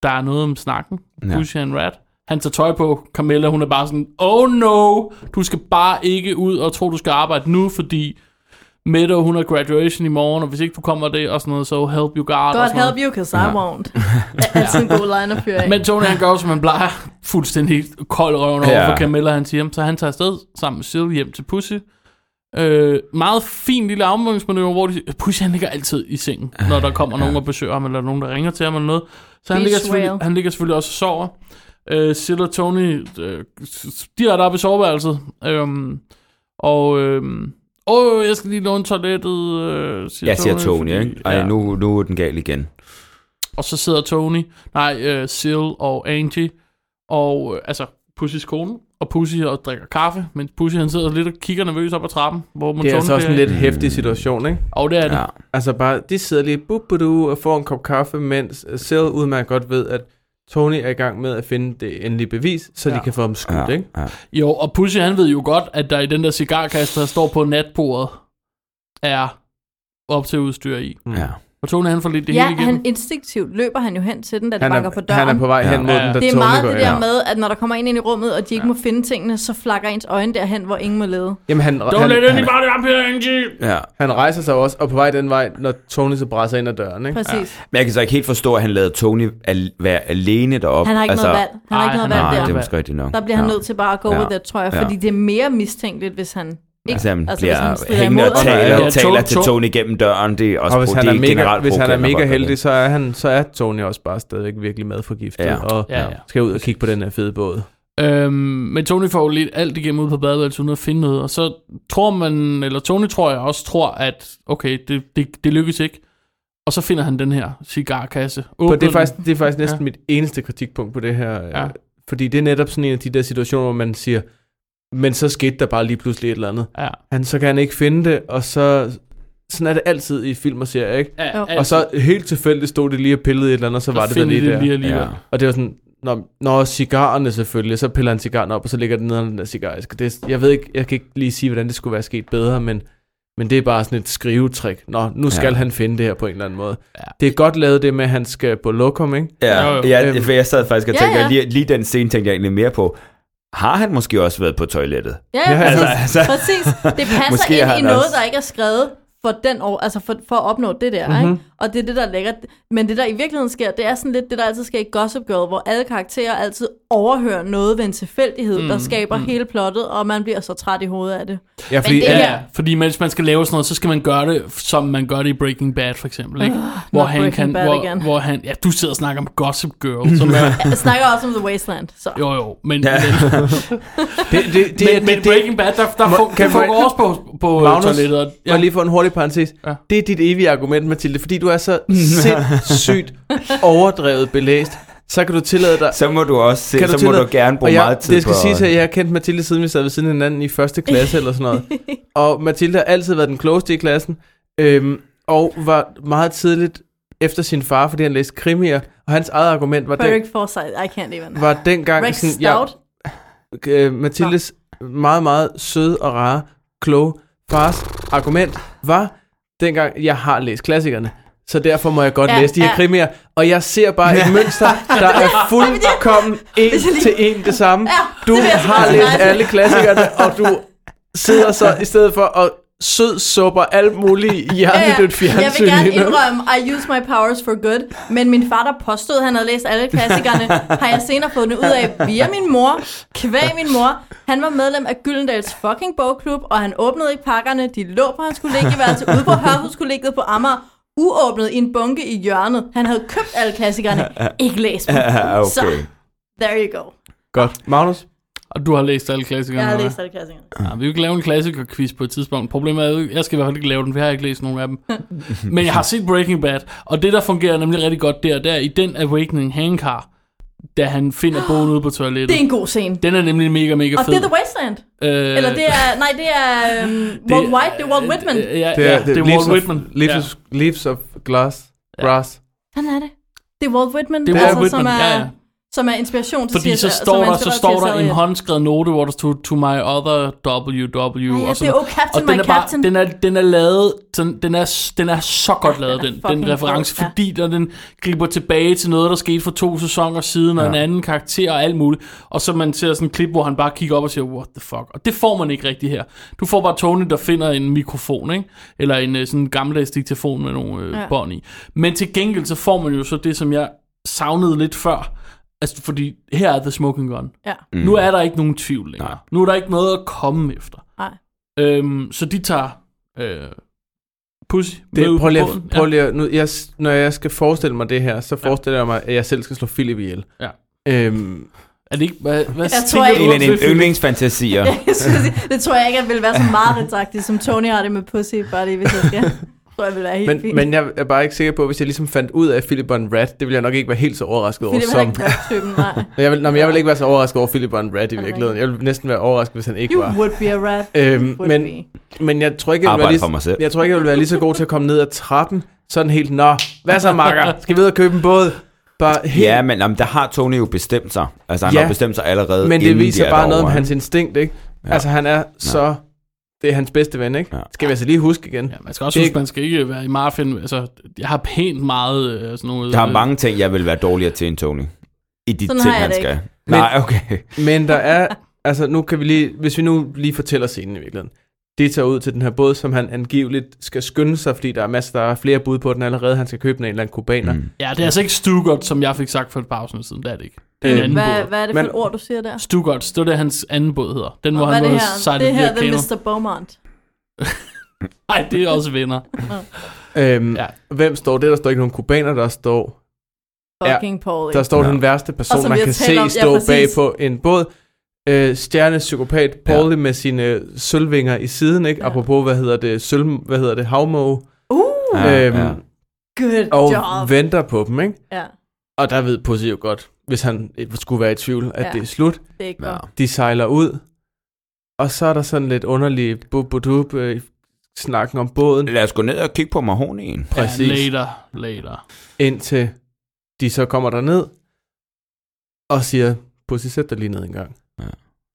B: der er noget om snakken. Ja.
J: Ja.
B: Bushy and Rat. Han tager tøj på. Camilla, hun er bare sådan, oh no, du skal bare ikke ud og tro, du skal arbejde nu, fordi Meadow, hun har graduation i morgen, og hvis ikke du kommer det, og sådan noget, så help you God. og
A: God
B: sådan noget.
A: help you, because I won't. Det er altid en god line at fyre af.
B: Men Tony han gør jo, som han plejer. Fuldstændig kold røven over
J: Ja.
B: for Camilla, han siger. Så han tager afsted sammen med Sylvie hjem til Pussy. Øh, meget fin lille afmødningsmanøvre, hvor de, Pussy han ligger altid i sengen, når der kommer nogen og besøger ham, eller nogen, der ringer til ham eller noget. Så han
A: Beach
B: ligger, selvfølgelig,
A: whale.
B: han ligger selvfølgelig også og sover. Øh, Sil og Tony øh, direkte op i soveværelset. Øhm, og øhm, åh, jeg skal lige låne toilettet, øh, siger
J: Jeg siger Tony,
B: fordi-
J: ikke? Ej,
B: ja.
J: nu, nu er den gal igen.
B: Og så sidder Tony, nej, øh, Sil og Angie, og øh, altså Pussys kone, og Pussy og drikker kaffe, men Pussy han sidder lidt og kigger nervøs op ad trappen, hvor man
I: Det er
B: Tony
I: altså også en
B: bliver-
I: lidt hæftig situation, ikke?
B: Og det er det.
J: Ja.
B: Ja.
I: Altså bare, de sidder lige bup du og får en kop kaffe, mens selv udmærket godt ved, at Tony er i gang med at finde det endelige bevis, så ja.
B: Ja.
I: de kan få ham skudt,
J: Ja,
I: ja. ikke?
J: ja.
B: Jo, og Pussy han ved jo godt, at der i den der cigarkasse, der står på natbordet, er op til udstyr i.
I: Mm.
J: ja.
B: Og Tony han får lidt det
A: ja,
B: hele igen.
A: han instinktivt løber han jo hen til den, da det
I: Han
A: banker
I: er,
A: på døren.
I: han er på vej
J: Ja.
I: hen mod
B: Ja.
I: den, der
A: det er
I: Tony
A: meget
I: går
A: det
I: ind.
A: der med, at når der kommer en ind i rummet, og de ikke ja. må finde tingene, så flakker ens øjne derhen, hvor ingen må lede.
I: Jamen, han,
B: Don't let
I: han, han,
B: anybody up here, Angie!
J: ja.
I: han rejser sig også, og på vej den vej, når Tony så brænder ind ad døren, ikke?
A: Præcis. Ja.
J: Men jeg kan så ikke helt forstå, at han lader Tony al- være alene deroppe.
A: Han har ikke altså, noget valg. Han har
B: Ej,
A: ikke noget
B: han
A: valg
B: har
J: Nej,
A: der.
J: det er
B: valg.
J: måske rigtigt nok.
A: Der bliver han nødt til bare at gå
J: Ja.
A: ja. with it, tror jeg,
J: Ja.
A: fordi det er mere mistænkeligt, hvis han... Ikke?
J: Altså, han altså,
A: hvis han
J: bliver
A: strider
J: hængende
A: imod
J: og
A: ham.
J: taler,
B: Ja,
J: ja, taler
B: Tony-
J: til Tony gennem døren. Det er også
I: Og hvis
J: pro-
I: han
J: det
I: er
J: er
I: mega,
J: generelt
I: hvis han er
J: provokerende at gøre
I: mega
J: det.
I: heldig, så er, han, så er Tony også bare stadigvæk virkelig madforgiftet,
J: Ja.
I: og
B: Ja,
I: ja,
B: ja.
I: ja. skal ud og kigge på den her fede båd.
B: Øhm, men Tony får jo lidt alt igennem ud på badeværelset uden at finde noget, og så tror man, eller Tony tror jeg også tror, at okay, det, det, det lykkes ikke. Og så finder han den her cigarkasse.
I: For
B: Åbner
I: det er
B: den.
I: faktisk, det er faktisk næsten
B: Ja.
I: ja. mit eneste kritikpunkt på det her.
B: Ja.
I: Ja. Fordi det er netop sådan en af de der situationer, hvor man siger, men så skete der bare lige pludselig et eller andet.
B: Ja.
I: Han, så kan han ikke finde det, og så... Sådan er det altid i film og serier, ikke?
B: Ja,
A: Jo.
B: ja,
I: Og så helt tilfældigt stod det lige og pillede et eller andet, og så var det der lige der.
B: Lige
I: Lige.
B: alligevel.
J: Ja.
I: Og det var sådan, når, når cigarerne selvfølgelig, så piller han cigaren op, og så ligger den nede under den der cigaræske. Det, er- jeg ved ikke, jeg kan ikke lige sige, hvordan det skulle være sket bedre, men, men det er bare sådan et skrivetrik. Nå, nu skal
J: Ja.
I: ja. han finde det her på en eller anden måde.
B: Ja.
I: Ja. Det er godt lavet det med, at han skal på lokum, ikke?
B: Jo, jo.
J: Ja, ja
I: Øhm.
J: for jeg sad faktisk og
A: Ja,
J: tænkte,
A: ja.
J: Lige, lige den scene tænkte jeg egentlig mere på. Har han måske også været på toilettet?
A: Ja, ja, præcis.
J: Altså,
A: Altså,
J: altså.
A: altså. præcis. Det passer
J: Måske
A: ind
J: har
A: i
J: han
A: noget,
J: også-
A: der ikke er skrevet for, den år, altså for, for at opnå det der. Mm-hmm. Ikke? Og det er det, der er lækkert. Men det, der i virkeligheden sker, det er sådan lidt det, der altid sker i Gossip Girl, hvor alle karakterer altid overhører noget ved en tilfældighed, mm, der skaber mm. hele plottet, og man bliver så træt i hovedet af det.
I: Ja, fordi,
A: det
I: ja,
A: er-
B: Ja, fordi mens man skal lave sådan noget, så skal man gøre det, som man gør det i Breaking Bad, for eksempel. Ikke? hvor,
A: Ah, not
B: han
A: Breaking
B: kan,
A: Bad
B: hvor,
A: igen.
B: hvor han, ja, du sidder og snakker om Gossip Girl, som er,
A: Jeg snakker også om The Wasteland, så...
B: jo jo, men,
J: Ja.
B: men,
I: det, det, det,
B: men,
I: er- det,
B: men
I: det,
B: Breaking Bad, der, der,
I: Må-
B: får,
I: kan
B: der får
I: man-
B: også på, på
I: Magnus,
B: toilettet. og-
I: Ja. Og lige for en hurtig parentes.
B: Ja.
I: Ja. Det er dit evige argument, Mathilde, fordi du er så sindssygt overdrevet belæst, så kan du tillade dig...
J: Så må du også se,
I: Kan du
J: så må
I: tillade-
J: du gerne bruge
I: og jeg,
J: meget tid
I: det skal
J: på...
I: siges, at jeg har kendt Mathilde, siden vi sad ved siden af hinanden i første klasse eller sådan noget. Og Mathilde har altid været den klogeste i klassen, øhm, og var meget tidligt efter sin far, fordi han læste krimier, og hans eget argument var, den,
A: Beric Forsyth, I can't even.
I: var dengang...
A: Rex
I: sådan, jeg-
A: Stout.
I: øh, Mathildes meget, meget søde og rare, kloge fars argument var, dengang jeg har læst klassikerne, så derfor må jeg godt
A: Ja,
I: ja, læse de her
A: ja.
I: ja. krimier. Og jeg ser bare et mønster, der er fuldkommen en
A: Hvis jeg lige-
I: til en det samme.
A: Ja,
I: Du
A: det vil jeg så
I: har
A: godt
I: læst
A: sige.
I: alle klassikerne, og du sidder så i stedet for at sødsupper alt muligt hjernedødt fjernsyn.
A: Jeg vil gerne
I: lige nu.
A: indrømme, I use my powers for good, men min far, der påstod, at han havde læst alle klassikerne, har jeg senere fået det ud af via min mor, kvæg min mor. Han var medlem af Gyldendals fucking bogklub, og han åbnede ikke pakkerne. De lå på hans kollegieværelse ude på Hørhuskollegiet på Amager, uåbnet i en bunke i hjørnet. Han havde købt alle klassikerne, ikke læst dem.
J: Ja,
A: Så,
J: okay.
A: there you go.
I: Godt. Magnus?
B: Og du har læst alle klassikerne.
A: Jeg har
B: eller
A: læst
B: hvad?
A: alle klassikerne.
B: Ja, Ah, vi vil lave en klassiker-quiz på et tidspunkt. Problemet er, jo- jeg skal i hvert fald ikke lave den, for jeg har ikke læst nogen af dem. Men jeg har set Breaking Bad, og det, der fungerer nemlig rigtig godt der, det er i den awakening, Hank har, da han finder bogen ude på
A: Det er
B: toilettet.
A: en god scene.
B: Den er nemlig mega, mega
A: Og
B: fed.
A: det er The Wasteland.
B: Øh,
A: Eller det er, nej, det er um, Walt White, det er Walt Whitman.
B: Øh, Ja, ja, det er, det er Walt Whitman.
I: Leaves,
B: ja.
I: of, leaves of glass.
B: Ja.
I: Grass.
A: Sådan er det. Det er Walt Whitman,
B: Det er
A: altså,
B: Walt Whitman,
A: som er,
B: ja, ja.
A: som er inspiration til
B: Fordi
A: CSR,
B: så
A: som
B: står
A: er
B: der, så
A: inspiration
B: står
A: til
B: der en
A: CSR.
B: håndskrevet note, hvor der stod to my other WW.
A: Ej, ja,
B: og
A: det
B: sådan
A: er
B: noget.
A: oh, Captain,
B: og den
A: my
B: er, bare,
A: Captain.
B: den er, den er lavet, den, den, er, den er så godt
A: Ja,
B: lavet,
A: den er
B: den, den
A: fucking
B: reference,
A: god, ja.
B: fordi der, den griber tilbage til noget, der skete for to sæsoner siden, og en anden karakter og alt muligt. Og så man ser sådan et klip, hvor han bare kigger op og siger, what the fuck. Og det får man ikke rigtigt her. Du får bare Tony, der finder en mikrofon, ikke? eller en øh, sådan en gammeldags diktafon med nogle øh,
A: Ja.
B: bånd i. Men til gengæld, så får man jo så det, som jeg savnede lidt før, Altså, fordi her er The Smoking Gun.
A: Ja.
B: Mm. Nu er der ikke nogen tvivl længere.
J: Nej.
B: Nu er der ikke noget at komme efter.
A: Nej.
B: Øhm, så de tager øh, Pussy med
I: Det,
B: ud
I: prøv
B: på
I: lige,
B: båden.
I: at- prøv lige, at- nu, jeg, s- når jeg skal forestille mig det her, så forestiller jeg mig, at jeg selv skal slå Philip ihjel.
B: Ja.
I: Øhm,
B: Ja. Er det ikke... Hvad, hvad
A: Jeg
B: tænker
A: tror
B: du
A: ikke-
J: En
B: om
J: af dine
B: det, Philip?
J: yndlingsfantasier.
A: Jeg skulle sige, det tror jeg ikke, at ville være så meget som Tony har det med pussy, bare det, hvis jeg skal. Det tror jeg ville være helt
I: men,
A: fint.
I: men jeg er bare ikke sikker på, hvis jeg ligesom fandt ud af, at Philip var en rat, det ville jeg nok ikke være helt så overrasket over
A: Philip er
I: som...
A: ikke typen, nej.
I: Jeg vil, nej, men jeg vil ikke være så overrasket over, at Philip var en rat i
A: Er det
I: virkeligheden. Jeg ville næsten være overrasket, hvis han ikke
A: You
I: var.
A: would be a rat.
I: Øhm,
A: Would
I: men,
A: be.
I: Men jeg tror ikke, jeg vil, være
J: Arbejde for
I: lige,
J: mig selv.
I: jeg tror ikke, jeg vil være lige så god til at komme ned ad trappen. Sådan helt, nå, hvad så, makker? Skal vi ud og købe en båd? Bare helt,
J: Ja, men jamen, der har Tony jo bestemt sig. Altså, han
I: Ja.
J: har bestemt sig allerede,
I: men det
J: inden de
I: viser
J: er
I: bare noget om
J: derovre.
I: hans instinkt, ikke? Ja.
J: Ja.
I: Altså, han er så... Det er hans bedste ven, ikke? Ja.
J: Ja.
I: Skal vi altså lige huske igen.
B: Ja, man skal også
I: Det er
B: huske,
I: ikke-
B: man skal ikke være i Marfin. Altså, jeg har pænt meget øh, sådan noget...
J: Der er
B: øh,
J: mange ting, jeg vil være dårligere til end Tony. I de
A: Sådan
J: ting,
A: har jeg
J: han
A: det
J: skal.
I: Men-
J: Nej, okay.
I: Men der er... Altså, nu kan vi lige... Hvis vi nu lige fortæller scenen i virkeligheden. Det tager ud til den her båd, som han angiveligt skal skynde sig, fordi der er masser, der er flere bud på den allerede. Han skal købe den af en eller anden kubaner. Mm.
J: Mm.
B: Ja, det er altså ikke Stugert, som jeg fik sagt for et par afsnit siden. Det er det ikke. Det er en
I: Øh,
B: anden
A: Hvad,
B: båd.
A: hvad er det for
I: Men-
A: et ord, du siger der?
B: Stugert, det var det, hans anden båd hedder. Den,
A: Og
B: hvor
A: hvad er
B: han
A: det
B: var
A: her?
B: sejlet
A: Det her,
B: via
A: det er
B: kano.
A: Mr. Beaumont.
B: Nej, det er også venner.
I: Øhm,
B: Ja.
I: ja. Hvem står det? Der står ikke nogen kubaner, der står...
A: Fucking Paul.
I: Der står
J: Ja.
I: den værste
A: Og
I: person,
A: som
I: man
A: vi har
I: kan
A: talt
I: se
A: om- ja,
I: stå
A: præcis.
I: bag på en båd. Øh, stjernepsykopat Pauli med sine øh, sølvvinger i siden, ikke?
A: Ja.
I: Apropos, hvad hedder det? Sølv, hvad hedder det? Havmåge.
A: Uh,
J: Ja,
I: Øhm,
J: ja.
A: good
I: Og
A: job.
I: venter på dem, ikke?
A: Ja,
I: Og der ved Pussy jo godt, hvis han øh, skulle være i tvivl, at
A: Ja.
I: ja. det er slut.
A: det er ikke
J: Ja.
A: godt.
I: De sejler ud. Og så er der sådan lidt underlig bubudub øh, snakken om båden,
J: Lad os gå ned og kigge på Mahonien.
I: Præcis.
B: Ja, later, later.
I: indtil de så kommer der ned og siger, Pussy, sæt dig lige ned en gang.
J: Ja.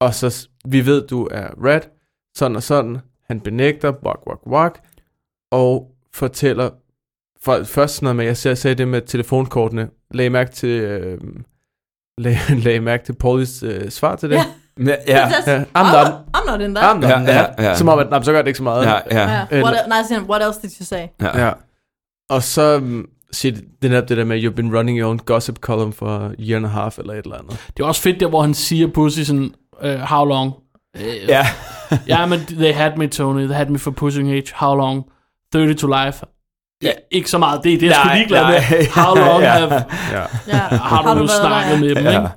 I: Og så, s- vi ved, du er rat, sådan og sådan. Han benægter, wak, wak, wak, og fortæller, for, først sådan noget med, jeg sagde- sagde det med telefonkortene, lag mærke til, øh, lag, lag mærke til Paulis øh, svar til det.
A: Ja.
J: Ja,
A: That's-
I: Ja, I'm not,
A: I'm not in that.
I: I'm not,
J: Ja, ja, ja.
I: Som om, at, nej, så gør det ikke så meget.
J: ja, ja.
A: Ja. What, el- nej, siger han, what else did you say?
J: ja.
I: Ja. Og så um, siger de- det netop det der med, you've been running your own gossip column for a year and a half, eller et eller andet.
B: Det er også fedt der, hvor han siger Pussy sådan, uh, how long? Øh,
J: ja.
B: ja, men they had me, Tony. They had me for pushing age. How long? 30 to life. Ja, ikke så meget. Det er det, jeg skal
J: Nej,
B: ligeglad med.
J: nej.
B: How long
J: Ja.
B: have,
I: Ja.
A: Ja.
B: har, du,
A: været
B: snakket
A: der?
B: med dem?
J: Ja.
B: Ikke?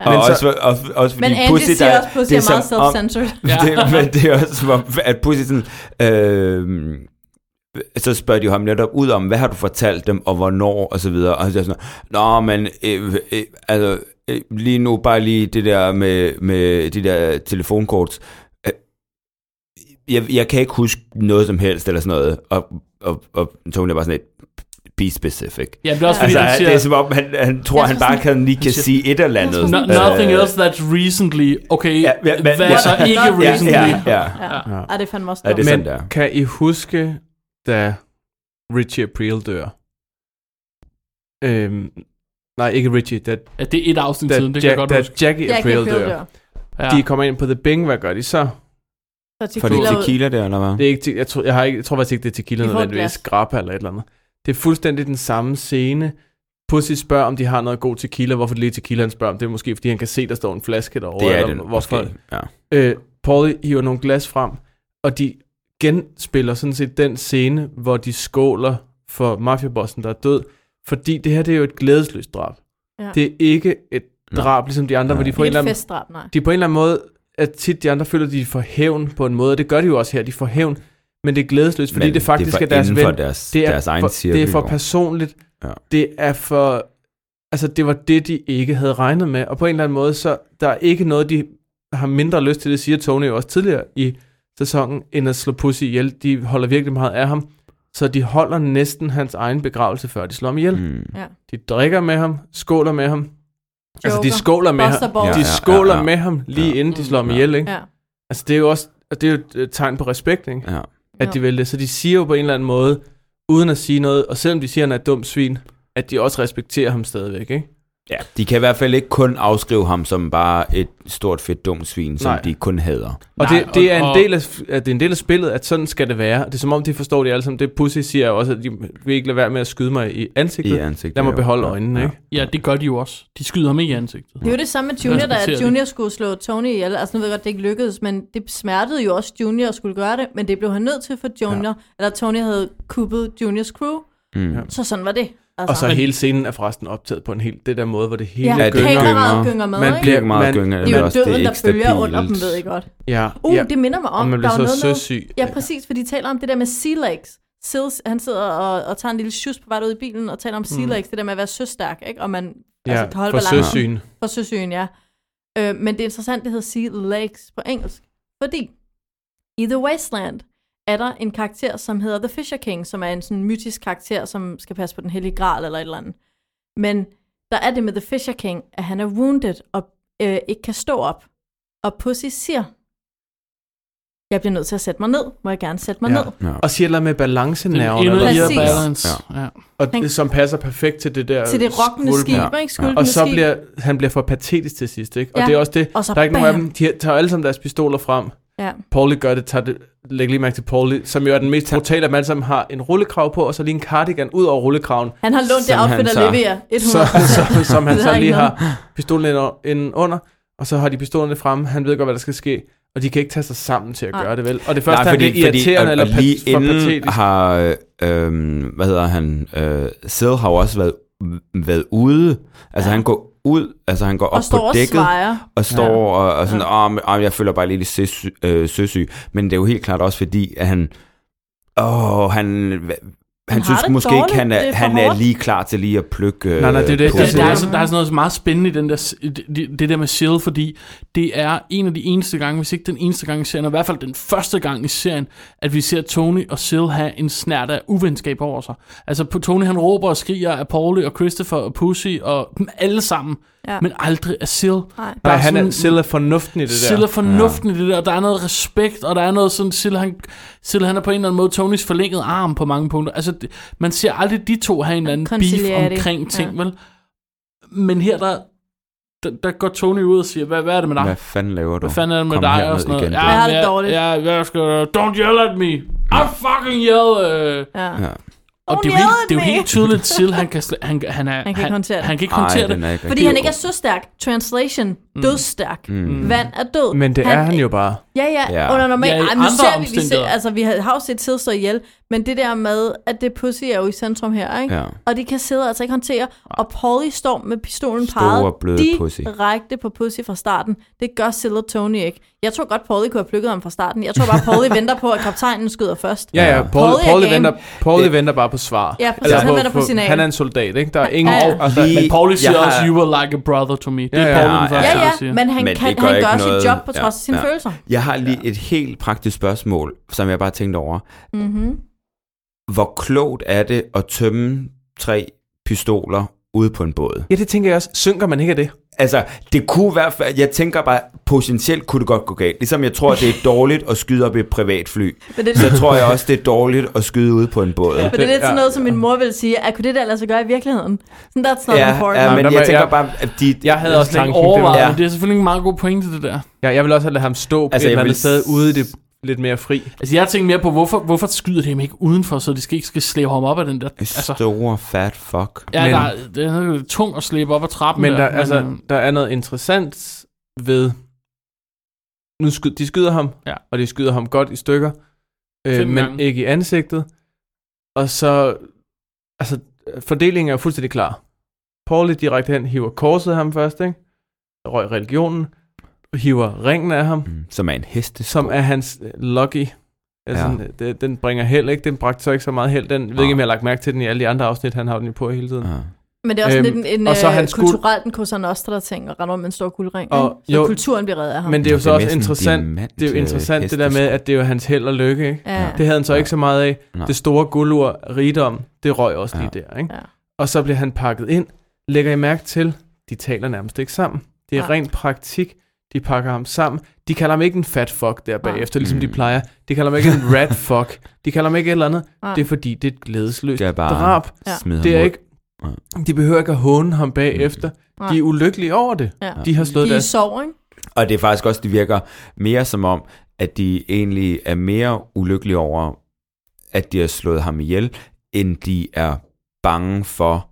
J: Og
I: Men så-
J: også, også, også
A: Men
J: fordi
A: Angie siger også, Pussy
J: det
A: er meget
J: som om-
A: self-centered.
J: Ja. Det, men det er også som om, at Pussy sådan, øh, så spørger de ham netop ud om, hvad har du fortalt dem, og hvornår, og så videre. Og han siger sådan, nå, men øh, øh, altså, øh, lige nu bare lige det der med, med de der telefonkorts. Øh, Jeg, jeg kan ikke huske noget som helst, eller sådan noget. Og, og, og Tony er bare sådan lidt, be specific.
B: Ja, det er også fordi,
J: Altså,
B: han
J: det er
B: siger,
J: som om, han, han tror,
A: Jeg
J: han
A: tror
J: bare
A: sådan-
J: kan, lige kan
B: siger-
J: sige et eller andet.
B: no, nothing else that's recently. Okay,
J: Øh, Ja, ja, men-
B: hvad
J: ja.
B: så ikke
J: Ja,
B: recently?
J: ja, ja.
A: Ja.
I: Ja.
A: Ej, det er fandme også
J: Ja, det er
A: dumt.
J: sådan
I: Men
J: der.
I: kan I huske, da Richie April dør? Øhm, nej, ikke Richie. Da,
B: Ja, det er et afsnit
I: da,
B: siden, det kan jeg
I: Jack,
B: godt
I: da
B: huske.
I: Jackie
A: Jack
I: April
A: April
I: dør.
A: dør.
B: Ja. Mm.
I: De kommer ind på The Bing, hvad gør de så?
A: Så
J: For det
A: tequila ud.
J: tequila der, eller hvad?
I: Det er ikke, te- jeg, tror, jeg, har ikke, jeg tror faktisk ikke, det er tequila
A: De får et
I: nødvendigvis.
A: glas.
I: Grappa eller et eller andet. Det er fuldstændig den samme scene. Pussy spørger, om de har noget god tequila. Hvorfor det lige tequila, han spørger om. Det er måske, fordi han kan se, der står en flaske derovre.
J: Det er
I: eller
J: det
I: hvorfor.
J: måske. Ja.
I: Øh, Paul hiver nogle glas frem, og de genspiller sådan set den scene, hvor de skåler for mafiabossen, der er død. Fordi det her, det er jo et glædesløst drab.
A: Ja.
I: Det er ikke et drab, ligesom de andre, hvor de
A: Det
I: på en
A: er
I: eller
A: et
I: anden
A: festdrab, nej.
I: de på en eller anden måde, at tit de andre føler, at de får hævn på en måde, og det gør de jo også her, de får hævn, men det er glædesløst, fordi
J: Men
I: det faktisk
J: for
I: er deres
J: inden for
I: ven.
J: Deres,
I: det er,
J: deres egen
I: for, det er for
J: cirkel,
I: personligt,
J: Ja.
I: det er for, altså det var det, de ikke havde regnet med, og på en eller anden måde, så der er ikke noget, de har mindre lyst til, det siger Tony jo også tidligere i sæsonen, end at slå Pussy ihjel. De holder virkelig meget af ham, så de holder næsten hans egen begravelse, før de slår ham ihjel.
J: hvor- Mm.
I: De drikker med ham, skåler med ham, Altså, de skåler med
A: Buster
I: ham,
A: Ball.
J: Ja,
I: de
J: ja,
I: skåler
J: ja, ja.
I: med ham lige
J: Ja.
I: inden de slår ham
J: Ja.
I: ihjel, ikke?
A: Ja.
I: Altså, det er jo også og det er jo et øh, tegn på respekt, ikke?
J: Ja.
I: At
A: Jo.
I: de vil det. Så de siger jo på en eller anden måde, uden at sige noget, og selvom de siger, at han er et dumt svin, at de også respekterer ham stadigvæk, ikke?
J: ja, de kan i hvert fald ikke kun afskrive ham som bare et stort fedt dumt svin, som
I: Nej.
J: de kun hader.
I: Og
B: Nej,
I: Nej, det, det,
B: og-
I: er
B: og-
I: en del af, at det er en del af spillet, at sådan skal det være. Det er som om, de forstår det alle sammen. Det Pussy siger jo også, at de vil ikke lade være med at skyde mig i ansigtet.
J: I
I: Yeah.
J: ansigtet.
I: Lad mig
J: jo.
I: beholde
J: Ja.
I: øjnene,
J: Ja.
I: ikke?
B: Ja, det gør de jo også. De skyder ham ikke i ansigtet.
A: Det er jo det samme med Junior, da
B: Respekterer det.
A: Junior skulle slå Tony ihjel. Altså nu ved jeg godt, det ikke lykkedes, men det smertede jo også Junior at skulle gøre det, men det blev han nødt til for Junior, ja. eller Tony havde kuppet Juniors crew,
J: Mm.
I: Ja.
A: så sådan var det. Altså,
I: Og så er
B: Men-
I: hele scenen er forresten optaget på en helt, det der måde, hvor det hele
A: ja,
I: ja,
J: det
A: det
I: gynger.
A: kameraet
J: gynger.
A: gynger med,
I: Man
A: ikke?
J: Bliver ikke meget
I: Man-
J: gyngende.
A: det er jo
J: også, det
A: døden,
J: ikke
A: der følger
J: stabilt.
A: under dem, ved jeg godt.
I: Ja,
A: Uh,
I: ja.
A: det minder mig om,
I: og man
A: der
I: bliver
A: var
I: så
A: noget med-
I: søsyg.
A: Ja, præcis, for de taler om det der med sea legs. Sils, han sidder og, og tager en lille sjus på vej ud i bilen og taler om sea legs, det der med at være søstærk, ikke? Og man
I: Mm. Ja,
A: altså, kan holde
I: for
A: balancen.
I: søsyn.
A: For søsøen, ja. Øh, men det er interessant, det hedder Sea Lakes på engelsk. Fordi i The Wasteland er der en karakter, som hedder The Fisher King, som er en sådan mytisk karakter, som skal passe på den hellige gral eller et eller andet. Men der er det med The Fisher King, at han er wounded og øh, ikke kan stå op. Og Pussy siger, jeg bliver nødt til at sætte mig ned. Må jeg gerne sætte mig ja.
I: Ja.
A: ned?
J: Ja.
I: Og siger noget med balancenerven,
B: Inner
I: eller,
A: Præcis.
B: ear
I: hvad?
B: balance. Ja.
I: og
A: Han-
I: det, som passer perfekt til det der
A: Til det rockende
I: skvulp.
A: skib,
J: Ja.
A: ja. ikke? Skulpende
I: Og så
A: skib.
I: bliver han bliver for patetisk til sidst, ikke? Og
A: Ja.
I: det er også det,
A: Og så
I: der er ikke nogen af
A: bam.
I: dem, de tager alle sammen deres pistoler frem.
A: Ja.
I: Pauli gør det, tager det, læg lige mærke til Pauli, som jo er den mest brutale af dem alle sammen, har en rullekrav på, og så lige en cardigan ud over rullekraven,
A: Han har lånt det
J: Som han
A: outfit
J: tager.
A: af Livia. 100%.
I: så, så, som han
A: Det
I: så
A: er
I: lige
A: ikke
I: har pistolen ind o- ind under, og så har de pistolerne fremme, han ved godt, hvad der skal ske, og de kan ikke tage sig sammen til at
A: Nej.
I: gøre det vel. Og det første, Nej, fordi, han bliver irriterende
J: og,
I: eller
J: og lige
I: pat- for
J: inden
I: patetisk.
J: har, øh, hvad hedder han, øh, Sid har jo også været, været ude, altså
A: Ja.
J: han går ud, altså han går op
A: og står
J: på
A: og
J: dækket,
A: svejer.
J: og står og, og sådan, åh, men- åh, jeg føler bare lidt søsyg, øh, søsyg, men det er jo helt klart også fordi, at han, åh, han, han, han
A: har
J: synes
A: det
J: måske
A: dårligt,
J: ikke, han
A: det
J: er,
A: er for
J: han er
A: hårdt.
J: lige klar til lige at plukke øh,
I: Nej, nej, det er det,
J: på
B: Ja,
I: det
B: der,
I: Ja.
B: er, så- der er sådan noget meget spændende i den der, det, det der med Seal, fordi det er en af de eneste gange, hvis ikke den eneste gang i serien, og i hvert fald den første gang i serien, at vi ser Tony og Seal have en snært af uvenskab over sig. Altså på- Tony han råber og skriger af Pauli og Christopher og Pussy og dem alle sammen, ja.
A: Ja.
B: men aldrig af Seal.
A: Nej.
I: Nej, han er
B: sådan-
I: selv fornuften i det
B: Silla
I: der.
B: fornuften ja. i det der, og der er noget respekt, og der er noget sådan, Silla han, Silla, han er på en eller anden måde Tonys forlængede arm på mange punkter. Altså, det, man ser aldrig de to have en eller anden beef
A: Conciliere det,
B: omkring ting,
A: ja.
B: vel? Men her, der, der, der går Tony ud og siger, hvad, hvad er det med dig?
J: Hvad fanden laver du?
B: Hvad fanden er det med
J: Kom
B: dig?
J: herned
B: Og sådan noget.
J: igen, du.
B: Ja,
A: Jeg har det
B: ja,
A: dårligt.
B: Ja, jeg skal, don't yell at me. I fucking yell. øh.
A: Ja.
J: Ja.
B: Og
A: Don't
B: det er, jo helt,
A: yell at
B: det er
A: me.
B: jo helt tydeligt, Sil, han kan, sl- han, han, er,
A: kan ikke håndtere det.
B: han kan ikke
J: Ej,
B: håndtere
J: den
B: det.
J: er ikke
A: Fordi han ikke er søstærk. Translation. Dødsstærk. Mm. Vand er død.
I: Men det er han jo bare.
A: Ja, ja.
J: Ja.
A: ja. Under normalt.
B: Ja, i
A: Ja, Ej, nu
B: andre
A: ser vi, vi ser,
B: omstændigheder.
A: altså, vi har har jo set Sid stå ihjel, men det der med, at det pussy er jo i centrum her, ikke?
J: Ja.
A: Og det kan sidde altså ikke håndtere. Og Polly står med pistolen
J: Store,
A: peget
J: bløde pussy.
A: direkte på pussy fra starten. Det gør Sid og Tony ikke. Jeg tror godt, Polly kunne have plukket ham fra starten. Jeg tror bare, Polly venter på, at kaptajnen skyder først.
I: Ja, ja. Paul,
A: Paul
I: Paul,
A: er
I: Paul
A: game.
I: venter, Paul venter bare på svar.
A: Ja, præcis, han venter på signal.
I: Han er en soldat, ikke? Der er ingen...
A: Ja, ja.
I: Og så-
J: Lige-
I: men
B: Pauli siger
J: Jeg har-
B: også, you were like a brother to me. Det er
I: Ja, ja.
B: Pauli den
J: Ja,
B: første,
A: Ja,
B: der
A: ja,
B: siger.
A: men han,
J: Men
A: men
J: det
A: kan,
J: gør
A: gør han
J: ikke
A: gør
J: noget.
A: sit job på
J: Ja,
A: trods af sine
J: ja.
A: følelser.
J: Jeg har lige et helt praktisk spørgsmål, som jeg bare tænkte over.
A: Mm-hmm.
J: Hvor klogt er det at tømme tre pistoler ude på en båd?
I: Ja, det tænker jeg også. Synker man ikke af det?
J: Altså, det kunne i hvert fald, jeg tænker bare, potentielt kunne det godt gå galt. Ligesom jeg tror, det er dårligt at skyde op i et privatfly,
A: Men det,
J: så tror jeg også, det er dårligt at skyde ude på en båd.
A: Men det er lidt
I: Ja,
A: sådan noget, som min mor ville sige, at kunne det der lade sig gøre i virkeligheden? Sådan, that's not
J: Ja,
A: important.
J: ja,
I: Nej,
J: men
I: men
J: jeg
I: jeg-
J: tænker bare, at de...
I: Jeg havde også
B: slet ikke
I: tanken.
B: overvejet,
J: Ja.
B: ja. men det er selvfølgelig en meget god pointe, det der.
I: Ja, jeg ville også have ladet ham stå på
J: Altså,
I: altså,
J: jeg
I: et eller andet
J: ville-
I: sted ude i det lidt mere fri.
B: Altså, jeg tænker mere på, hvorfor, hvorfor skyder de ham ikke udenfor, så de skal ikke skal slæbe ham op af den der... Altså,
J: Store fat fuck.
B: ja,
I: men-
B: der, er- det er jo tung at slæbe op ad trappen
I: Men der,
B: der
I: altså,
B: øh,
I: der er noget interessant ved... Nu sky, de skyder ham,
B: Ja.
I: og de skyder ham godt i stykker,
B: Fem
I: øh, men
B: gange.
I: ikke i ansigtet. Og så... Altså, fordelingen er jo fuldstændig klar. Pauli direkte hen hiver korset af ham først, ikke? Røg religionen. Hiver ringen af ham,
J: Mm, Som er en heste.
I: som er hans øh, lucky. Altså,
J: Ja.
I: ja. den, den bringer held, ikke? Den bragte så ikke så meget held. Den, jeg ved ikke, om jeg har lagt mærke til den i alle de andre afsnit, han har den jo på hele tiden.
J: Ja.
A: Men det er også
I: Øhm,
A: øhm, lidt en, en
I: og så
A: øh,
I: hans guld-
A: kulturelt en Cosa Nostra-ting, og render rundt med en stor guldring.
I: Og-
A: Og, så
I: jo.
A: jo, kulturen bliver reddet af ham.
I: Men det er jo så
J: er
I: også
J: næsten
I: interessant,
J: diamant,
I: det er jo
J: øh,
I: interessant det der med,
J: hestesko.
I: at det er jo hans held og lykke, ikke?
A: ja.
I: Det havde han så
J: Ja.
I: ikke så meget af.
J: Nej.
I: Det store guldur, rigdom, det røg også lige
J: Ja.
I: der, ikke?
A: Ja.
I: Og så bliver han pakket ind. Lægger I mærke til de taler nærmest ikke sammen. Det er
A: Nej.
I: ren praktik. De pakker ham sammen. De kalder ham ikke en fat fuck der bagefter, ligesom de
J: Mm.
I: plejer. De kalder ham ikke en rat fuck. De kalder ham ikke et eller andet.
A: Nej.
I: Det er fordi, det er et glædesløst
J: Det er bare-
I: drab.
A: Ja.
J: Smider
I: Det er
J: ham ud.
I: ikke... De behøver ikke at håne ham bagefter.
A: Mm. Nej.
I: De er ulykkelige over det.
A: Ja.
I: De har slået
A: De er i
I: deres...
A: sorg, ikke?
J: Og det er faktisk også, det virker mere som om, at de egentlig er mere ulykkelige over, at de har slået ham ihjel, end de er bange for,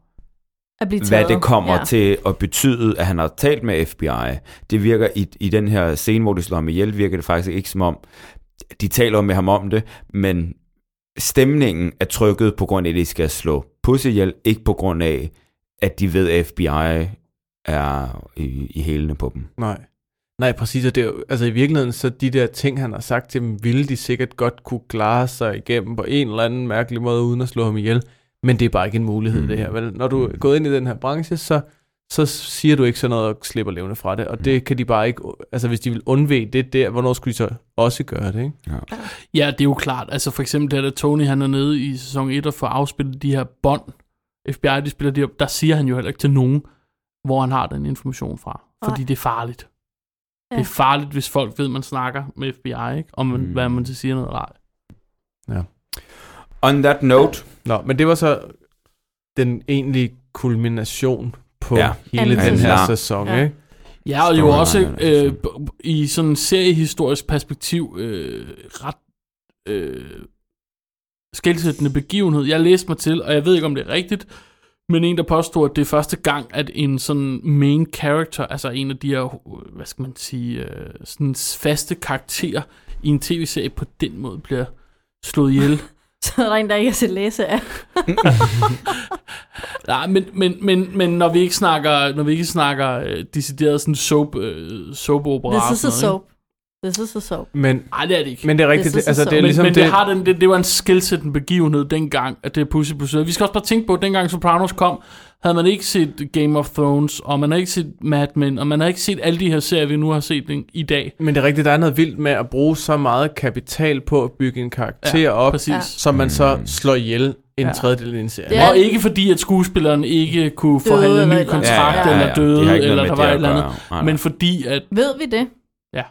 A: At blive
J: hvad
A: taget.
J: det kommer
A: ja.
J: ja. til at betyde, at han har talt med FBI. Det virker i, i den her scene, hvor de slår ham ihjel, virker det faktisk ikke som om, de taler med ham om det, men stemningen er trykket på grund af, at de skal slå pussy ihjel, ikke på grund af, at de ved, at FBI er i, i hælene på dem.
I: Nej. Nej, præcis. Og det er, jo- altså i virkeligheden, så de der ting, han har sagt til dem, ville de sikkert godt kunne klare sig igennem på en eller anden mærkelig måde, uden at slå ham ihjel. Men det er bare ikke en mulighed,
J: Mm.
I: det her. Vel? Når du er gået ind i den her branche, så, så siger du ikke sådan noget og slipper levende fra det. Og det kan de bare ikke... Altså hvis de vil undvæge det der, hvornår skulle de så også gøre det, ikke?
B: Ja, det er jo klart. Altså for eksempel der, da Tony han er nede i sæson 1 og får afspillet de her bånd, FBI de spiller de op, der siger han jo heller ikke til nogen, hvor han har den information fra. Fordi
A: Nej.
B: det er farligt. Ja.
A: Ja.
B: Det er farligt, hvis folk ved, man snakker med FBI, ikke? Om man,
J: Mm.
B: mm. hvad man til siger noget eller ej.
J: On that note,
I: Nå, men det var så den egentlige kulmination på
J: Ja.
I: ja. hele
A: Anden
I: den her
J: sæson.
I: sæson,
A: Ja.
I: ja. ikke?
B: Ja, og det er jo
J: Storyline
B: også
J: er det,
B: øh, b- b- i sådan en seriehistorisk perspektiv øh, ret øh, skældsættende begivenhed. Jeg læste mig til, og jeg ved ikke, om det er rigtigt, men en, der påstod, at det er første gang, at en sådan main character, altså en af de her, øh, hvad skal man sige, øh, sådan faste karakterer i en tv-serie på den måde bliver slået ihjel.
A: Så er der en, der ikke er til læse af.
B: Nej, men, men, men, men når vi ikke snakker, når vi ikke snakker øh, decideret sådan soap, øh, soap opera.
A: This is a soap. This is a soap.
I: Men,
B: Nej, det er det ikke.
I: men det er rigtigt,
A: synes jeg
I: det, altså
A: så.
I: det er
B: Men,
I: ligesom
B: men det,
I: det...
B: det, har den, det, det var en skældsættende begivenhed dengang, at det er Pussy Pusset. Vi skal også bare tænke på, at dengang Sopranos kom, havde man ikke set Game of Thrones, og man havde ikke set Mad Men, og man havde ikke set alle de her serier, vi nu har set i- i dag.
I: Men det er rigtigt, der er noget vildt med at bruge så meget kapital på at bygge en karakter ja, op,
B: Præcis.
A: Ja.
I: som man
J: Mm.
I: så slår ihjel en
B: Ja.
I: ja. tredjedel af en serie.
A: Ja.
B: Og ikke fordi, at skuespilleren ikke kunne
A: Døde
B: forhandle
A: eller
B: en
A: et
B: ny
A: eller andet.
B: kontrakt,
A: Ja, ja, ja,
B: eller døde,
J: det har ikke
B: eller
J: noget
B: der
J: med
B: var et
J: det
B: eller
J: at
B: andet.
J: gøre. Nej, nej.
B: Men fordi, at...
A: Ved vi det?
B: Ja.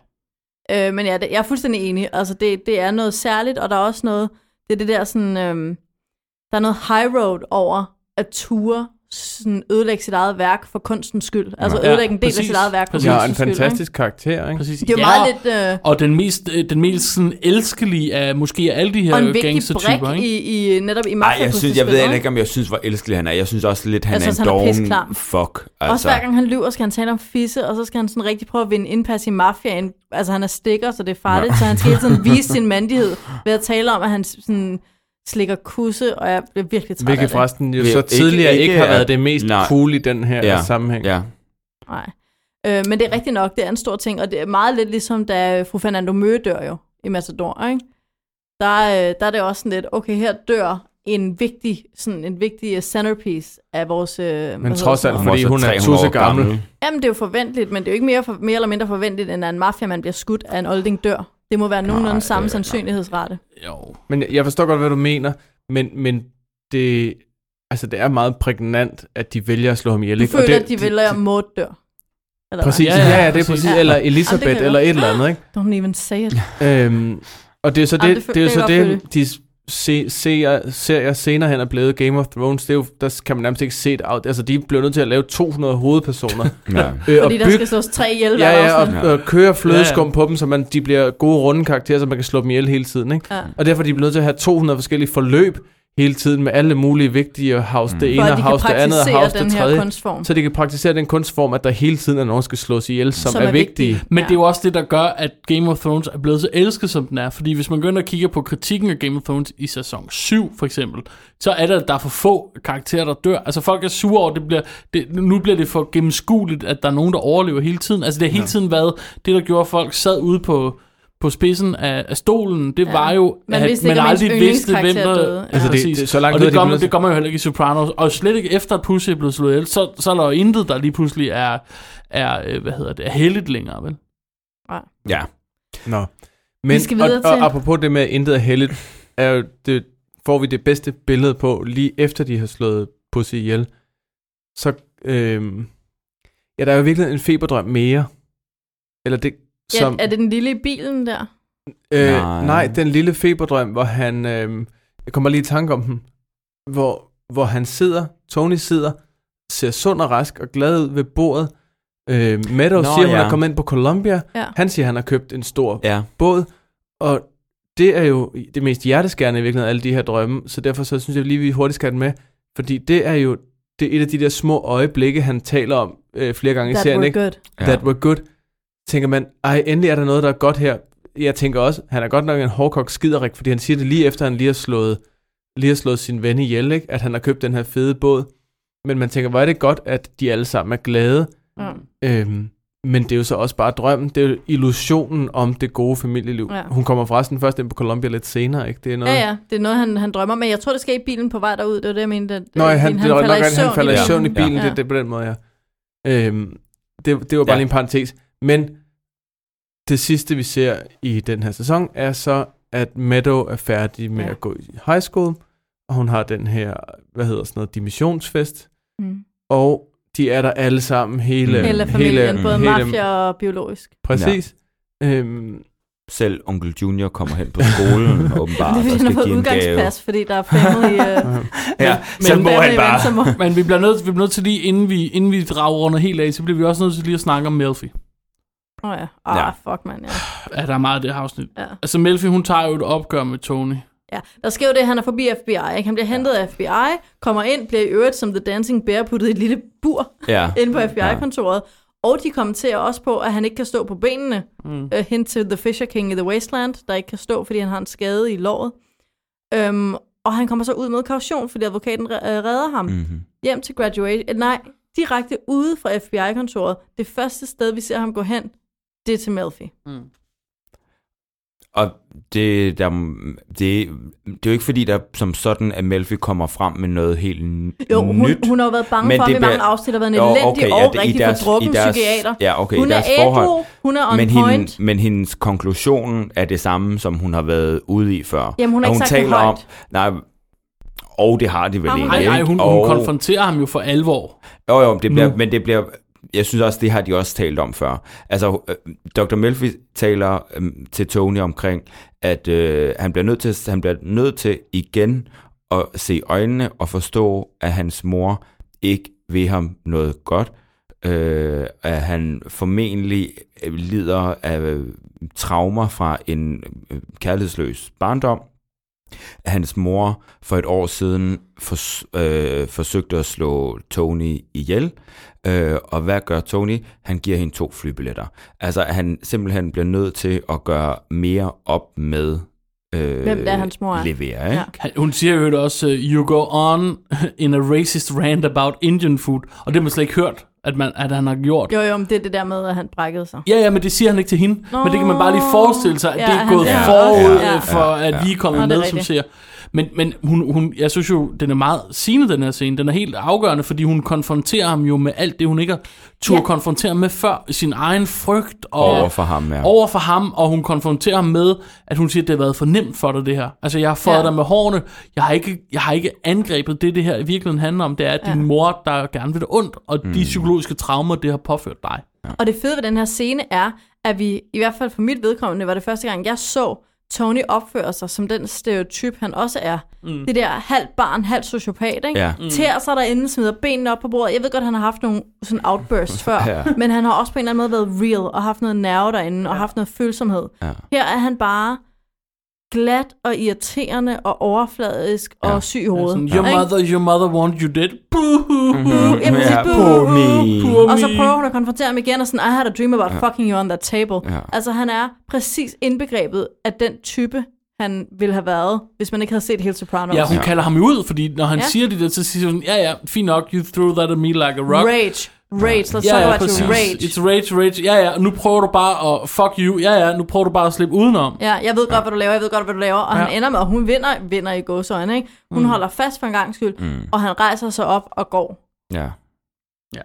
A: Øh, men ja, det, jeg er fuldstændig enig. Altså, det, det er noget særligt, og der er også noget... Det er det der sådan... Øhm, der er noget high road over at ture sådan ødelægge sit eget værk for kunstens skyld. Altså
B: Ja,
A: ja, ødelægge en del af
B: præcis,
A: sit eget værk for
B: præcis.
I: Ja, en
A: kunstens skyld. ikke?
I: fantastisk karakter, ikke?
B: Præcis,
A: Det er jo meget lidt... Øh,
B: Og den mest, øh, den mest sådan elskelige af måske af alle de
A: og
B: her
A: en vigtig
B: gangstertyper,
A: brik
B: ikke?
A: i, i, netop i
J: Ej, jeg, synes, jeg ved
A: mafiapuslespillet,
J: ikke, om jeg synes, hvor elskelig han er. Jeg synes også lidt, han
A: Jeg
J: er
A: synes,
J: en
A: han er
J: doven
A: pisseklam.
J: fuck. Altså.
A: Også hver gang han lyver, skal han tale om fisse, og så skal han sådan rigtig prøve at vinde indpas i mafiaen. Altså han er stikker, så det er farligt, så han skal hele tiden vise sin mandighed ved at tale om, at han sådan slikker kusse, og jeg bliver virkelig træt
I: Hvilket
A: af det.
I: forresten jo
J: Vil
I: så
J: ikke-
I: tidligere ikke,
J: ikke
I: har
J: er-
I: været det mest
J: Nej.
I: cool i den her
J: Ja.
I: sammenhæng.
J: Ja.
A: Nej. Øh, men det er rigtigt nok, det er en stor ting, og det er meget lidt ligesom, da fru Fernando Møge dør jo i Matador, ikke? Der, øh, der er det også sådan lidt, okay, her dør en vigtig, sådan en vigtig centerpiece af vores... Øh, hvad hedder
I: trods
A: sådan
I: alt
A: noget?
I: Fordi
J: også
I: hun er
J: 300 år
I: tusse gammel.
A: Jamen, det er jo forventeligt, men det er jo ikke mere, for, mere eller mindre forventeligt, end at en mafiamand bliver skudt af en olding dør. Det må være nogenlunde
J: det er
A: samme
J: rigtigt.
A: sandsynlighedsrate.
B: Jo.
I: Men jeg- jeg forstår godt, hvad du mener, men, men det, altså, det er meget prægnant, at de vælger at slå ham ihjel.
A: Du
I: ikke? Og
A: føler,
I: det,
A: at de vælger, at Maud dør. Eller
I: Præcis,
A: hvad?
I: ja, ja, ja, det er præcis.
A: Ja.
I: Eller
A: Jamen, det
I: Elisabeth,
A: kan
I: eller
A: jeg
I: et eller andet, ikke?
A: Don't even say it.
I: Øhm, og det er jo så det,
A: Ej, det
I: det,
A: fø-
I: det, er
A: det kan
I: jo så
A: jeg godt
I: det de se, ser, serier senere hen er blevet Game of Thrones. Det er jo, der kan man nærmest ikke se det af. Altså, de blev nødt til at lave 200 hovedpersoner.
J: ja.
I: øh, og
A: Fordi der
I: bygge,
A: skal slås tre ihjel hver
I: ja, ja,
A: afsnit.
I: og, og køre flødeskum
B: Ja,
I: ja,
B: ja.
I: på dem, så man, de bliver gode runde karakterer, så man kan slå dem ihjel hele tiden. Ikke?
A: Ja.
I: Og derfor er de blevet nødt til at have 200 forskellige forløb hele tiden med alle mulige vigtige house. Det
A: For
I: ene
A: at de kan
I: house, det andet
A: praktisere
I: house,
A: den
I: det
A: her
I: tredje.
A: kunstform.
I: Så de kan praktisere den kunstform, at der hele tiden er nogen, der skal slås ihjel, som,
A: Som
I: er,
A: er vigtige.
I: vigtige.
B: Men ja.
A: Ja.
B: det er jo også det, der gør, at Game of Thrones er blevet så elsket, som den er. Fordi hvis man går ind og kigger på kritikken af Game of Thrones i sæson 7, for eksempel, så er der, at der er for få karakterer, der dør. Altså folk er sure over, at det bliver, det, nu bliver det for gennemskueligt, at der er nogen, der overlever hele tiden. Altså det har hele tiden været det, der gjorde, at folk sad ude på på spidsen af, af stolen, det ja. var jo,
A: Man
B: at
A: vidste ikke, om ens yndlingskarakter døde. Ja. Altså,
I: det-
B: præcis.
I: det- så langt
B: og
I: ud
B: det,
I: er de
B: gør man,
I: blevet-
B: det gør man jo heller ikke i Sopranos, og slet ikke efter, at Pussy er blevet slået ihjel, så, så er der jo intet, der lige pludselig er, er øh, hvad hedder det, er heldigt længere, vel?
J: ja.
I: Nå. Men,
A: Vi skal videre
I: og,
A: til-
I: og apropos det med at intet er heldigt, er jo det, får vi det bedste billede på, lige efter de har slået Pussy ihjel. Så, øhm, Ja, der er jo virkelig en feberdrøm mere. Eller det, som...
A: Ja, er det den lille i bilen der?
I: Øh,
J: Nej.
I: nej. nej, den lille feberdrøm, hvor han... Øh, jeg kommer lige i tanke om den. Hvor, hvor han sidder, Tony sidder, ser sund og rask og glad ud ved bordet. Øh, Meadow
J: Nå,
I: Nå, siger, ja. hun
J: ja.
I: er kommet ind på Columbia.
A: Ja.
I: Han siger, han har købt en stor
J: Ja.
I: båd. Og det er jo det mest hjerteskærende i virkeligheden, alle de her drømme. Så derfor så synes jeg lige, vi hurtigt skal have den med. Fordi det er jo det er et af de der små øjeblikke, han taler om øh, flere gange i
A: That
I: serien.
A: were
I: ikke?
A: good.
J: Ja.
I: that were good, tænker man, ej, endelig er der noget, der er godt her. Jeg tænker også, han er godt nok en hårdkok skiderik, fordi han siger det lige efter, han lige har slået, lige har slået sin ven ihjel, ikke? at han har købt den her fede båd. Men man tænker, hvor er det godt, at de alle sammen er glade.
A: Mm.
I: Øhm, men det er jo så også bare drømmen, det er jo illusionen om det gode familieliv.
A: Ja.
I: Hun kommer forresten først ind på Columbia lidt senere, ikke? Det er noget...
A: Ja, ja, det er noget, han, han drømmer om, men jeg tror, det skal i bilen på vej derud, det var det, jeg mente. At,
I: Nå,
A: øh,
I: ja, han,
A: bilen,
I: det er nok rigtigt, han falder i
A: bilen.
I: søvn i bilen,
A: Ja.
I: ja. det, det er på den måde, ja. Øhm, det, det var bare
J: Ja.
I: ja. lige en parentes. Men det sidste, vi ser i den her sæson, er så, at Meadow er færdig med
A: Ja.
I: ja. at gå i high school, og hun har den her, hvad hedder sådan noget, dimissionsfest,
A: Mm.
I: og de er der alle sammen, hele...
J: Mm.
A: Hele familien, hele, både hele, mafia og biologisk.
I: Præcis. Ja. Øhm,
J: Selv onkel Junior kommer hen på skolen, åbenbart,
A: det er
J: og
A: fordi, han har
J: skal
A: fået
J: give en gave.
A: udgangsplads, fordi der er family... Øh,
J: Ja, så
A: men
J: må
A: family
J: han bare...
A: event, så må-
B: Men vi bliver nødt, vi bliver nødt til lige, inden vi, inden vi drager rundt helt af, så bliver vi også nødt til lige at snakke om Melfi.
A: Åh ja. Ah,
J: Ja.
A: fuck, mand. Ja.
B: Ja, der er meget af det her afsnit.
A: Ja.
B: Altså, Melfi, hun tager jo et opgør med Tony.
A: ja. Der sker jo det, at han er forbi FBI. Ikke? Han bliver hentet af FBI, kommer ind, bliver i øvrigt som The Dancing Bear puttet i et lille bur
J: Ja.
A: inde på FBI-kontoret. Og de kommenterer også på, at han ikke kan stå på benene. Mm. Øh, hen til The Fisher King i The Wasteland, der ikke kan stå, fordi han har en skade i låret. Øhm, og han kommer så ud med kaution, fordi advokaten re- øh, redder ham.
J: Mhm.
A: hjem til graduation. eh, Nej, direkte ude fra FBI-kontoret. Det første sted, vi ser ham gå hen, det er til Melfi.
J: Og det, der, det, det er jo ikke fordi, der som sådan, at Melfi kommer frem med noget helt n-
A: Jo, hun,
J: nyt.
A: hun har jo været bange
J: Men
A: for, at
J: det
A: vi mange
J: bliver-
A: afsnit har været en
J: Jo,
A: elendig
J: okay,
A: og
J: ja, det- i
A: rigtig
J: deres-
A: fordrukken
J: i deres-
A: psykiater.
J: ja, okay, i
A: hun er
J: deres forhold.
A: ædru, hun er on
J: men,
A: point.
J: Hende, men hendes konklusion er det samme, som hun har været ude i før.
A: Jamen, hun har ikke
J: Og hun
A: sagt det
J: taler om,
A: højt.
J: nej, og det har de vel
A: Har hun Mm.
J: egentlig,
B: Nej, nej, hun,
J: ikke?
B: hun
J: Og-
B: konfronterer ham jo for alvor.
J: Jo, jo, det bliver,
I: Nu.
J: men det bliver... Jeg synes også, det har de også talt om før. Altså, øh, Dr. Melfi taler øh, til Tony omkring, at øh, han, bliver nødt til, han bliver nødt til igen at se i øjnene og forstå, at hans mor ikke vil ham noget godt. Øh, at han formentlig øh, lider af øh, traumer fra en øh, kærlighedsløs barndom, hans mor for et år siden fors- øh, forsøgte at slå Tony ihjel. Øh, og hvad gør Tony? Han giver hende to flybilletter. Altså, at han simpelthen bliver nødt til at gøre mere op med øh,
A: Hvem der er hans mor er.
J: Levere,
A: Ja.
J: ikke?
B: Han- Hun siger jo også, øh, you go on in a racist rant about Indian food. Og det har man slet ikke hørt, at, man, at han har gjort.
A: Jo, jo, men det er det der med, at han brækkede sig.
B: Ja, ja, men det siger han ikke til hende. Nå, men det kan man bare lige forestille sig, at
A: Ja,
B: ja, det er
A: han-
B: gået
A: ja,
B: ja, forud
A: ja,
B: ja,
A: ja.
B: for, at vi er kommet
A: Nå,
B: ja,
A: det er
B: med, som
A: rigtigt.
B: ser. Men, men hun, hun, jeg synes jo, den er meget sigende, den her scene. Den er helt afgørende, fordi hun konfronterer ham jo med alt det, hun ikke har tur
A: Ja.
B: ja. konfrontere ham med før. Sin egen frygt og
J: Over for ham, ja.
B: over for ham, og hun konfronterer ham med, at hun siger, at det har været for nemt for dig, det her. Altså, jeg har fået
A: Ja.
B: ja. dig med hårene, jeg har, ikke, jeg har ikke angrebet det, det her i virkeligheden handler om. Det er, at
A: Ja.
B: ja. din mor, der gerne vil det ondt, og mm. de psykologiske traumer, det har påført dig.
A: Og det fede ved den her scene er, at vi, i hvert fald for mit vedkommende, var det første gang, jeg så Tony opføre sig som den stereotyp, han også er. Mm. Det der halvt barn, halvt sociopat, ikke?
J: Ja.
A: Mm. Tærer sig derinde, smider benene op på bordet. Jeg ved godt, han har haft nogle sådan outbursts før,
J: Ja.
A: men han har også på en eller anden måde været real, og haft noget nerve derinde, og haft noget følsomhed.
J: Ja.
A: Her er han bare glat og irriterende og overfladisk ja. og syg i
B: Ja,
A: hovedet.
B: Sådan, your
A: Ikke?
B: mother, your mother wanted you dead. Boo-hoo-hoo.
A: Ja, præcis.
J: Ja,
A: Boo.
J: Tony.
B: Poor me.
A: Og så prøver hun at konfrontere ham igen, og sådan, I had a dream about ja. fucking you on that table.
J: Ja.
A: Altså, han er præcis indbegrebet af den type, han ville have været, hvis man ikke havde set hele Sopranos.
B: Ja, hun ja. kalder ham jo ud, fordi når han
A: Ja.
B: ja. siger det der, så siger hun, ja, ja, fint nok, you threw that at me like a rock.
A: Rage. Rage. Let's
B: Ja,
A: talk
B: ja,
A: about
B: præcis.
A: your rage.
B: It's rage, rage. Ja, ja, nu prøver du bare at fuck you. Ja, ja, nu prøver du bare at slippe udenom.
A: Ja, jeg ved godt, hvad du laver, jeg ved godt, hvad du laver. Og ja.
B: Ja.
A: han ender med, at hun vinder, vinder i gåsøjne, ikke? Hun mm. holder fast for en gang skyld, mm. og han rejser sig op og går.
J: Ja.
B: Ja.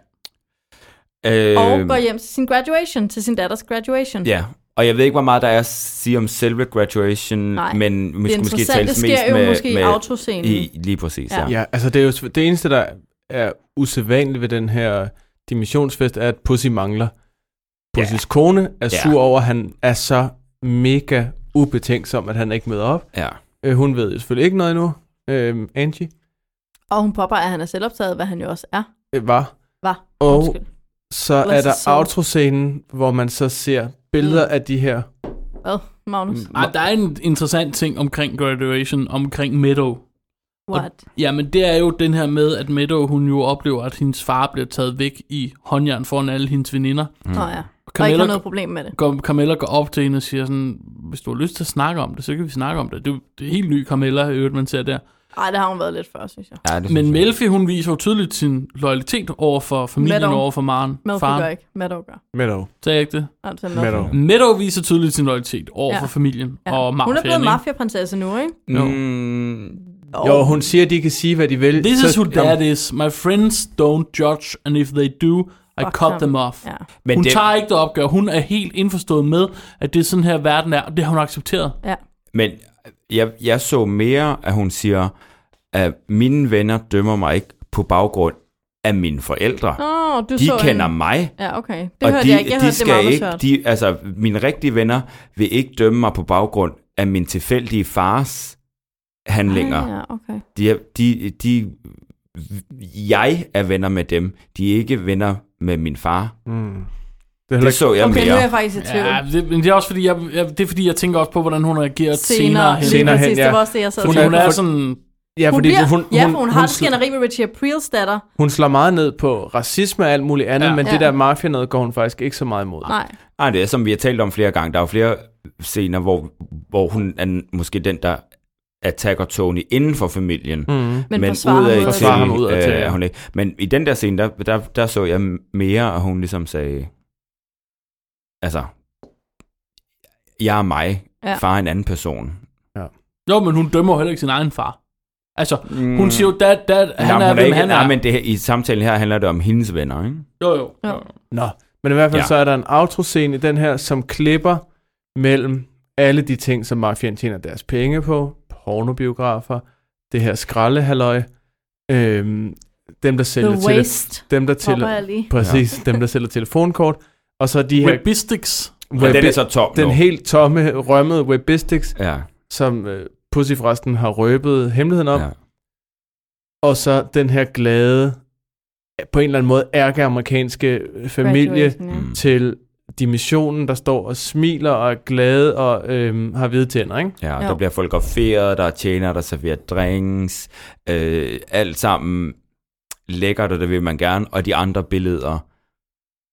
J: Øh,
A: Og går hjem til sin graduation, til sin datters graduation.
J: Ja, og jeg ved ikke, hvor meget der er at sige om selve graduation,
A: Nej.
J: men vi
A: Det
J: skulle måske
A: interessante
J: tales mest
A: sker jo
J: med,
A: måske i
J: med,
A: autoscenen.
J: I, lige præcis,
A: Ja.
J: ja.
I: ja, altså det er jo sv- det eneste, der er usædvanligt ved den her Dimensionsfest er, at Pussy mangler. Pussys kone er
J: Ja.
I: sur over, at han er så mega ubetænksom, at han ikke møder op.
J: Ja.
I: Øh, hun ved selvfølgelig ikke noget endnu. Øh, Angie
A: Og hun påpeger, at han er selvoptaget, hvad han jo også er.
I: øh, var.
A: Var.
I: Og
A: Undskyld.
I: så
A: Eller
I: er
A: så Mm.
I: der
A: så-
I: outro-scenen, hvor man så ser billeder af de her.
A: Hvad, Magnus?
B: Ej, Ah, der er en interessant ting omkring graduation, omkring Meadow.
A: What?
B: Jamen, det er jo den her med, at Meadow, hun jo oplever, at hendes far bliver taget væk i håndjern foran alle hendes veninder.
A: Mm. Nå ja. Og ikke
B: Camilla,
A: har noget problem med det.
B: går, Camilla går op til hende og siger sådan, hvis du har lyst til at snakke om det, så kan vi snakke om det. Det er, jo- det er helt ny Camilla, i øvrigt, man ser der.
A: Ej, det har hun været lidt før, synes jeg.
J: ja det synes
B: Men
J: jeg.
B: Melfi, hun viser jo tydeligt sin loyalitet over for familien,
A: Meadow.
B: Meadow. over for Maren.
A: Melfi gør
B: faren.
A: ikke. Meadow gør.
I: Meadow.
B: Sagde jeg ikke det?
A: Altså,
I: Meadow.
B: Meadow viser tydeligt sin loyalitet over
A: Ja.
B: ja. for familien ja. og
A: Hun er blevet
B: mafianen. ikke?
A: mafiaprinsesse nu, ikke?
B: Jo.
I: Mm, jo, hun siger, at de kan sige, hvad de vil.
B: This is who
I: Jamen,
B: dad is. My friends don't judge, and if they do, I
A: Fuck
B: cut
A: ham.
B: them off.
A: Ja.
J: Men
B: hun
J: det-
B: tager ikke det opgør. Hun er helt indforstået med, at det er sådan her verden er, og det har hun accepteret.
A: ja.
J: Men jeg, jeg så mere, at hun siger, at mine venner dømmer mig ikke på baggrund af mine forældre.
A: Åh, du
J: de
A: så
J: kender
A: en...
J: mig,
A: Ja, okay. Det hørte
J: de,
A: jeg ikke. Jeg
J: de
A: hørte det,
J: skal
A: Magnus
J: ikke,
A: hørte.
J: de, altså mine rigtige venner vil ikke dømme mig på baggrund af min tilfældige fars handlinger.
A: Ah, Ja, okay.
J: De, er- de, de, jeg er venner med dem, de er ikke venner med min far.
I: Mm. Det er heller
J: Det
I: ikke
J: så jeg
A: Okay, nu er
J: mere.
A: jeg faktisk i tvivl.
B: Ja, det, men det er også fordi, jeg, jeg, det er fordi, jeg tænker også på, hvordan hun reagerer senere,
A: senere,
B: hen.
I: Senere
A: senere
I: hen,
A: hen,
I: ja.
A: Det var også det, jeg sad og
B: Fordi
A: tænkte
B: hun er
A: på.
B: sådan...
I: Ja,
A: hun,
I: fordi
A: bliver,
I: hun,
A: ja, for hun, har et
I: sl-
A: skænderi med Richie Aprils datter.
I: hun slår meget ned på racisme og alt muligt andet, ja.
B: Ja.
I: men
A: Ja.
I: det der mafia noget går hun faktisk ikke så meget imod.
A: Nej.
J: Ej, Ah, det er som vi har talt om flere gange. Der er jo flere scener, hvor, hvor hun er n- måske den, der attacker Tony inden for familien. Mm.
I: Mm.
A: Men, men forsvarer
J: ud af
A: ham
I: Forsvarer ham
J: ud
I: udad
J: af
I: til,
J: til, øh,
I: ja.
J: er hun ikke. Men i den der scene, der, der, der så jeg mere, at hun ligesom sagde, altså, jeg er mig,
A: Ja.
J: ja. far er en anden person.
B: Jo, men hun dømmer jo heller ikke sin egen far. Altså,
J: Mm.
B: hun siger jo, dad, dad, han
J: Jamen,
B: er,
J: hun
B: hvem
J: ikke,
B: han er.
J: Nej, men det, her- i samtalen her handler det om hendes venner, ikke?
B: Jo, jo.
A: Ja.
B: jo.
I: Nå. Men i hvert fald ja.
J: Ja.
I: så er der en outro-scene i den her, som klipper mellem alle de ting, som mafiaen tjener deres penge på, pornobiografer, det her skraldehalløj, øhm, dem, der sælger,
A: The
I: tele-
A: Waste,
I: dem, der
A: til... jeg
I: tele-
A: lige.
I: præcis, dem, der sælger telefonkort, og så de her,
B: Whipbistix.
J: Ja, den er
I: Webi-
J: så tom
I: den
J: nu.
I: helt tomme, rømmede webistics,
J: Ja,
I: som øh, Pussy forresten har røbet hemmeligheden om,
J: ja.
I: Og så den her glade, på en eller anden måde ærkeamerikanske familie
A: Graduation,
J: Mm.
I: til dimensionen, der står og smiler og er glade og øhm, har hvide tænder, ikke?
J: Ja,
A: Jo.
J: der bliver folk offeret, der er tjenere, der serverer drinks, øh, alt sammen lækkert, og det vil man gerne, og de andre billeder,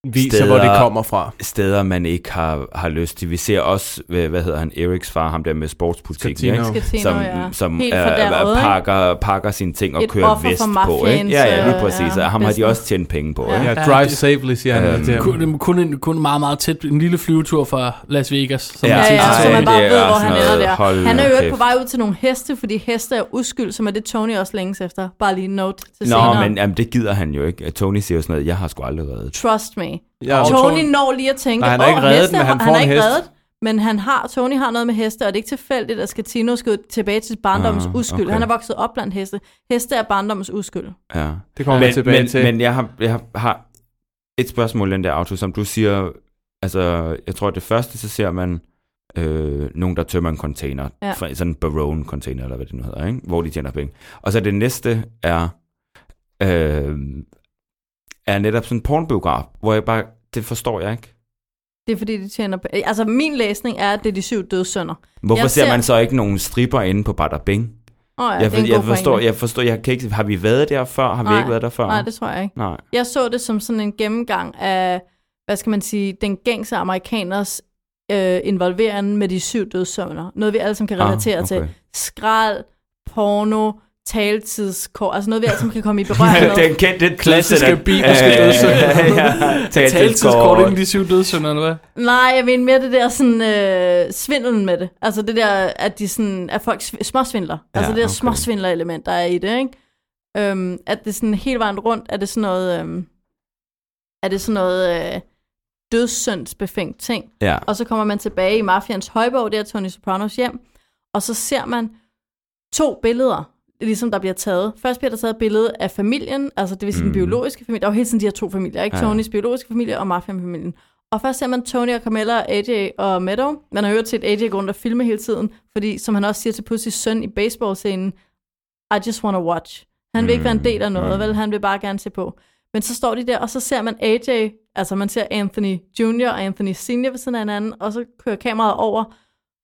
I: Viser,
J: Steder-
I: hvor det kommer fra.
J: steder man ikke har, har lyst til. Vi ser også, hvad, hvad hedder han, Eriks far, ham der med sportsbutikken,
I: Skatino.
J: ikke?
A: Skal se,
J: som,
A: når jeg
J: som
A: helt
J: er,
A: fordærvet,
J: er,
A: ikke?
J: pakker, pakker sine ting og
A: Et offer for
J: kører vest på. Ikke?
A: mafiaens,
J: Ja, ja,
A: øh,
J: lige præcis.
A: ja,
J: og ham har de
A: business.
J: også tjent penge på. Ikke?
I: Ja,
A: Ja,
I: drive
B: det-
I: safely, siger han
J: Øhm,
I: til ham.
B: Kun, kun, en, kun meget, meget tæt. En lille flyvetur fra Las Vegas. Som
J: Ja,
B: er
A: Ja,
B: sidste
A: ja, så
B: sag.
A: man bare
J: det er
A: ved, hvor
J: sådan
A: han er
J: noget,
A: der.
J: hold
A: Han er
J: nu
A: jo
J: kæft.
A: på vej ud til nogle heste, fordi heste er uskyld, som er det Tony også længes efter. Bare lige en note til
J: Nå,
A: senere.
J: men jamen, det gider han jo ikke. Tony siger jo sådan noget, jeg har sgu aldrig reddet.
A: Trust me.
I: Ja, og
A: Tony
I: Tony-
A: når lige at tænke,
I: Nej, han har
A: "Åh,
I: ikke reddet
A: heste
I: den, men han
A: har-
I: får
A: han er
I: en
A: ikke
I: hest."
A: reddet, men han har, Tony har noget med heste, og det er ikke tilfældigt, at Skatino skal tilbage til barndommens
J: Ah,
A: uskyld.
J: okay.
A: Han er vokset op blandt heste. Heste er barndommens uskyld.
J: Ja.
I: Det kommer vi
J: men,
I: tilbage
J: men,
I: til.
J: Men jeg har, jeg har- har et spørgsmål, den der auto, som du siger, altså, jeg tror, at det første, så ser man øh, nogen, der tømmer en container,
A: Ja.
J: ja. fra sådan en Barone container, eller hvad det nu hedder, ikke? hvor de tjener penge. Og så det næste er, øh, er netop sådan en pornbiograf, hvor jeg bare, det forstår jeg ikke.
A: Det er fordi, de tjener p- Altså, min læsning er, at det er de syv døde sønner.
J: Hvorfor
A: Jeg
J: ser,
A: ser-
J: man så ikke nogen stripper inde på Bada Bing?
A: Oh, ja,
J: jeg,
A: det er en
J: jeg,
A: god
J: forstår,
A: pointe.
J: jeg forstår, jeg kan ikke, har vi været der før? Har vi
A: Nej.
J: ikke været der før?
A: Nej, det tror jeg ikke.
J: Nej.
A: Jeg så det som sådan en gennemgang af, hvad skal man sige, den gængse amerikaners øh, involvering med de syv dødsøvner. Noget, vi alle sammen kan
J: Ah,
A: relatere ah, okay. til.
J: okay.
A: Skrald, porno, taletidskår, altså noget, vi alle sammen kan komme i berøring med.
J: Ja, den kendte
B: Klassiske
J: den-
B: bibelske
J: Ja, ja,
B: dødssynd.
J: ja.
B: Taltidskort inden de syv dødssynder, eller hvad?
A: Nej, jeg mener mere det der sådan, øh, svindelen med det. Altså det der, at, de sådan, at folk sv- småsvindler. Ja, altså
J: Ja,
A: det der okay.
J: okay.
A: småsvindler-element, der er i det, ikke? Øhm, at det sådan hele vejen rundt, er det sådan noget... Øhm, er det sådan noget øh, dødssøndsbefængt ting.
J: Ja.
A: Og så kommer man tilbage i Mafians højborg, der Tony Sopranos hjem, og så ser man to billeder ligesom der bliver taget. Først bliver der taget et billede af familien, altså det vil sige den biologiske familie. Der er jo hele tiden de her to familier, ikke?
J: Mhm. Ja, ja.
A: Tonys biologiske familie og mafiafamilien. Og først ser man Tony og Carmella og AJ og Meadow. Man har hørt til, at AJ går rundt og filmer hele tiden, fordi som han også siger til Pussys søn i baseballscenen, I just wanna watch. Han vil ikke
J: Mhm.
A: være en del af noget, vel? Han vil bare gerne se på. Men så står de der, og så ser man AJ, altså man ser Anthony Jr. og Anthony Senior ved siden af hinanden, og så kører kameraet over,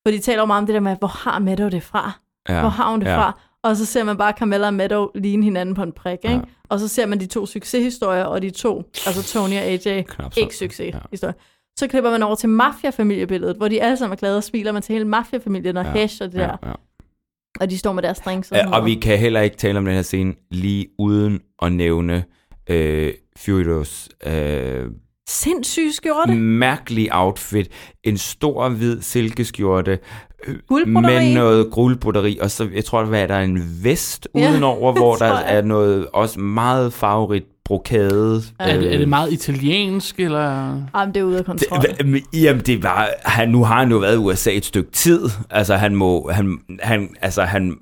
A: for de taler jo meget om det der med, hvor har Meadow det fra?
J: Ja.
A: Hvor har hun det
J: ja.
A: fra? Og så ser man bare Carmella og Meadow ligne hinanden på en prik, ikke?
J: Ja.
A: Og så ser man de to succeshistorier, og de to, altså Tony og AJ,
J: Knap så.
A: ikke succeshistorier. Ja. Så klipper man over til mafiafamiliebilledet, hvor de alle sammen er glade og smiler, man til hele mafiafamilien og ja. hash og det der.
J: Ja, ja.
A: Og de står med deres drinks.
J: Ja,
A: sådan
J: og vi
A: noget.
J: kan heller ikke tale om den her scene lige uden at nævne øh, Furios øh,
A: Sindssyg skjorte. Mm.
J: mærkelige outfit. En stor hvid silkeskjorte øh,
A: Guldbroderi.
J: med noget grulbroderi, og så jeg tror, der er der er en vest
A: Ja,
J: udenover, hvor
A: tror
J: der
A: jeg.
J: er noget også meget farverigt brokade.
B: Er, det, er det
J: Øh,
B: meget italiensk, eller...
A: Jamen, det er ude af
J: Det,
A: kontrol.
J: hva- men, jamen, det var, han, nu har han jo været i USA et stykke tid. Altså, han må, han, han, altså, han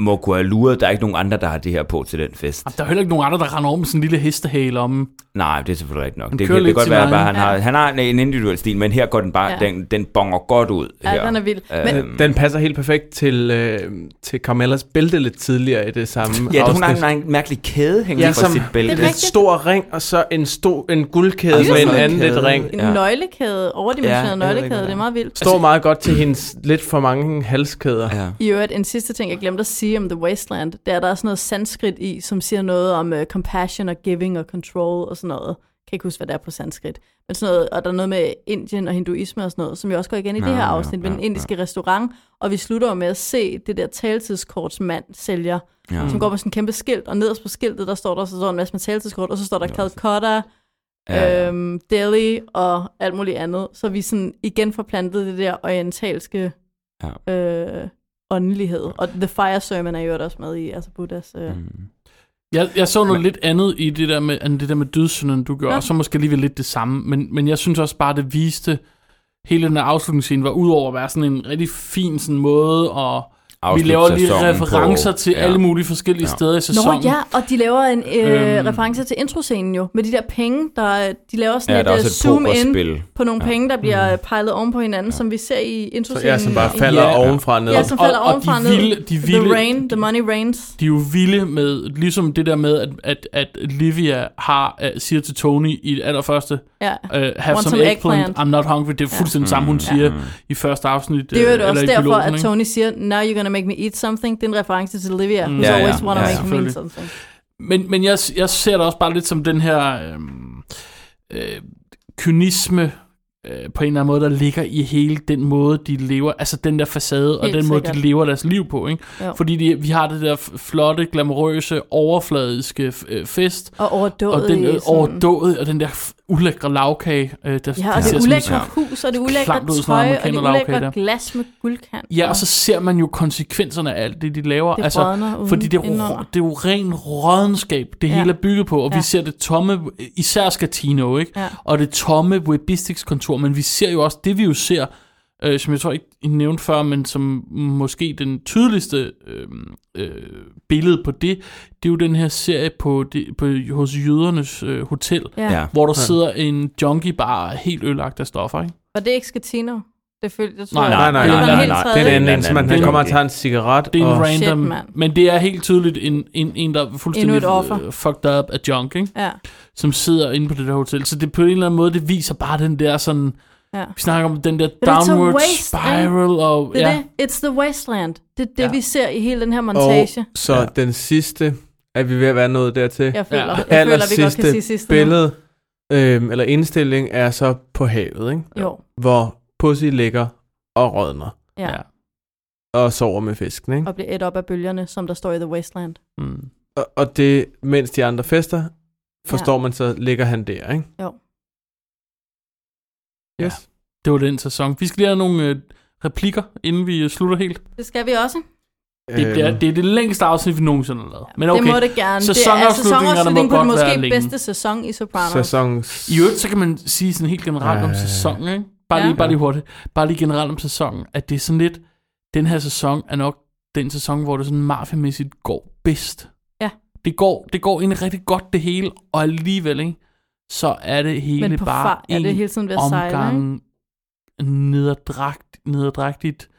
J: må kunne have luret. Der er ikke nogen andre, der har det her på til den fest.
B: Der er heller ikke nogen andre, der render over med sådan en lille hestehale om.
J: Nej, det er selvfølgelig rigtigt nok.
B: Han
J: Det
B: kører
J: kan,
B: lidt
J: det kan godt
B: sin
J: være, at
B: egen.
J: bare, han, har, han har en- en individuel stil, men her går den bare,
A: Ja.
J: ja. den, den bonger godt ud.
A: Ja,
J: her.
A: den er vild.
J: Øh,
A: Men-
I: Den passer helt perfekt til, øh, til Carmellas bælte lidt tidligere i det samme
J: Ja, hun
I: afsnit.
J: har en, en mærkelig kæde hængende
I: Ja,
J: ja, fra
I: som-
J: sit bælte.
A: Det er
I: en stor ring, og så en, stor, en guldkæde
J: Og så
I: med en
J: en
I: anden lidt
J: kæde.
I: ring.
A: En
J: Ja.
A: nøglekæde, overdimensioneret
J: Ja,
A: ja,
J: jeg ved ikke,
A: nøglekæde,
J: hvad
A: det
J: det
A: er
J: er.
A: meget vildt. Altså,
I: Står meget godt til hendes lidt for mange halskæder.
J: Ja.
A: I øvrigt, en sidste ting, jeg glemte at sige om The Wasteland, det er, at der er sådan noget sanskrit i, som siger noget om uh, compassion og giving og control og sådan noget. Jeg kan ikke huske, hvad det er på sanskrit. Men sådan noget, og der er noget med Indien og hinduisme og sådan noget, som jo også går igen i ja, det her
J: ja,
A: afsnit ja, med
J: ja,
A: den indiske ja. restaurant. Og vi slutter jo med at se det der taletidskortsmand sælger, ja.
J: Ja.
A: som går med sådan en kæmpe skilt, og nederst på skiltet, der står der så sådan en masse med taletidskort, og så står der Calcutta,
J: Ja, ja.
A: øhm, Delhi og alt muligt andet. Så vi sådan igen forplantede det der orientalske ja. øh, åndelighed. Og The Fire Sermon er jo også med i, altså Buddhas... Øh. Mm.
B: Jeg, jeg så noget lidt andet i det der med, end det der med dødssynden, du gjorde,
A: Nå.
B: og så måske alligevel lidt det samme, men, men jeg synes også bare, det viste, hele den her afslutningsscene var udover at være sådan en rigtig fin sådan måde, og vi
J: Afslutte
B: laver lige
J: sæsonen
B: referencer
J: på-
B: til
J: ja.
B: alle mulige forskellige
J: Ja.
B: steder i
A: Nå
B: sæsonen.
A: ja, og de laver en øh,
B: Øhm.
A: reference til introscenen jo, med de der penge, der øh, de laver sådan
J: Ja,
A: et,
J: der er
A: øh,
J: også et
A: zoom ind
J: pokerspil.
A: på nogle ja. penge, der bliver øh, pejlet oven på hinanden, ja. som vi ser i
I: Så
A: introscenen.
I: jeg som bare falder
B: Ja.
I: ovenfra og ned.
A: Ja, som
B: Og-
A: falder
B: og de
A: ovenfra ned.
B: vilde- de vilde-
A: the rain, the money rains.
B: de er jo vilde med, ligesom det der med, at, at, at Livia har, uh, siger til Tony i det allerførste,
A: Ja.
B: uh, have
A: Want
B: some
A: some
B: eggplant,
A: eggplant."
B: I'm not hungry. Det er fuldstændig ja.
J: Mm.
B: samme, hun siger i første afsnit.
A: Det
B: øh,
A: er jo også
B: eller i
A: derfor,
B: piloten,
A: at
B: ikke?
A: Tony siger, now you're gonna make me eat something. Det er en reference til Olivia, who's
J: Ja, ja,
A: always wanna make
J: ja,
A: me eat
B: selvfølgelig.
A: something.
B: Men, men jeg, jeg ser det også bare lidt som den her øh, øh, kynisme øh, på en eller anden måde, der ligger i hele den måde, de lever, altså den der facade og
A: Helt
B: den måde, de
A: sikkert.
B: lever deres liv på. Ikke?
A: Jo.
B: Fordi de, vi har det der f- flotte, glamorøse, overfladiske f- øh, fest,
A: Og overdået
B: og den
A: i
B: øh,
A: sådan-
B: overdådet, og den der f- ulækre lavkage,
A: Ja,
B: øh, der
A: og det
B: ser
A: er
B: sådan-
A: ulækre hus, og det er ulækre
B: klamt ud, sådan
A: tøj,
B: noget
A: og det er
B: amerikanerlavkage
A: ulækre
B: der.
A: glas med guldkant.
B: Ja, og så ser man jo konsekvenserne af alt det, de laver. Altså,
A: Det rådner uden-
B: fordi det er,
A: indenunder.
B: ro, det er jo ren rådenskab, det
A: Ja.
B: ja. hele er bygget på. Og ja.
A: Ja.
B: vi ser det tomme, især Skatino, ikke?
A: Ja.
B: Og det tomme Webistics kontor. Men vi ser jo også, det vi jo ser, øh, som jeg tror ikke, I nævnte før, men som måske den tydeligste øh, øh, billede på det, det er jo den her serie på, det, på hos jødernes øh, hotel,
A: Ja.
J: Ja.
B: hvor der sidder en junkie bare helt ødelagt af stoffer, ikke?
A: Og det er ikke Skatino. Det følte jeg, tror
B: Nej,
A: jeg.
I: nej, nej,
A: det er
I: nej,
A: noget
I: nej,
A: helt
J: nej.
A: tredje.
I: Den
J: Det er en
I: anden,
J: anden.
I: man
B: Det
I: han
B: er
I: kommer
J: en-
I: og tager en cigaret.
B: Det er en
I: og,
A: Shit,
B: random,
A: mand.
B: men det er helt tydeligt en, en, en der er
A: Endnu et
B: fuldstændig
A: offer.
B: øh, fucked up af junk, ikke?
A: Ja,
B: som sidder inde på det der hotel. Så det på en eller anden måde, det viser bare den der sådan,
A: ja.
B: vi snakker om den der
A: er så
B: downward
A: waste, ikke?
B: spiral. Og,
A: Det er
B: ja,
A: det. It's the wasteland. Det er det,
B: Ja.
A: vi ser i hele den her
I: og
A: montage.
I: så
B: Ja.
I: den sidste, er vi ved at være nået dertil.
A: Jeg føler,
B: Ja.
A: jeg
I: Aller
A: føler vi godt kan
I: sidste
A: sige sidste nu.
I: Billede, øhm, eller indstilling, er så på havet, ikke?
A: Jo,
I: hvor Pussy ligger og rådner
A: ja.
B: Ja.
I: og sover med fisken. Ikke?
A: Og blive et op af bølgerne, som der står i The Wasteland.
B: Mm.
I: Og, og det, mens de andre fester, forstår man så, ligger han der. Ikke?
A: Jo.
I: Yes.
B: det var den sæson. Vi skal lige have nogle øh, replikker, inden vi øh, slutter helt.
A: Det skal vi også.
I: Øh.
B: Det,
I: Øhm,
B: bliver, det er det længste afsnit, vi nogensinde har lavet. Men
A: Okay. Det må
B: okay,
A: det gerne. det er
B: Sæsonafslutningerne må
A: sæsonafslutning på den
B: godt
A: måske
B: være længe.
A: bedste sæson i Sopranos.
I: sæson...
B: i øvrigt, så kan man sige sådan helt generelt om
I: Øh.
B: sæsonen, ikke? Bare
A: Ja.
B: lige, bare lige hurtigt. Bare lige generelt om sæsonen, at det er sådan lidt, den her sæson er nok den sæson, hvor det sådan mafiamæssigt går bedst.
A: Ja.
B: Det går, det går egentlig rigtig godt det hele, og alligevel, ikke? så er det hele
A: Men på
B: bare
A: far er
B: en
A: det hele tiden ved at sejle, ikke?
B: omgang nederdragt, nederdragtigt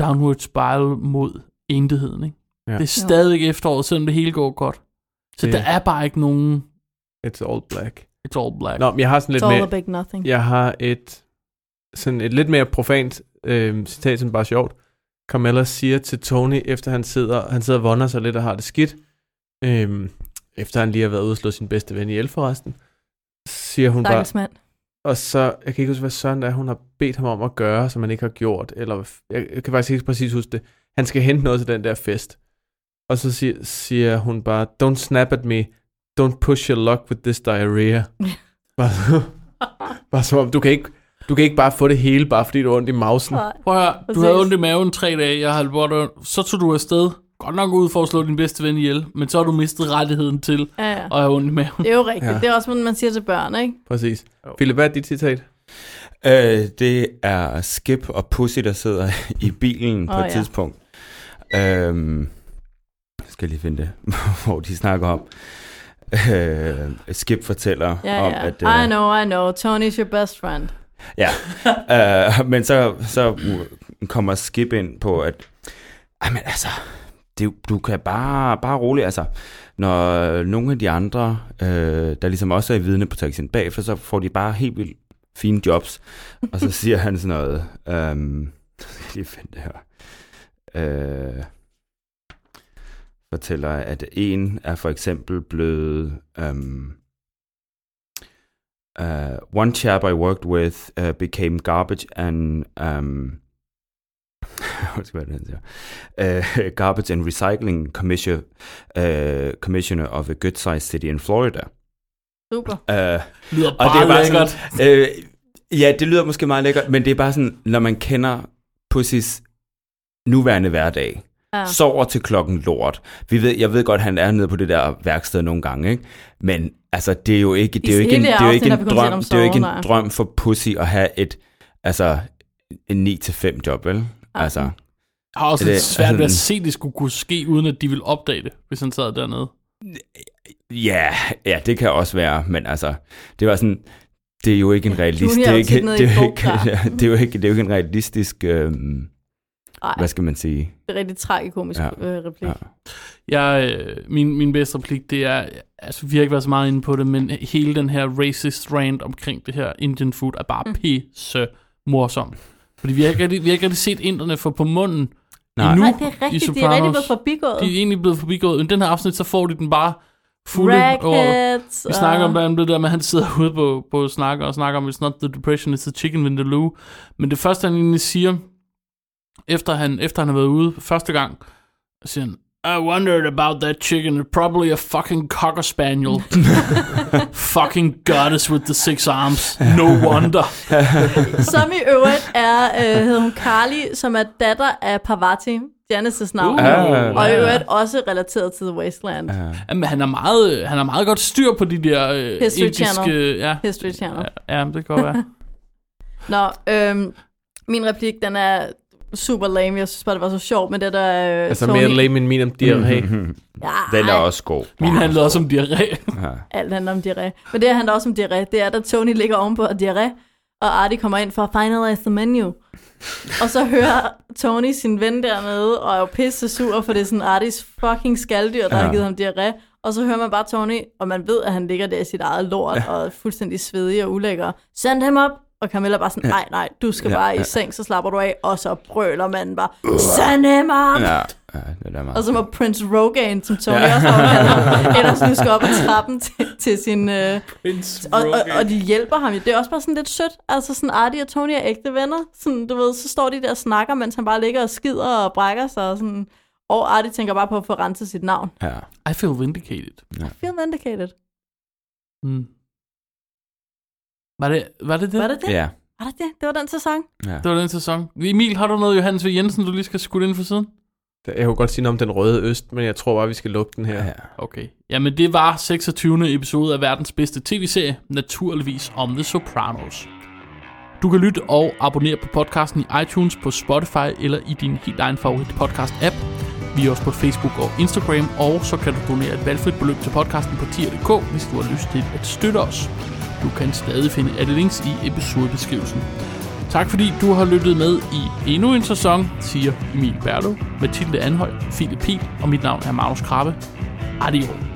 B: downward spiral mod enigheden. Ikke?
I: Ja.
B: Ja. Det er stadigvæk efteråret, selvom det hele går godt. Så det.
I: Det-
B: der er bare ikke nogen
I: It's all black.
B: it's all black.
I: Nå, men jeg har sådan
A: It's
I: lidt
A: all
I: mere...
A: or big nothing.
I: Jeg har et, sådan et lidt mere profant øh, citat, som bare er sjovt. Carmella siger til Tony, efter han sidder, han sidder og vonder sig lidt og har det skidt, øh, efter han lige har været ude og slå sin bedste ven ihjel forresten, siger hun bare,
A: Stakkels mand.
I: og så, jeg kan ikke huske, hvad søren det er, hun har bedt ham om at gøre, som han ikke har gjort, eller hvad f- jeg, jeg kan faktisk ikke præcis huske det. Han skal hente noget til den der fest. Og så siger, siger hun bare, don't snap at me, don't push your luck with this diarrhea. bare, bare som om, du kan, ikke, du kan ikke bare få det hele, bare fordi du har ondt i mausen.
A: Nej.
B: Prøv at høre, du
A: Præcis.
B: havde ondt i maven tre dage, jeg havde holdt ondt. Så tog du afsted, godt nok ud for at slå din bedste ven ihjel, men så har du mistet rettigheden til
A: Ja, ja.
B: at have ondt i maven.
A: Det er jo rigtigt.
I: Ja.
A: Ja. Det er også, hvad man siger til børn, ikke?
I: Præcis. Philip, hvad er dit citat?
J: Øh, det er Skip og Pussy, der sidder i bilen på
A: Åh,
J: oh, et
A: ja.
J: tidspunkt. Øhm, jeg skal lige finde det, hvor de snakker om. Øh, Skip fortæller
A: Ja,
J: om,
A: ja.
J: at... øh,
A: I know, I know. Tony's your best friend.
J: Ja, øh, men så, så kommer Skip ind på, at ej, men altså, det, du kan bare, bare roligt, altså, når nogle af de andre, øh, der ligesom også er i vidneprotection bagefter, så får de bare helt vildt fine jobs. Og så siger han sådan noget, øhm, jeg skal jeg lige finde det her. Øh, fortæller, at en er for eksempel blevet... Øhm, uh, one chap I worked with uh, became garbage and um, what's going on there? Uh, garbage and recycling commissioner uh, commissioner of a good sized city in Florida.
A: Super.
J: Uh,
B: Det lyder
J: og
B: bare,
J: det er bare
B: lækkert.
J: sådan, øh, ja, det lyder måske meget lækkert, men det er bare sådan, når man kender Pussys nuværende hverdag,
A: Ja.
J: sover til klokken lort. Vi ved, jeg ved godt, han er nede på det der værksted nogle gange, ikke? men altså, det er jo ikke, det er jo ikke, en,
A: hele
J: det er jo ikke
A: afsnit har vi kun talt
J: en drøm,
A: om
J: det er jo ikke en
A: sove, nej.
J: drøm for Pussy at have et, altså, en 9-5 job, vel? Altså,
B: Jeg har også
J: Det
B: lidt
J: er
B: svært ved at
J: sådan-
B: se, at det skulle kunne ske, uden at de ville opdage det, hvis han sad dernede.
J: ja, ja, det kan også være, men altså, det var sådan, det er jo ikke en realist, det
A: Junior
J: er
A: har
J: ikke,
A: tit nede
J: det er
A: i
J: jo
A: en
J: ikke,
A: bogklar.
J: det er jo ikke, det er jo ikke en realistisk, øhm,
A: Ej,
J: hvad skal man sige?
A: det er rigtig tragikomisk
J: Ja.
A: ja. øh, replik.
J: Ja.
A: Ja.
B: Jeg, øh, min, min bedste replik, det er, altså vi har ikke været så meget inde på det, men hele den her racist rant omkring det her Indian food er bare mm. pisse morsom. Fordi vi har ikke rigtig, vi har ikke rigtig set inderne få på munden
J: Nej.
B: endnu
A: Nej, det er
B: i
A: rigtigt. De er
B: Sopranos.
A: rigtig blevet forbigået.
B: De er egentlig blevet forbigået. I den her afsnit, så får de den bare fulde over.
A: Rackets.
B: Vi snakker om blandt andet det der med, at han sidder ude på, på snakker og snakker om, it's not the depression, it's the chicken vindaloo. Men det første, han egentlig siger, efter han, efter han har været ude første gang, så siger han, I wondered about that chicken. It's probably a fucking cocker spaniel. fucking goddess with the six arms. No wonder.
A: Som i øvrigt er, øh, hedder hun Carly, som er datter af Parvati, Janice' navn.
B: Uh,
A: og i
B: ja.
A: øvrigt også relateret til The Wasteland.
B: Jamen, han er meget, han er meget godt styr på de der øh,
A: History
B: indiske...
A: Channel.
B: Ja,
A: History Channel.
B: ja, ja, det kan godt være.
A: Nå, øhm, min replik, den er super lame. Jeg synes bare, det var så sjovt med det der øh,
I: Altså
A: Tony.
I: mere lame end min om diarré.
A: Ja,
J: Den er også god.
B: Min handler også om diarré.
A: Alt handler om diarré. Men det her handler også om diarré. Det er, da Tony ligger ovenpå og diarré, og Artie kommer ind for at finalize the menu. og så hører Tony sin ven dernede, og er jo pisse sur, for det er sådan Arties fucking skalddyr, der ja.
J: Ja.
A: har givet ham diarré. Og så hører man bare Tony, og man ved, at han ligger der i sit eget lort, ja. og er fuldstændig svedig og ulækker. Send ham op! Og Camilla bare sådan, nej, nej, du skal
J: Ja,
A: ja, bare i
J: ja.
A: seng, så slapper du af. Og så brøler manden bare, send ham op!
J: Ja, ja, det er meget
A: Og så må
J: fedt.
A: Prince Rogan, som Tony ja. også omkalder ham, ellers nu skal op ad trappen til, til sin... Øh, og, og, og, de hjælper ham jo. Det er også bare sådan lidt sødt. Altså sådan Artie og Tony er ægte venner. Sådan, du ved, så står de der og snakker, mens han bare ligger og skider og brækker sig. Og, sådan. og Artie tænker bare på at få renset sit navn.
J: Ja.
B: I feel vindicated.
A: Feel vindicated.
B: Mm. Var det var det, det?
A: Var det det?
J: Ja.
A: Var det det? Det var den sæson.
J: ja.
B: Det var den sæson. Emil, har du noget Johannes V. Jensen, du lige skal skudde ind for siden?
I: Jeg kunne godt sige noget om den røde øst, men jeg tror bare, vi skal lukke den her.
J: Ja.
B: Okay. Jamen, det var 26. episode af verdens bedste tv-serie, naturligvis om The Sopranos. Du kan lytte og abonnere på podcasten i iTunes, på Spotify eller i din helt egen favorit podcast-app. Vi er også på Facebook og Instagram, og så kan du donere et valgfrit beløb til podcasten på tier.dk, hvis du har lyst til at støtte os. Du kan stadig finde alle links i episodebeskrivelsen. Tak fordi du har lyttet med i endnu en sæson, siger Emil Berlo, Mathilde Anhøj, Philip Pihl og mit navn er Magnus Krabbe. Adios.